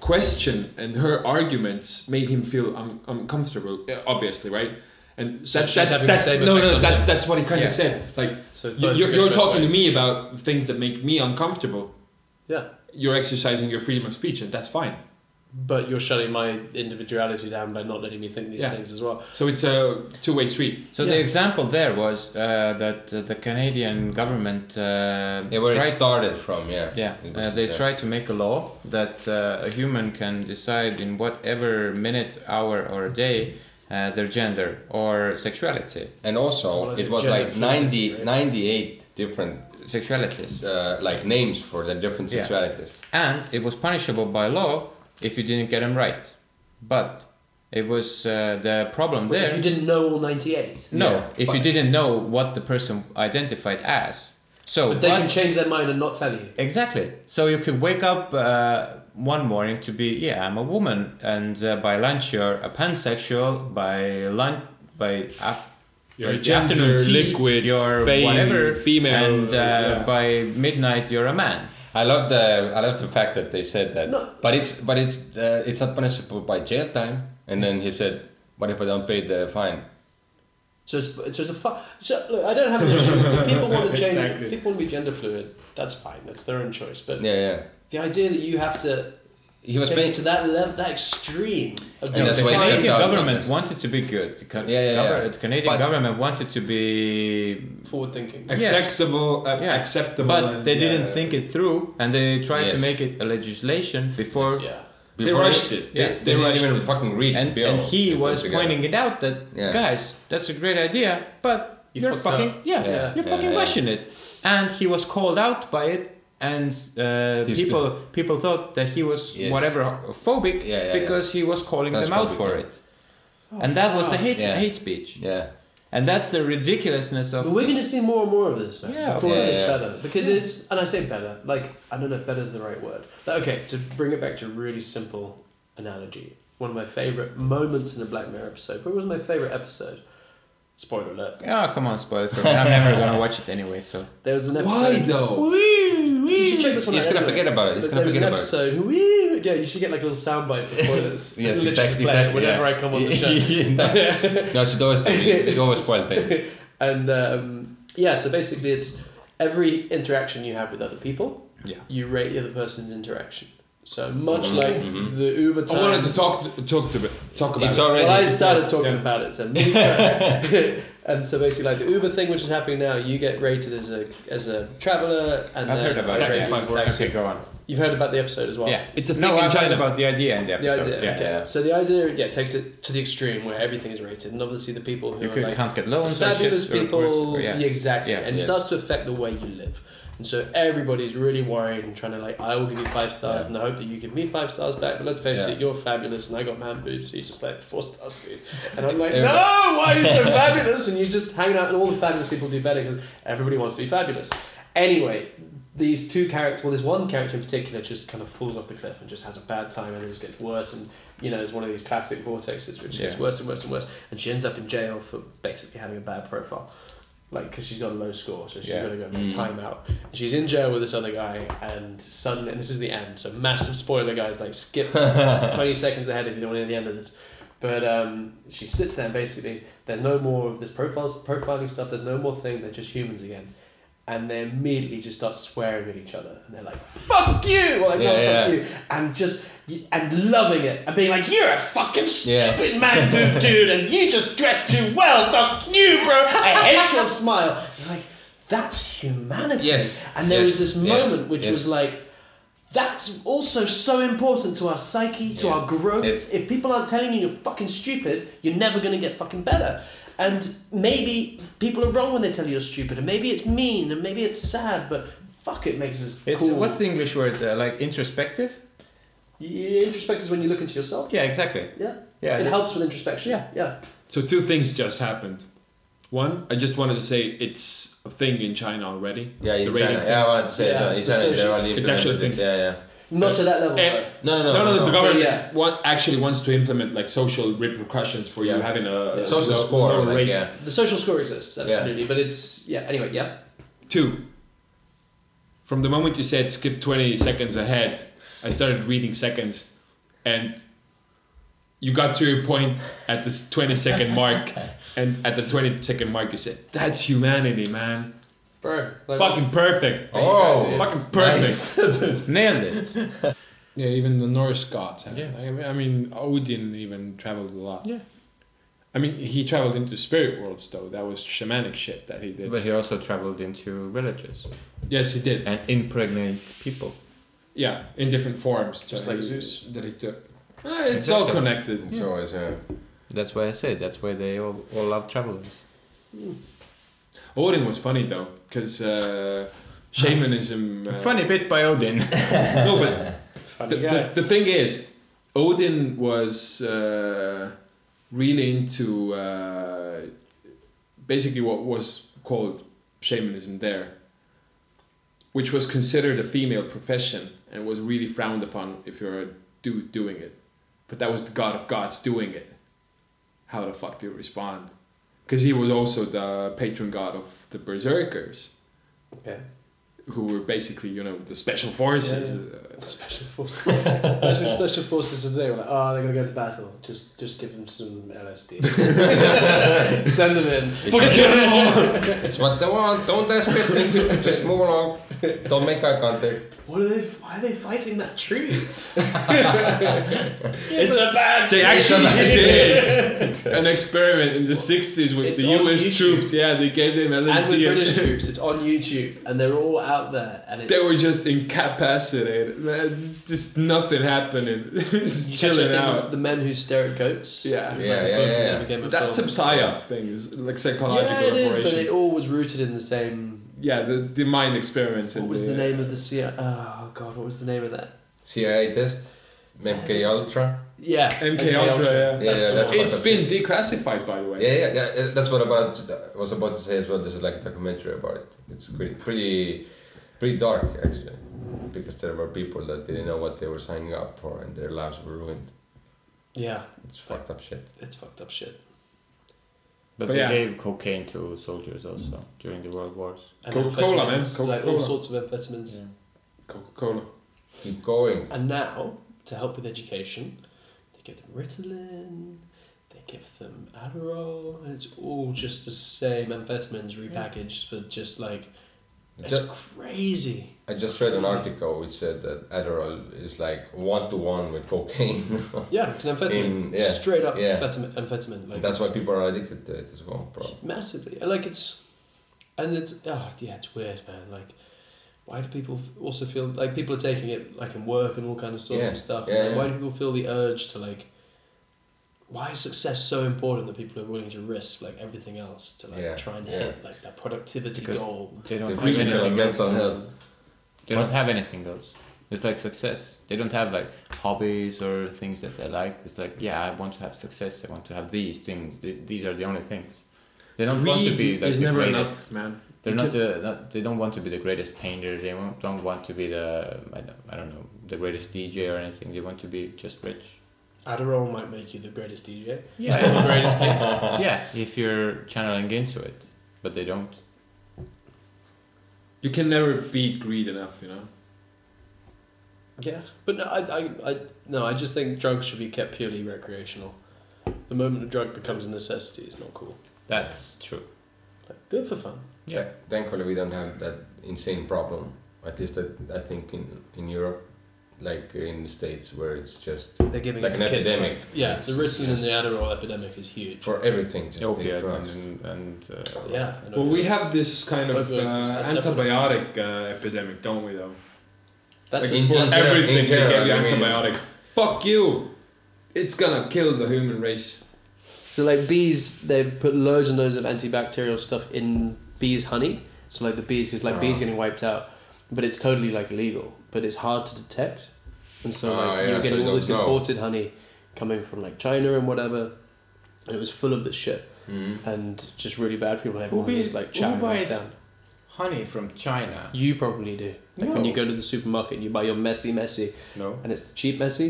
S9: question and her arguments made him feel un- uncomfortable. uh, Obviously, right? And
S8: So
S9: that,
S8: she's
S9: that's
S8: having the
S9: that's
S8: same
S9: no,
S8: effect
S9: no.
S8: on
S9: That,
S8: him.
S9: that's what he kind of
S7: Yeah.
S9: said. Like
S8: So it
S9: you,
S8: goes-
S9: you're,
S8: it
S9: you're
S8: goes both
S9: talking to
S8: ways.
S9: me about the things that make me uncomfortable.
S8: Yeah,
S9: You're exercising your freedom of speech, and that's fine.
S8: but you're shutting my individuality down by not letting me think these
S9: Yeah.
S8: things as well.
S9: So it's a two-way street.
S6: So the example there was uh, that uh, the Canadian government uh,
S7: Yeah, where it
S6: tried,
S7: started from, yeah.
S6: yeah,
S7: It was
S6: uh, they
S7: the-
S6: tried to make a law that uh, a human can decide in whatever minute, hour, or day uh, their gender or sexuality,
S7: And also,
S8: It's
S7: it was
S8: gender
S7: like
S8: fluency,
S7: 90,
S8: right?
S7: 98 different
S6: sexualities,
S7: uh, like names for the different
S6: Yeah.
S7: sexualities.
S6: and it was punishable by law if you didn't get them right. But it was uh, the problem
S8: But
S6: there.
S8: if you didn't know all 98,
S6: No,
S7: Yeah,
S6: if you didn't know what the person identified as. So
S8: but they can
S6: but-
S8: change their mind and not tell you.
S6: Exactly. So you could wake up uh, one morning to be, yeah, I'm a woman, and uh, by lunch you're a pansexual. By lunch, by af-
S9: You're
S6: like
S9: a gender,
S6: afternoon tea,
S9: liquid,
S6: you're
S9: fame,
S6: whatever,
S9: female,
S6: and uh,
S9: yeah.
S6: by midnight you're a man.
S7: I love the I love the fact that they said that.
S8: No.
S7: But it's but it's uh, it's not punishable by jail time. And then he said, "What if I don't pay the fine?"
S8: So it's, it's just a fu- so, look, I don't have an issue. If people want to change.
S9: Exactly.
S8: People want to be gender fluid. That's fine. That's their own choice. But
S7: Yeah, yeah.
S8: the idea that you have to
S7: He was
S8: take
S7: paying.
S8: it to that level, that extreme. Of
S7: And that's
S6: the
S7: why uh, he
S6: Canadian
S7: stepped out
S6: government
S7: of this.
S6: wanted to be good. The, Ca-
S7: Yeah, yeah,
S6: gover-
S7: yeah.
S6: the Canadian
S7: But-
S6: government wanted to be
S8: forward thinking.
S6: Yes.
S9: Acceptable, uh,
S6: Yeah.
S9: acceptable.
S6: but
S9: and,
S6: they
S9: yeah.
S6: didn't think it through and they tried to
S7: Yes.
S6: make it a legislation before
S8: Yeah.
S9: They
S7: before-
S9: rushed it.
S6: They-
S7: Yeah, they,
S6: they
S7: didn't
S6: rushed
S7: even fucking read the
S6: and,
S7: bill.
S6: and he was
S7: altogether.
S6: pointing it out that
S7: Yeah.
S6: guys that's a great idea but
S8: You
S6: you are
S8: fucked
S6: fucking
S8: up.
S6: yeah,
S7: Yeah.
S6: you're
S7: Yeah,
S6: fucking
S7: yeah.
S6: rushing it and he was called out by it and uh,
S7: He's
S6: people people thought that he was
S7: Yes.
S6: whatever phobic
S7: Yeah, yeah,
S6: because he was calling them out
S7: Transphobic,
S6: for
S7: yeah.
S6: it and that was the hate
S7: Yeah.
S6: hate speech
S7: Yeah.
S6: and that's the ridiculousness of
S8: But we're going to see more and more of this now.
S6: Yeah,
S8: before
S7: yeah,
S8: it gets
S7: yeah.
S8: better. Because it's, and I say better, like, I don't know if better is the right word. But okay, to bring it back to a really simple analogy, one of my favourite moments in the Black Mirror episode, probably was my favourite episode. Spoiler alert.
S6: oh come on spoiler for me. I'm never gonna watch it anyway so
S8: There was an episode.
S9: Why though?
S8: You should check this one
S7: He's
S8: out.
S7: gonna
S8: anyway.
S7: forget about it. He's
S8: But
S7: gonna
S8: there was
S7: forget
S8: an
S7: about it.
S8: episode, Woo! Yeah, you should get like a little soundbite for spoilers.
S7: Yes,
S8: Literally
S7: exactly.
S8: play it
S7: exactly
S8: Whenever
S7: yeah.
S8: I come on the
S7: Yeah,
S8: show.
S7: yeah, no, no, she always do. it. It always spoil things.
S8: and um, yeah, so basically, it's every interaction you have with other people.
S6: Yeah.
S8: You rate the other person's interaction. So much like the Uber
S9: I
S8: time.
S9: wanted to talk talk to talk about.
S7: It's
S9: it.
S7: already.
S8: Well, I started talking
S9: Yeah.
S8: about it, so me first. and so basically, like the Uber thing, which is happening now, you get rated as a as a traveler, and
S6: I've
S8: then
S6: heard about
S8: rated
S6: it
S8: as a taxi.
S6: okay go on
S8: You've heard about the episode as well.
S6: yeah
S9: It's a
S6: no
S9: thing in
S6: I've heard
S9: China.
S6: about the idea in the
S8: The
S6: episode
S8: idea,
S6: yeah,
S8: okay. So the idea, yeah, takes it to the extreme where everything is rated, and obviously the people who
S6: You
S8: are
S6: could,
S8: like,
S6: can't get loans or shit.
S8: fabulous
S6: or-
S8: people,
S6: or-
S8: yeah.
S6: yeah.
S8: exactly,
S6: Yeah,
S8: and it
S6: yes.
S8: starts to affect the way you live. And so everybody's really worried and trying to like, I will give you five stars in the hope that you give me five stars back. But let's face
S7: Yeah.
S8: it, you're fabulous, and I got man boobs, so you just like four stars dude. And I'm like,
S7: Yeah.
S8: no, why are you so fabulous? And you just hang out, and all the fabulous people do better because everybody wants to be fabulous. Anyway, these two characters, well, this one character in particular just kind of falls off the cliff and just has a bad time, and it just gets worse. And you know, it's one of these classic vortexes which gets
S6: Yeah.
S8: worse and worse and worse. And she ends up in jail for basically having a bad profile. Like, because she's got a low score, so she's
S6: Yeah.
S8: got to go for time out. And she's in jail with this other guy, and suddenly, and this is the end, so massive spoiler, guys. Like, skip 20 seconds ahead if you don't want to hear the end of this. But um, she sits there, and basically, there's no more of this profiles, profiling stuff, there's no more thing, they're just humans again. And they immediately just start swearing at each other, and they're like, fuck you! Or like,
S7: Yeah,
S8: no,
S7: yeah.
S8: fuck you! And just, and loving it, and being like, you're a fucking
S7: Yeah.
S8: stupid man boob dude, and you just dress too well, fuck you, bro! I hate your smile! You're like, that's humanity.
S7: Yes,
S8: And there was
S7: yes,
S8: this
S7: yes,
S8: moment which
S7: yes.
S8: was like, that's also so important to our psyche, to
S7: Yeah.
S8: our growth.
S7: Yes.
S8: If people aren't telling you you're fucking stupid, you're never gonna get fucking better. And maybe people are wrong when they tell you you're stupid, and maybe it's mean, and maybe it's sad, but fuck, it makes us
S6: It's
S8: cool.
S6: what's the English word? Uh, like introspective?
S8: Yeah, introspect is when you look into yourself.
S7: Yeah, exactly.
S8: Yeah. it
S7: Yeah. just-
S8: helps with introspection. Yeah, yeah.
S9: So two things just happened. One, I just wanted to say it's a thing in China already.
S7: Yeah, in
S9: the
S7: China.
S9: rating thing.
S7: Yeah, I wanted to say
S8: Yeah,
S7: so. In
S8: the
S7: China, they
S8: social-
S7: already
S9: It's actually
S7: implemented it. Yeah, yeah.
S8: Not to that level.
S9: Eh,
S8: though.
S7: No, no,
S9: No, no, the government
S8: yeah.
S9: want, actually wants to implement like social repercussions for you
S7: Yeah.
S9: having a
S7: Social
S9: no-
S7: score,
S9: no
S7: like,
S9: rate.
S7: yeah.
S8: The social score exists
S7: Yeah.
S8: absolutely, but it's yeah. Anyway, yeah.
S9: Two. From the moment you said skip twenty seconds ahead, I started reading seconds, and you got to your point at this twenty second mark, and at the twenty second mark you said, "That's humanity, man.
S8: Bro, like,
S9: Fucking perfect.
S7: Oh,
S9: fucking perfect."
S6: Nailed it.
S9: Yeah, even the Norse gods. Have yeah. I mean, I mean, Odin even traveled a lot. Yeah. I mean, he traveled into spirit worlds though. That was shamanic shit that he did.
S6: But he also traveled into villages
S9: yes, he did.
S6: and impregnate people.
S9: Yeah, in different forms, just
S14: like
S9: he-
S14: Zeus.
S9: that he took. Ah, it's all connected.
S7: It's always yeah.
S6: That's why I say that's why they all, all love travelers.
S9: Odin was funny though, because uh, shamanism. Uh,
S6: Funny bit by Odin.
S9: No, but the, the, the thing is, Odin was uh, really into uh, basically what was called shamanism there, which was considered a female profession and was really frowned upon if you're a dude doing it. But that was the god of gods doing it. How the fuck do you respond? Because he was also the patron god of the berserkers,
S8: Okay.
S9: who were basically, you know, the special forces. uh,
S8: Special forces. Special, special forces today. Like, oh, they're gonna go to battle. Just, just give them some LSD. Send them in.
S7: It's what they want. Don't ask questions. Just move along. Don't make eye contact.
S8: What are they? Why are they fighting that tree? it's a bad.
S9: They
S8: tree.
S9: actually did an experiment in the 60s with
S8: It's
S9: the
S8: on
S9: US
S8: YouTube.
S9: troops. Yeah, they gave them
S8: And with
S9: LSD.
S8: British troops, it's on YouTube, and they're all out there, and it's
S9: they were just incapacitated. Man, Just nothing happening.
S8: You
S9: just
S8: catch, I
S9: chilling
S8: think,
S9: out.
S8: The men who stare at goats.
S9: Yeah.
S8: It's
S7: Yeah,
S8: like a book
S7: yeah, yeah,
S8: that
S7: yeah.
S8: became a
S9: That's some
S8: film.
S9: psyop thing, is like
S8: Yeah,
S9: psychological
S8: it is, but
S9: operation.
S8: it all was rooted in the same.
S9: yeah, the, the mind experiments.
S8: What
S9: and
S8: was the name of the C? Oh god, what was the name of that?
S7: CIA test. MK Ultra.
S8: Yeah,
S9: MK Ultra,
S7: Yeah,
S9: yeah.
S7: yeah, that's what
S9: It's
S7: I-
S9: been declassified, by the way.
S7: Yeah, yeah, yeah. That's what about I was about to say as well. There's like a documentary about it. It's pretty, pretty, pretty dark actually, because there were people that didn't know what they were signing up for, and their lives were ruined.
S8: Yeah,
S7: It's fucked up shit.
S8: it's fucked up shit.
S6: But,
S9: But
S6: they
S9: yeah.
S6: gave cocaine to soldiers also during the world wars.
S8: And
S9: Coca-Cola, man,
S8: amphetamines, Like all
S9: Coca-Cola.
S8: sorts of amphetamines.
S9: Coca Cola.
S7: Keep going.
S8: And now, to help with education, they give them Ritalin, they give them Adderall, and it's all just the same amphetamines repackaged for just like. It's
S7: Just,
S8: crazy.
S7: I just read an article which said that Adderall is like one to one with cocaine.
S8: Yeah, it's an amphetamine.
S7: In- yeah,
S8: Straight up
S7: yeah.
S8: amphetamine. amphetamine. Like
S7: That's why
S8: it's-
S7: people are addicted to it as well, bro.
S8: massively and like it's and it's oh yeah it's weird man like why do people also feel like people are taking it like in work and all kind of sorts
S7: Yeah,
S8: of stuff
S7: yeah,
S8: and
S7: yeah.
S8: why do people feel the urge to like why is success so important that people are willing to risk like everything else to like
S7: Yeah,
S8: try and
S7: yeah.
S8: hit like that productivity
S6: Because-
S8: goal
S6: They don't
S7: The
S6: have
S7: physical and
S6: anything else.
S7: mental health.
S6: They don't have anything else. It's like success. They don't have like hobbies or things that they like. It's like yeah, I want to have success. I want to have these things. Th- These are the only things. They don't want to be like,
S9: is
S6: the
S9: never
S6: greatest.
S9: enough, man.
S6: They're
S9: You
S6: not, the, not. They don't want to be the greatest painter. They won't, don't want to be the. I don't, I don't know the greatest DJ or anything. They want to be just rich.
S8: Adderall might make you the greatest DJ
S6: Yeah.
S8: the greatest painter
S6: yeah, if you're channeling into it, but they don't.
S9: You can never feed greed enough, you know?
S8: yeah but no I, I, I no I just think drugs should be kept purely recreational the moment a drug becomes a necessity it's not cool
S6: That's true.
S8: like do it for fun
S7: Yeah. Thankfully, we don't have that insane problem. At least that I think in in Europe, like in the states, where it's just
S8: They're giving
S7: like
S8: it
S7: an
S8: to kids.
S7: epidemic
S8: Yeah,
S7: It's
S8: the Ritalin and
S7: just-
S8: the Adderall epidemic is huge.
S7: for everything. Just take
S6: Opiates
S7: drugs.
S6: and and uh,
S8: Yeah. and
S9: Well, we
S8: opioids.
S9: have this kind of uh,
S8: Opioids, that's separate.
S9: antibiotic uh, epidemic, don't we, though?
S8: That's a-
S7: Like in-
S8: yeah,
S7: in general-
S9: Everything
S7: in
S9: they
S7: general,
S9: give you
S7: I mean-
S9: antibiotics. Fuck you! It's gonna kill the human race.
S8: So like bees, they put loads and loads of antibacterial stuff in bees' honey. So
S7: Oh.
S8: like the bees, because like bees getting wiped out, but it's totally like illegal. But it's hard to detect. and so
S7: Ah,
S8: like
S7: yeah,
S8: you're
S7: so
S8: getting
S7: you
S8: all
S7: don't
S8: this
S7: know.
S8: imported honey coming from like China and whatever, and it was full of this shit
S7: Mm-hmm.
S8: and just really bad people. Everyone was
S6: Who buys-
S8: like
S6: who
S8: chowing us
S6: buys-
S8: down.
S6: Honey from China.
S8: You probably do. Like when
S6: No.
S8: you go to the supermarket and you buy your messy messy,
S6: No.
S8: and it's the cheap messy.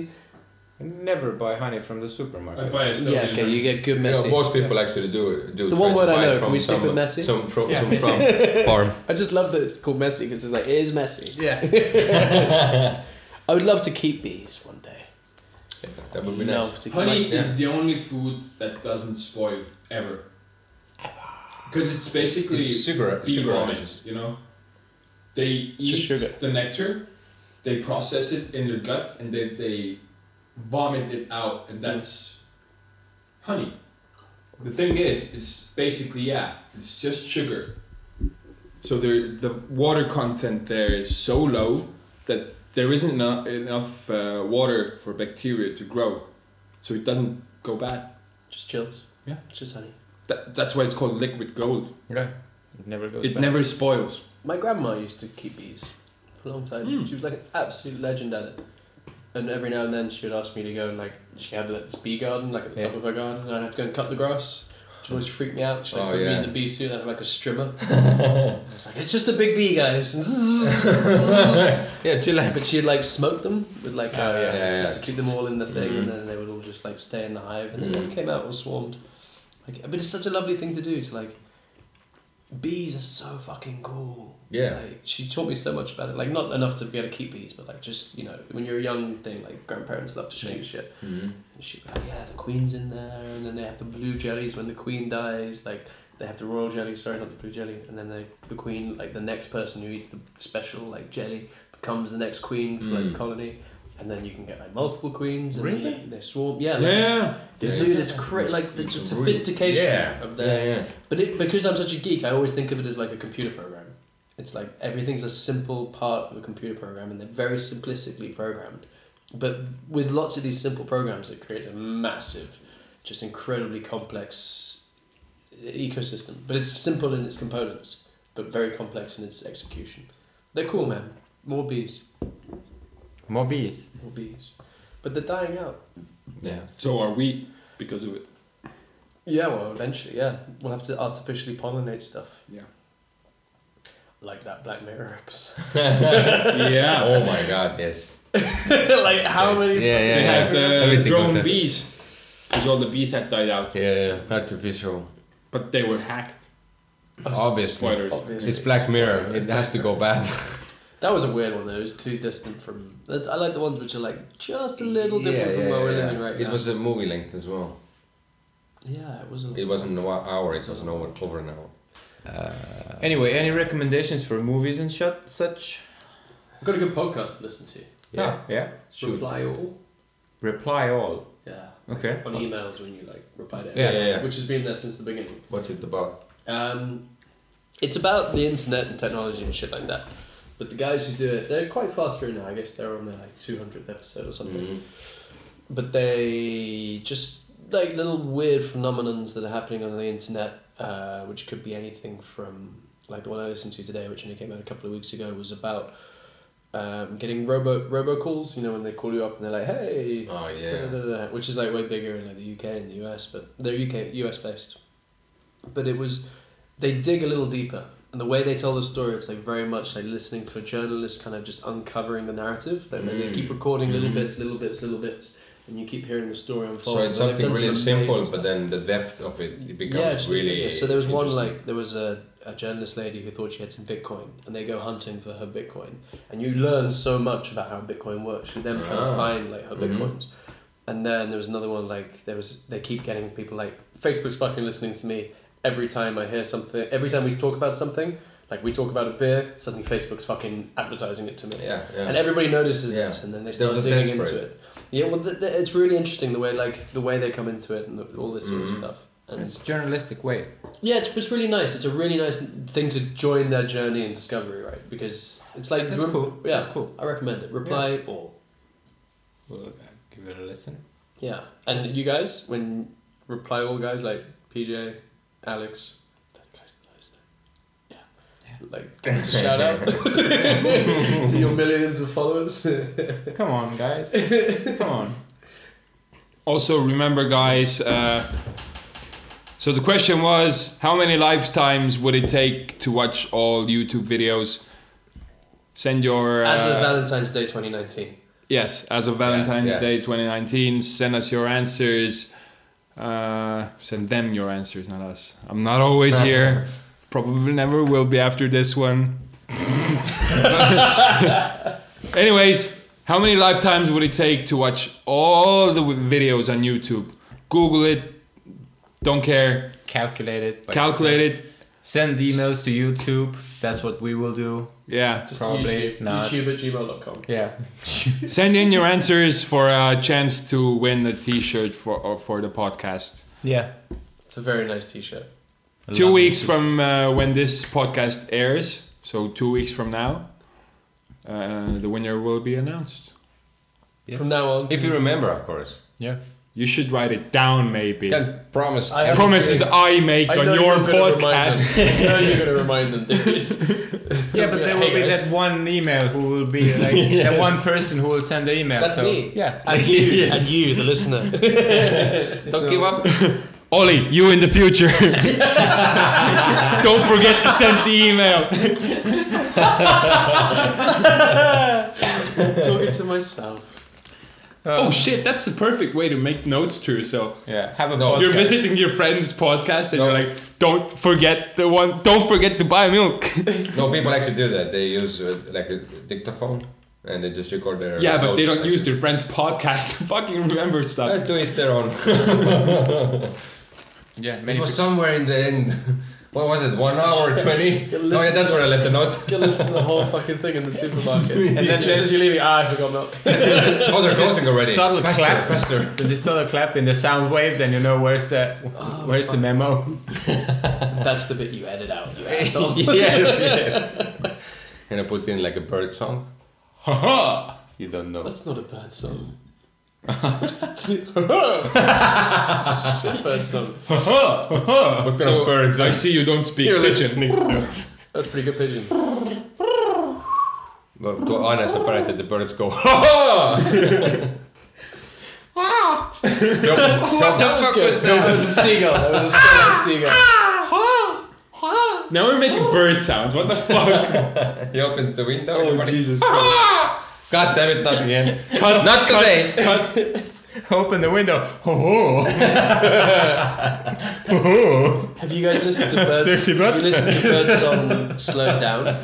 S6: I never buy honey from the supermarket.
S9: I buy a
S8: Yeah,
S9: Estonian
S8: okay, you get good
S7: Yeah,
S8: messy.
S7: most people actually do. do
S8: It's the
S7: try
S8: one
S7: to
S8: word I
S7: buy
S8: know.
S7: it
S8: Can
S7: from
S8: we skip it,
S7: some-
S8: Messi?
S7: Some from, some from farm.
S8: I just love that it's called messy because it's like it is messy.
S6: Yeah.
S8: I would love to keep these one day.
S7: That would be
S8: love
S7: nice.
S8: to keep
S9: Honey
S7: Like, yeah.
S9: is the only food that doesn't spoil ever. Because it's basically
S7: It's sugar,
S9: bee
S7: sugar honey.
S9: lines, you know. They
S8: It's
S9: eat
S8: just sugar.
S9: the nectar, they process it in their gut, and then they vomit it out, and that's honey. The thing is, it's basically yeah, it's just sugar. So there, the water content there is so low that there isn't enough, enough uh, water for bacteria to grow, so it doesn't go bad.
S8: Just chills.
S9: Yeah.
S8: It's just honey.
S9: That, that's why it's called liquid gold.
S6: Right. It never goes
S9: It
S6: bad.
S9: never spoils.
S8: My grandma used to keep bees for a long time.
S9: Mm.
S8: She was like an absolute legend at it. And every now and then she would ask me to go and like she had like this bee garden like at the
S6: Yeah.
S8: top of her garden and I'd have to go and cut the grass. Which always freaked me out. She'd like
S7: Oh,
S8: put me
S7: yeah.
S8: in the bee suit and have like a strimmer. I was like, it's just a big bee guys. but
S7: Yeah, chillax.
S8: she'd like smoke them with like uh,
S6: Oh, yeah, Mm-hmm.
S7: yeah,
S8: just
S7: yeah.
S8: to keep them all in the thing
S7: Mhm.
S8: and then they would all just like stay in the hive and then
S7: Mhm.
S8: they came out all swarmed. Like but it's such a lovely thing to do to like bees are so fucking cool.
S7: Yeah.
S8: Like, she taught me so much about it. Like, not enough to be able to keep bees, but like, just, you know, when you're a young thing, like, grandparents love to show you shit.
S7: Mhm.
S8: And she'd be like, yeah, the queen's in there, and then they have the blue jellies when the queen dies. Like, they have the royal jelly, sorry, not the blue jelly. And then the, the queen, like, the next person who eats the special, like, jelly becomes the next queen for, like,
S7: Mm.
S8: colony. And then you can get, like, multiple queens. And
S6: Really?
S8: They, they swarm. Yeah. Like,
S9: Yeah.
S7: Yeah,
S8: Dude,
S7: it's-
S8: it's crazy. Like, the,
S7: it's
S8: the
S7: a really-
S8: sophistication
S7: yeah.
S8: of their
S7: Yeah, yeah.
S8: but it, because I'm such a geek, I always think of it as like a computer program. It's like everything's a simple part of a computer program, and they're very simplistically programmed. But with lots of these simple programs, it creates a massive, just incredibly complex ecosystem. But it's simple in its components, but very complex in its execution. They're cool, man. More bees,
S6: More bees.
S8: more bees. But they're dying out.
S7: Yeah.
S9: So are we because of it?
S8: Yeah, well, eventually, yeah. We'll have to artificially pollinate stuff.
S9: Yeah.
S8: Like that Black Mirror episode.
S9: yeah.
S7: Oh my god, yes.
S8: like how many?
S7: Yeah,
S9: They
S7: yeah,
S9: had
S7: yeah.
S9: the
S7: Everything was
S9: drone
S7: there.
S9: bees because all the bees had died out,
S7: Yeah, yeah, artificial.
S9: but they were hacked.
S7: Obviously.
S9: Spoilers.
S8: Obviously.
S7: It's Black Mirror. It has to go bad.
S8: That was a weird one though. It was too distant from. that- I like the ones which are like just a little different
S7: Yeah,
S8: from
S7: yeah,
S8: where we're
S7: yeah.
S8: living right
S7: It
S8: now.
S7: was a movie length as well.
S8: Yeah, it was. A,
S7: It wasn't an hour, it was an over, over an hour.
S6: Anyway, any recommendations for movies and shut, such?
S8: I've got a good podcast to listen to.
S7: Yeah.
S6: Ah, yeah.
S7: Shoot.
S8: Reply all.
S6: Reply all.
S8: Yeah.
S6: Okay.
S8: On emails when you like reply to.
S7: Yeah,
S8: everything,
S7: yeah, yeah.
S8: Which has been there since the beginning.
S7: What's it about?
S8: Um, it's about the internet and technology and shit like that. But the guys who do it, they're quite far through now. I guess they're on their like two hundredth episode or something.
S7: Mhm.
S8: But they just like little weird phenomenons that are happening on the internet, uh, which could be anything from like the one I listened to today, which only came out a couple of weeks ago, was about um, getting robo robocalls. You know when they call you up and they're like, "Hey,
S7: Oh, yeah.
S8: which is like way bigger in like the UK and the US, but they're UK US based. But it was they dig a little deeper, and the way they tell the story, it's like very much like listening to a journalist, kind of just uncovering the narrative. They, they
S7: Mm.
S8: keep recording little
S7: Mhm.
S8: bits, little bits, little bits, and you keep hearing the story unfold.
S7: So it's
S8: And they've
S7: something
S8: done
S7: really
S8: some
S7: simple,
S8: amazing
S7: but
S8: stuff.
S7: then the depth of it, it
S8: Yeah, it's
S7: becomes
S8: just-
S7: really.
S8: So there was one
S7: interesting.
S8: like there was a, a journalist lady who thought she had some Bitcoin, and they go hunting for her Bitcoin, and you learn so much about how Bitcoin works with them trying to
S7: Ah.
S8: find like her
S7: Mhm.
S8: Bitcoins. And then there was another one like there was they keep getting people like Facebook's fucking listening to me every time I hear something. Every time we talk about something, like we talk about a beer, suddenly Facebook's fucking advertising it to me
S7: Yeah, yeah.
S8: and everybody notices
S7: Yeah.
S8: this, and then they
S7: There
S8: start
S7: was a
S8: digging
S7: test for
S8: into
S7: it.
S8: it. Yeah, well, th th it's really interesting the way like the way they come into it and the, all this sort of
S7: Mhm.
S8: stuff. And
S6: It's journalistic way.
S8: yeah, it's, it's really nice. It's a really nice thing to join their journey and discovery, right? Because it's like
S6: That's cool.
S8: Yeah,
S6: That's cool.
S8: I recommend it. Reply all.
S6: We'll give it a listen.
S8: Yeah, and you guys when reply all guys like PJ, Alex, that guy's the nicest. Yeah,
S6: Yeah.
S8: Like, give us a shout out to your millions of followers.
S6: Come on, guys. Come on.
S9: Also, remember, guys. Uh, so the question was, how many lifetimes would it take to watch all YouTube videos? Send your
S8: As of
S9: uh,
S8: Valentine's Day 2019.
S9: yes, as of Valentine's
S7: yeah.
S9: Day 2019. Send us your answers. Uh, send them your answers, not us. I'm not always here. Probably never will be after this one. Anyways, how many lifetimes would it take to watch all the w- videos on YouTube? Google it. Don't care.
S6: Calculate it. by
S9: Calculate
S6: yourselves.
S9: it.
S6: Send emails to YouTube. That's what we will do.
S9: Yeah.
S8: Just
S6: Probably
S8: YouTube,
S6: not.
S8: YouTube at gmail.com.
S6: Yeah.
S9: Send in your answers for a chance to win a T-shirt for or for the podcast.
S6: Yeah.
S8: It's a very nice t shirt.
S9: two weeks from uh, when this podcast airs, so two weeks from now, uh, the winner will be announced.
S8: From now on,
S7: If you remember, of course.
S9: Yeah. You should write it down, maybe.
S7: Can promise.
S8: I-
S7: every-
S9: Promises I make
S8: I
S9: on
S8: know
S9: your
S8: you're gonna remind
S9: podcast.
S8: them. I know you're going to remind them, dude.
S6: Yeah, but there will
S8: Hey,
S6: be
S8: guys.
S6: that one email who will be like that one person who will send the email.
S8: That's
S6: so
S8: me.
S6: yeah.
S8: And you, and you, the listener.
S7: Don't give up.
S9: Ollie, you in the future. Don't forget to send the email.
S8: Talking to myself.
S9: Oh shit, that's the perfect way to make notes to yourself.
S6: Yeah. Have a podcast.
S9: You're visiting your friend's podcast and you're like, don't forget the one, don't forget to buy milk.
S7: No, people actually do that. They use uh, like a dictaphone and they just record their.
S9: yeah, but they
S7: notes,
S9: don't
S7: like-
S9: use their friend's podcast to fucking remember
S7: Uh,
S9: stuff.
S7: to each their own.
S6: Yeah,
S7: It
S6: many
S7: was somewhere in the end. What was it? One hour twenty?
S8: You
S7: oh yeah, that's where I left a note.
S8: You listen to the whole fucking thing in the supermarket. And then
S6: Just
S8: just
S6: as
S8: as you're leaving, ah, I forgot milk.
S7: Oh, they're closing already.
S6: subtle
S7: Faster,
S6: clap.
S7: faster.
S6: people. This other clap in the sound wave, then you know where's the
S9: Oh,
S6: where's the memo.
S8: That's the bit you edit out, you asshole.
S7: yes, yes. And I put in like a bird song. Ha ha! You don't know.
S8: That's not a bird song. bird song.
S9: So, birds. I see you don't speak pigeon.
S8: That's pretty good pigeon.
S7: Well, to honest, apparently the birds go. Ha ha!
S9: what Ah! the fuck was
S8: That was a seagull. That was a sparrow seagull.
S9: Now we're making bird sounds. What the fuck?
S7: He opens the window.
S9: Oh,
S7: and everybody-
S9: Christ.
S7: God damn it! Not again. not today.
S6: Open the window. Oh, oh.
S8: Have you guys listened to bird?
S6: Sexy bird?
S8: Have you listened to bird song slowed down?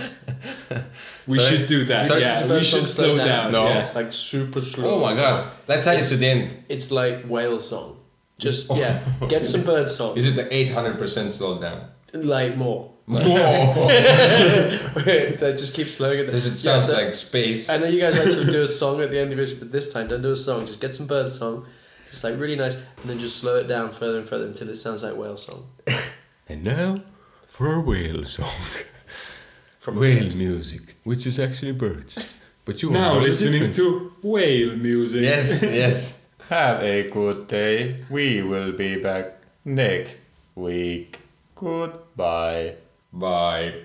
S9: We should do that.
S7: Sorry,
S9: yeah,
S8: Listen to
S9: we
S8: bird
S9: should
S8: song
S9: slow down.
S7: No.
S9: yes.
S8: Like super slow.
S7: Oh my god! Let's add it to the end.
S8: It's like whale song. Just
S9: Oh.
S8: yeah, get some bird song.
S7: Is it the eight hundred percent slowdown?
S8: Like more. they just keep slowing it. down.
S7: Does it
S8: Yeah,
S7: sound
S8: so-
S7: like space?
S8: I know you guys actually do a song at the end of it, but this time don't do a song. Just get some bird song, just like really nice, and then just slow it down further and further until it sounds like whale song.
S7: And now for a whale song. From whale music, which is actually birds. But you
S9: Now listening to whale music.
S7: Yes, yes.
S6: Have a good day. We will be back next week. Goodbye.
S7: Bye.